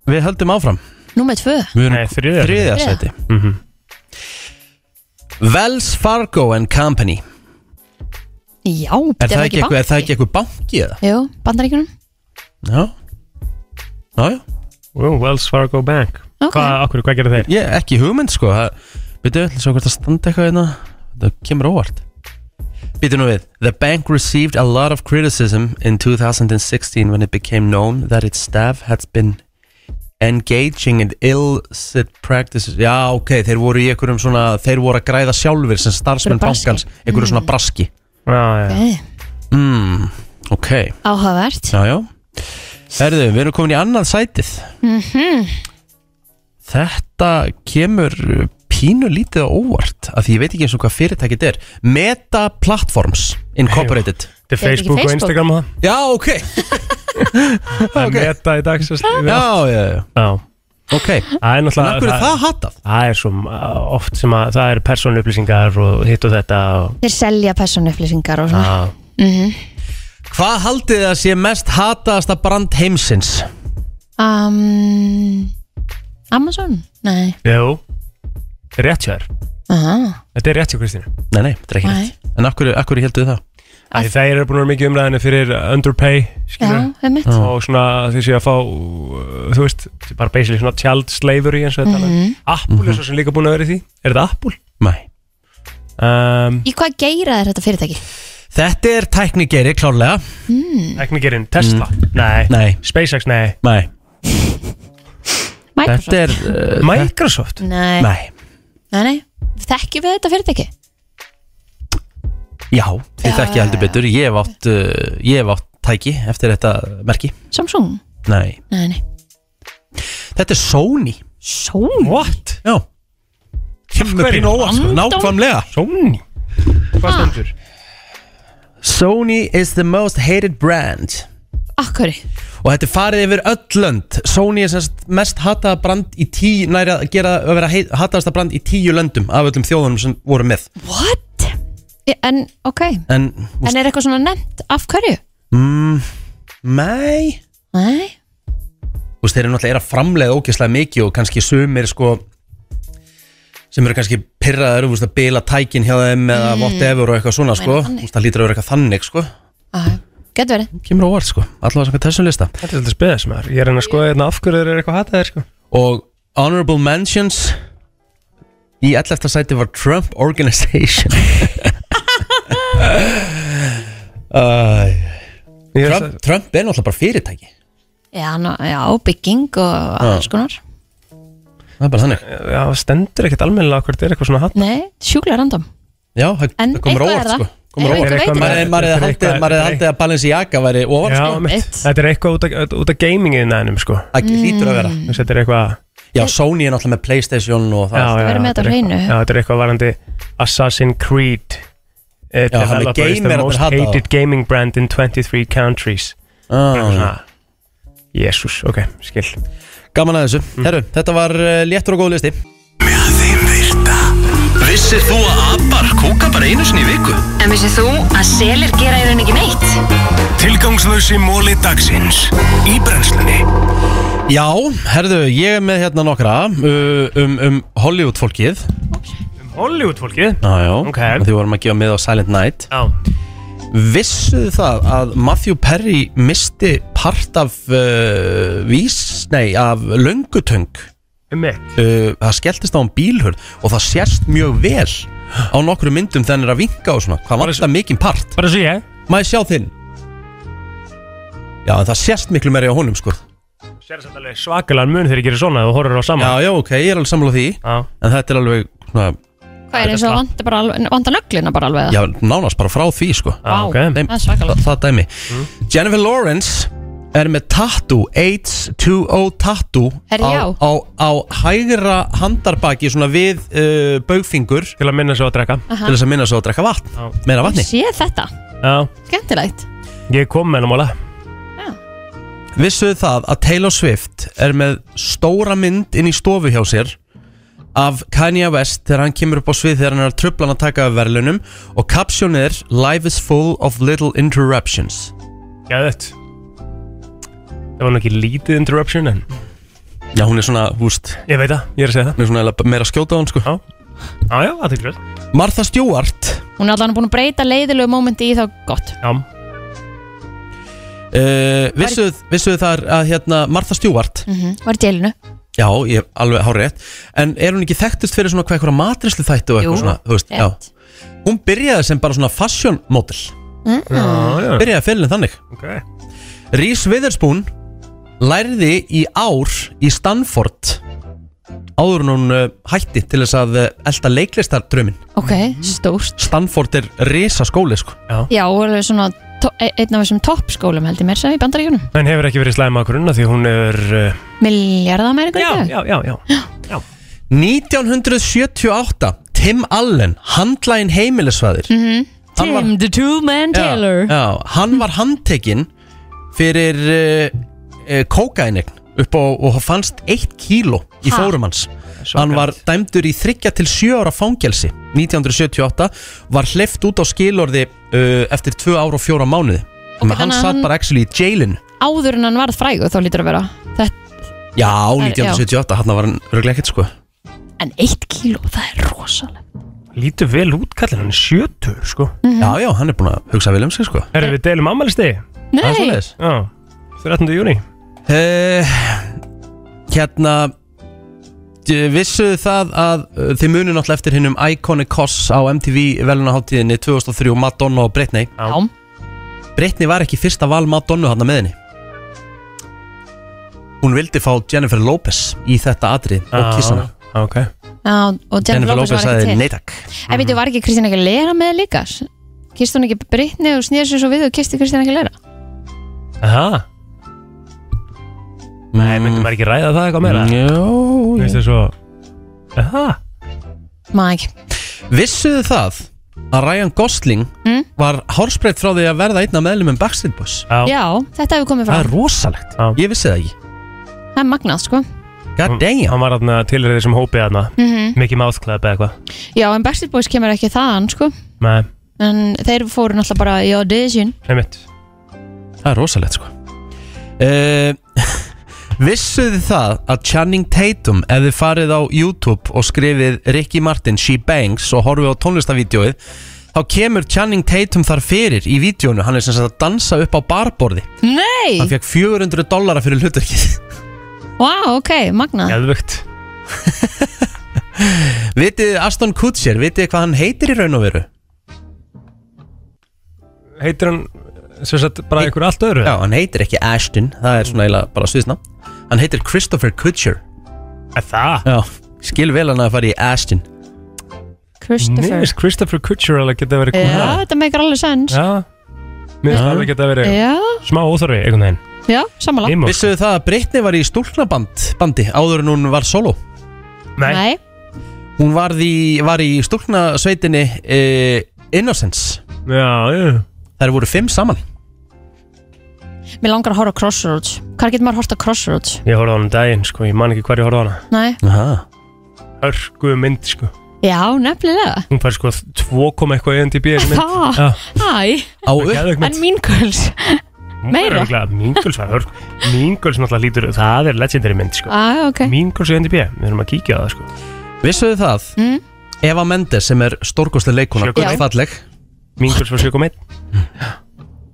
S1: Við höldum áfram
S3: Númer tvö
S1: Við erum
S2: þriðja
S1: þriðja
S3: Þriðja.
S1: sæti Wells Fargo and Company
S3: Já,
S1: Er það
S3: var
S1: ekki eitthvað- er það ekki eitthvað banki eða?
S3: Jú, bandaríkunum
S1: Já Já, já
S2: Well, Wells Fargo Bank
S3: Ok.
S2: Hvað, okkur, hvað gerir þeir?
S1: Ég, ekki hugmynd sko Býtu, ætlum svo hvort að standa eitthvað hérna Það kemur óvart Býtu nú við The bank received a lot of criticism in 2016 when it became known that its staff had been engaging in illicit practices Já, ok, þeir voru í einhverjum svona Þeir voru að græða sjálfur sem starfsmenn
S3: Einhverju braski.
S1: bankans Einhverju svona
S3: Mm.
S1: braski
S2: Já, já
S3: okay.
S1: mm, Ok,
S3: Áhugavert
S1: já, já Herðu, við erum komin í annað sætið
S3: mm
S1: Þetta kemur uh, pínu lítið á óvart af því ég veit ekki eins og hvað fyrirtækið er Meta Platforms Incorporated
S2: Þetta er Facebook og Instagram og það
S1: Já, ok
S2: Það er meta í dag sérst,
S1: Já, já, já
S2: já
S1: Ok
S2: Það er náttúrulega
S1: En af hverju er það hatað?
S2: Það er svo uh, oft sem að það eru persónuupplýsingar og hitt og þetta og,
S3: Þeir selja persónuupplýsingar og svona
S2: á,
S3: mm
S1: Hvað haldið þið að sé mest hataðasta brand heimsins?
S3: um, Amazon? Nei
S2: Jú Rétt hjá þér
S3: Aha.
S2: Þetta er rétt hjá Kristínu
S1: Nei, nei, þetta er ekki rétt En af hverju, af hverju heldur þið það?
S2: Af því Þeir eru búin að vera mikið umræðinu fyrir underpay skilur.
S3: Já, einmitt. Já.
S2: Og svona þeir séu að fá uh, Þú veist, bara basically svona child slavery eins og þetta mm
S3: Mhm.
S2: Apple er svo sem líka búin að vera í því Er þetta Apple?
S1: Nei
S2: um,
S3: Í hvað geira er þetta fyrirtæki?
S1: Þetta er tæknigeiri, klárlega Mm.
S3: Mm.
S2: Teknikerinn Tesla? Nei.
S1: Nei
S2: SpaceX? Nei
S1: Nei
S3: Microsoft?
S1: Þetta er uh,
S2: Microsoft?
S3: Nei.
S1: Nei
S3: Nei, nei Þekkjum við þetta fyrirtæki?
S1: Já, þið þekki
S2: Eh.
S1: heldur betur Ég hef átt, uh, ég hef átt tæki eftir þetta merki
S3: Samsung?
S1: Nei
S3: Nei, nei
S1: Þetta er Sony
S3: Sony?
S2: What?
S1: Já Kemur pínu óvart sko, nákvæmlega
S2: Sony? Hvað stendur?
S1: Sony is the most hated brand
S3: Akkur
S1: Og þetta er farið yfir öll lönd Sony er semst mest hataða brand í tíu Næri að gera að vera hei- hataðasta brand í tíu löndum Af öllum þjóðunum sem voru með
S3: What? Ég- En, ok
S1: En,
S3: En er eitthvað svona nefnt? Af hverju?
S1: mm, Nei
S3: Nei
S1: Þú veist, þeir eru náttúrulega er að framleiða ógeðslega mikið Og kannski sumir sko Sem eru kannski pirraðar Þú veist, að bila tækin hjá þeim Eða
S3: Mm.
S1: whatever og eitthvað svona
S3: Meina
S1: sko
S3: þannig.
S1: Þú veist, það lítur að vera eitthvað þannig sko
S3: Ah, Getur verið
S1: Kemur óvart sko, allavega samkvæmt þessum lista
S2: Þetta er svolítið spes maður Ég er henni að skoða hérna af hverju þeir eru eitthvað hataðir sko
S1: Og Honorable Mentions Í 11. sæti var Trump Organization Æ. Trump, Trump er náttúrulega bara fyrirtæki
S3: Já, ná, já bygging og
S1: Ah.
S3: alls konar
S1: Það er bara þannig
S2: Já, stendur ekkert almennilega okkur Þetta er eitthvað svona hatt
S3: Nei, sjúklega random
S1: Já, það
S3: En
S1: það komur
S3: eitthvað er
S1: óvart
S3: það.
S1: sko Komur
S3: Einhver
S1: óvart
S3: veit
S2: eitthvað.
S1: Maður- Maður hefði
S2: Þetta er
S1: haldið-
S2: eitthvað-
S1: maður hefði haldið að Balenciaga væri óvart
S2: Já,
S1: sko
S2: mitt. Þetta er eitthvað út af, út af gaming innanum sko
S3: Mm.
S1: Það hlýtur að vera.
S2: Þess, Þetta er eitthvað
S1: Já, Sony er náttúrulega með Playstation og það
S2: já, já,
S3: verið með þetta á
S2: er
S3: hreinu.
S2: eitthvað- Já, þetta er eitthvað varandi Assassin's Creed eh,
S1: Já, hann er
S2: developer is the
S1: gamer,
S2: most
S1: þetta er hatað.
S2: hated gaming brand in 23 countries
S1: ah.
S2: Jésús, ok, skil
S1: Gaman að þessu, herru, þetta var uh, léttur og góð listi
S13: Vissir þú að abar kúka bara einu sinni í viku?
S14: En vissið þú að selir gera í rauninni ekki neitt?
S13: Tilgangslösi móli dagsins í brennslunni
S1: Já, herðu, ég er með hérna nokkra uh, um, um Hollywood fólkið
S2: Um Hollywood fólkið
S1: Já, já, okay. því vorum að gefa með á Silent Night
S2: Já
S1: Vissuðu það að Matthew Perry misti part af uh, vís, nei, af löngutöng
S2: Um
S1: uh, Það skelltist á um bílhörð og það sérst mjög vel á nokkru myndum þegar hann er að vinka og svona Hvað vantar mikinn part?
S2: Bara svo ég
S1: Maður sjá þinn Já, en það sérst miklu meiri á honum, sko
S2: Sér þetta alveg svakalega mun þegar ég gerir svona og horfir á saman
S1: Já, já, ok, ég er alveg sammála því
S2: já.
S1: En þetta er alveg, svona,
S3: Hvað er eins og vanda, bara alveg, vanda nöglina bara alveg
S1: já, nánast bara frá því, sko
S3: Vá,
S2: Ah,
S3: ok.
S1: Þeim,
S3: það er svakalegt.
S1: það, það dæmi
S2: Mm.
S1: Jennifer Lawrence er með tattoo, H2O tattoo
S3: Herri,
S1: á,
S3: já.
S1: á, á hægra handarbaki svona við uh, baugfingur
S2: Til að minna svo að drekka
S3: Aha.
S1: Til þess að minna svo að drekka vatn
S2: Já.
S1: Meira vatni
S3: Ég sé þetta,
S2: Já,
S3: skemmtilegt
S2: ég kom með hennum ála
S1: Vissuðu það að Taylor Swift er með stóra mynd inn í stofu hjá sér af Kanye West þegar hann kemur upp á svið þegar hann er að trubla hann að taka af verðlunum og kapsjónið er Life is full of little interruptions
S2: Gæðið Það var nú ekki lítið interruption en
S1: Já, hún er svona, húst
S2: Ég veit það, ég er að segja það
S1: Hún er svona eiginlega meira að skjóta á hann, sko
S2: Já, já, já það er gröð
S1: Martha Stewart
S3: Hún er allan búin að breyta leiðilegu mómenti í þá gott
S2: Já
S1: uh, Vissuðu vissuð þar að hérna Martha Stewart
S3: Mm. Var í djelinu
S1: Já, ég er alveg hárrétt En er hún ekki þekktust fyrir svona hvað einhverja matrislu þættu og eitthvað
S3: Jú,
S1: svona, þú veist,
S3: rétt.
S1: já Hún byrjaði sem bara svona fashion model Ah.
S3: Mm. Já, já.
S1: Byrjaði fyrirlin þannig
S2: okay.
S1: Rís Witherspoon lærði í ár í Stanford áður en hún uh, hætti til þess að uh, elda leiklistardraumin
S3: Ok, stórt
S1: Stanford er risa skóli, sko
S2: Já,
S3: Já, og alveg svona to- e- einn af þessum toppskólum held ég mér sem í bandaríkunum
S2: En hefur ekki verið slæma okkur unna því hún er uh,
S3: Miljardamæringur í dag
S2: já, já, já
S1: 1978 Tim Allen, handlægin heimilisfæðir
S3: mm -hmm.
S1: Hann var-
S3: Tim the two man Taylor
S1: já, Hann var handtekinn fyrir uh, uh, kókainegn upp á og fannst eitt kíló í
S13: Ha?
S1: fórum hans Hann var dæmdur í 30 til 7 ára fangelsi 1978 var hleyft út á skilorði uh, eftir 2 ára og 4 mánuði okay,
S3: þannig
S1: Hann
S3: að
S1: satt
S3: hann-
S1: bara actually í jailin
S3: Áður en hann varð frægur þá lítur að vera Þetta,
S1: Já,
S3: er-
S1: 1978, hann var hann örglega ekkert sko
S3: En eitt kíló, það er rosalega
S2: Lítur vel út kallinn, hann er 70 sko
S3: Mhm.
S1: Já, já, hann er búin að hugsa vel um sig sko
S2: Erum við deilum ammælsti?
S3: Nei.
S1: Það er svoleiðis.
S2: Já, 13. júni Eh.
S1: uh, Hérna Vissu það að uh, þið munið náttúrulega eftir hinnum Iconic Cos á MTV velunaháttíðinni 2003 Madonna og Britney
S2: Já
S1: Britney var ekki fyrsta val Madonna hann með henni Hún vildi fá Jennifer Lopez í þetta atrið og
S2: Já,
S1: kissa hana
S2: Ok
S3: Já, og Jennifer Lopez var ekki til
S1: sagði Mhm. nei takk
S3: En veitum, var ekki Kristina ekki lera með líka? Kist hún ekki Brittany og snýður sér svo við og kisti Kristina ekki lera?
S2: Aha Mm. Nei, myndum maður ekki ræða það eitthvað meira?
S1: Jó
S2: Veistu svo Aha
S3: Maður ekki
S1: Vissuðu það að Ryan Gosling var hárspreitt frá því að verða einn af meðlumum Backstreet Boys
S3: Já, þetta hefur komið
S1: Það er
S3: fram
S1: rosalegt Ég vissi það ekki
S3: Það er magnað, sko
S1: God damn
S2: Hann var þarna tilrið þessum hópið þarna
S3: Mhm.
S2: Mikið máðklæð eða eitthvað
S3: Já, en Backstreet Boys kemur ekki þaðan, sko
S2: Nei,
S3: En þeir fóru náttúrulega bara í audition
S2: heimitt
S1: Það er rosalegt sko uh, Vissuðu það að Channing Tatum ef þið farið á YouTube og skrifið Ricky Martin, She Bangs og horfið á tónlistavídeóið þá kemur Channing Tatum þar fyrir í vídjónu hann er sem sagt að dansa upp á barborði
S3: Nei!
S1: hann fekk 400 dollara fyrir hluturkið
S3: Vá, ok, magnað
S2: Geðvögt
S1: Vitið þið Aston Kutcher, vitið þið hvað hann heitir í raun og veru?
S2: Heitir hann sem sagt bara einhver allt öðru?
S1: Já, hann heitir ekki Ashton, það er svona eiginlega bara sviðsna Hann heitir Christopher Kutcher
S2: Er það?
S1: Já, skil vel hann að fara í Ashton
S2: Mér
S3: Christopher
S2: finnst Christopher Kutcher alveg geta verið
S3: Já, þetta meikar alveg sens
S2: Já Mér finnst
S1: Já.
S2: alveg geta verið
S3: Já.
S2: smá óþorfi einhvern veginn
S3: Já, sammála
S1: Vissuðu það að Brittany var í stúlknaband bandi, áður en hún var solo?
S3: Nei
S1: Hún var, því, var í stúlknasveitinni eh, Innocence
S2: Já, já
S1: Þær voru fimm saman
S3: Mér langar að horfa á Crossroads Hvar getur maður að horfa á Crossroads?
S2: Ég horfði á hann daginn, sko, ég man ekki hvar ég horfði á hana
S3: Nei
S1: Aha.
S2: Hörgu mynd, sko
S3: Já, nefnilega
S2: Hún fær sko 2, eitthvað í NDB þessi mynd
S3: Það,
S2: Já.
S3: hæ
S2: Á upp.
S3: En mín kvöls Meira?
S2: Minguls var hörg Minguls náttúrulega lítur Það er legendary mynd sko
S3: ah, okay.
S2: Minguls í NDB Við erum að kíkja á það sko
S1: Vissuðu það?
S3: Mm.
S1: Eva Mendes sem er stórkostlega leikuna
S2: Sjökum einn.
S1: Falleg
S2: Minguls var sjökum einn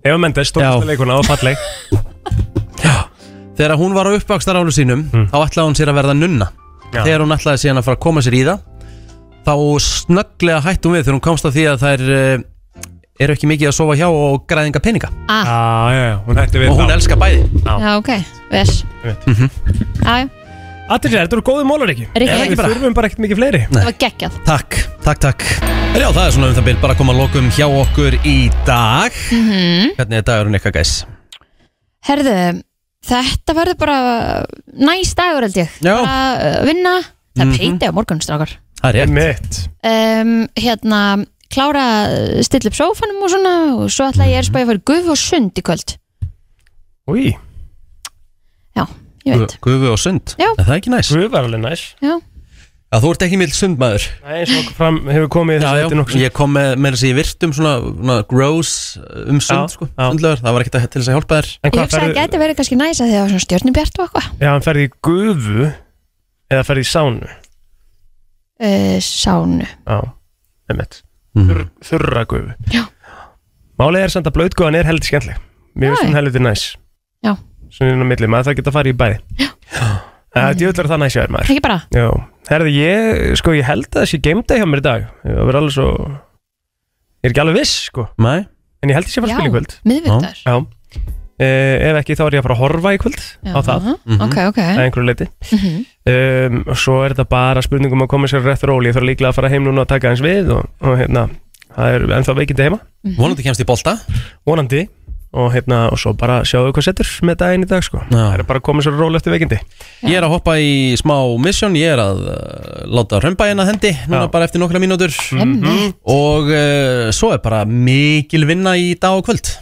S2: Eva Mendes, stórkostlega leikuna og falleg
S1: Þegar hún var á uppvaksnarálu sínum þá ætlaði hún sér að verða nunna
S2: Hmm. Já.
S1: Þegar hún ætlaði síðan að fara að koma sér í það þá snögglega hætti hún við þegar hún komst að því að þær eh, eru ekki mikið að sofa hjá og græðinga peninga
S3: Ah.
S2: Já, já, hún hætti við
S1: Og hún
S2: þá.
S1: elskar bæði
S3: Já, ok, ves
S1: Mhm.
S3: Æ,
S2: Allir sér, þetta eru góði mólar ekki
S3: Rikki.
S2: Við þurfum bara ekkert mikið fleiri
S3: það var geggjað
S1: Takk, takk, takk En já, það er svona um það byrð bara að koma að lokum hjá okkur í dag
S3: Mhm.
S1: Hvernig er dagurinn eitthvað gæs?
S3: Herðu, þetta verður bara næst dagur held ég
S1: Já.
S3: Bara uh, vinna Það er
S1: Mhm.
S3: mm á morgun, strákar
S1: Það er
S2: rétt
S3: um, Hérna, klára að stilla upp sófanum og svona og svo ætla ég er spæði að fara í gufu og sund í kvöld
S2: Úi
S3: Já, ég veit
S1: Gufu og sund
S3: Já.
S1: Er það ekki næs?
S2: Gufu er alveg næs
S3: Já.
S1: Já, þú ert ekki mild sundmaður
S2: Nei, svo fram hefur komið
S1: Já,
S2: þessi
S1: já,
S2: þetta nokkuð
S1: ég kom með, með þessi í virtum svona, svona gross um sund, sko, sundlöður Það var ekkert að- til þess að hjálpa þér
S3: Ég hugsa að það geti verið kannski næs að því að það var svona stjörnubjart og eitthvað
S2: Já, hann ferði í gufu Eða ferði í sánu
S3: uh, Sánu
S2: Já, einmitt Þurr, Þurra gufu Já Málið er samt að blöðgóðan er heldur skemmtleg Mér finnst hún heldur næs
S3: Já.
S2: Svona inn á milli, maður þarf ekki að fara í bæði Já Það er það næs hjá þér maður
S3: Ekki bara?
S2: Já, herði ég, sko ég held að það sé geimda hjá mér í dag Ég var alveg svo Ég er ekki alveg viss, sko
S1: Nei
S2: En ég held að ég sé bara að spila í kvöld
S3: miðvikudagur.
S2: Já Eh, Ef ekki þá er ég að fara að horfa í kvöld
S3: Já,
S2: Á það
S3: ok, ok.
S2: Að einhverju leiti
S3: Mhm.
S2: um, og svo er þetta bara spurningum að koma sér rétt ról ég þarf líklega að fara heim núna og taka eins við og, og hérna, það er ennþá veikindi heima
S1: Mhm. Vonandi kemst í bolta
S2: vonandi og hérna, og svo bara sjáu hvað setur með daginn í dag sko það er bara að koma sér ról eftir veikindi
S1: Ég er að hoppa í smá mission, ég er að uh, láta römbægin að hendi núna bara eftir nokkra mínútur Mhm.
S3: Einmitt.
S1: og uh, svo er bara mikil vinna í dag og kvöld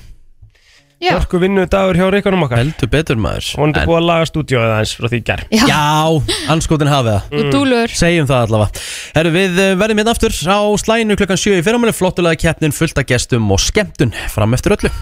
S3: Já.
S2: Hörku vinnu dagur hjá reikunum okkar
S1: Heldur betur maður
S2: Hún er búið að laga stúdíóið aðeins frá því í gerð
S1: Já, anskotin hafið það
S3: Og dúlur.
S1: Segjum það allavega Herru, við eh, verðum hérna aftur á slæinu klukkan 7 í fyrramölu Flottulega keppnin, fullt af gestum og skemmtun fram eftir öllu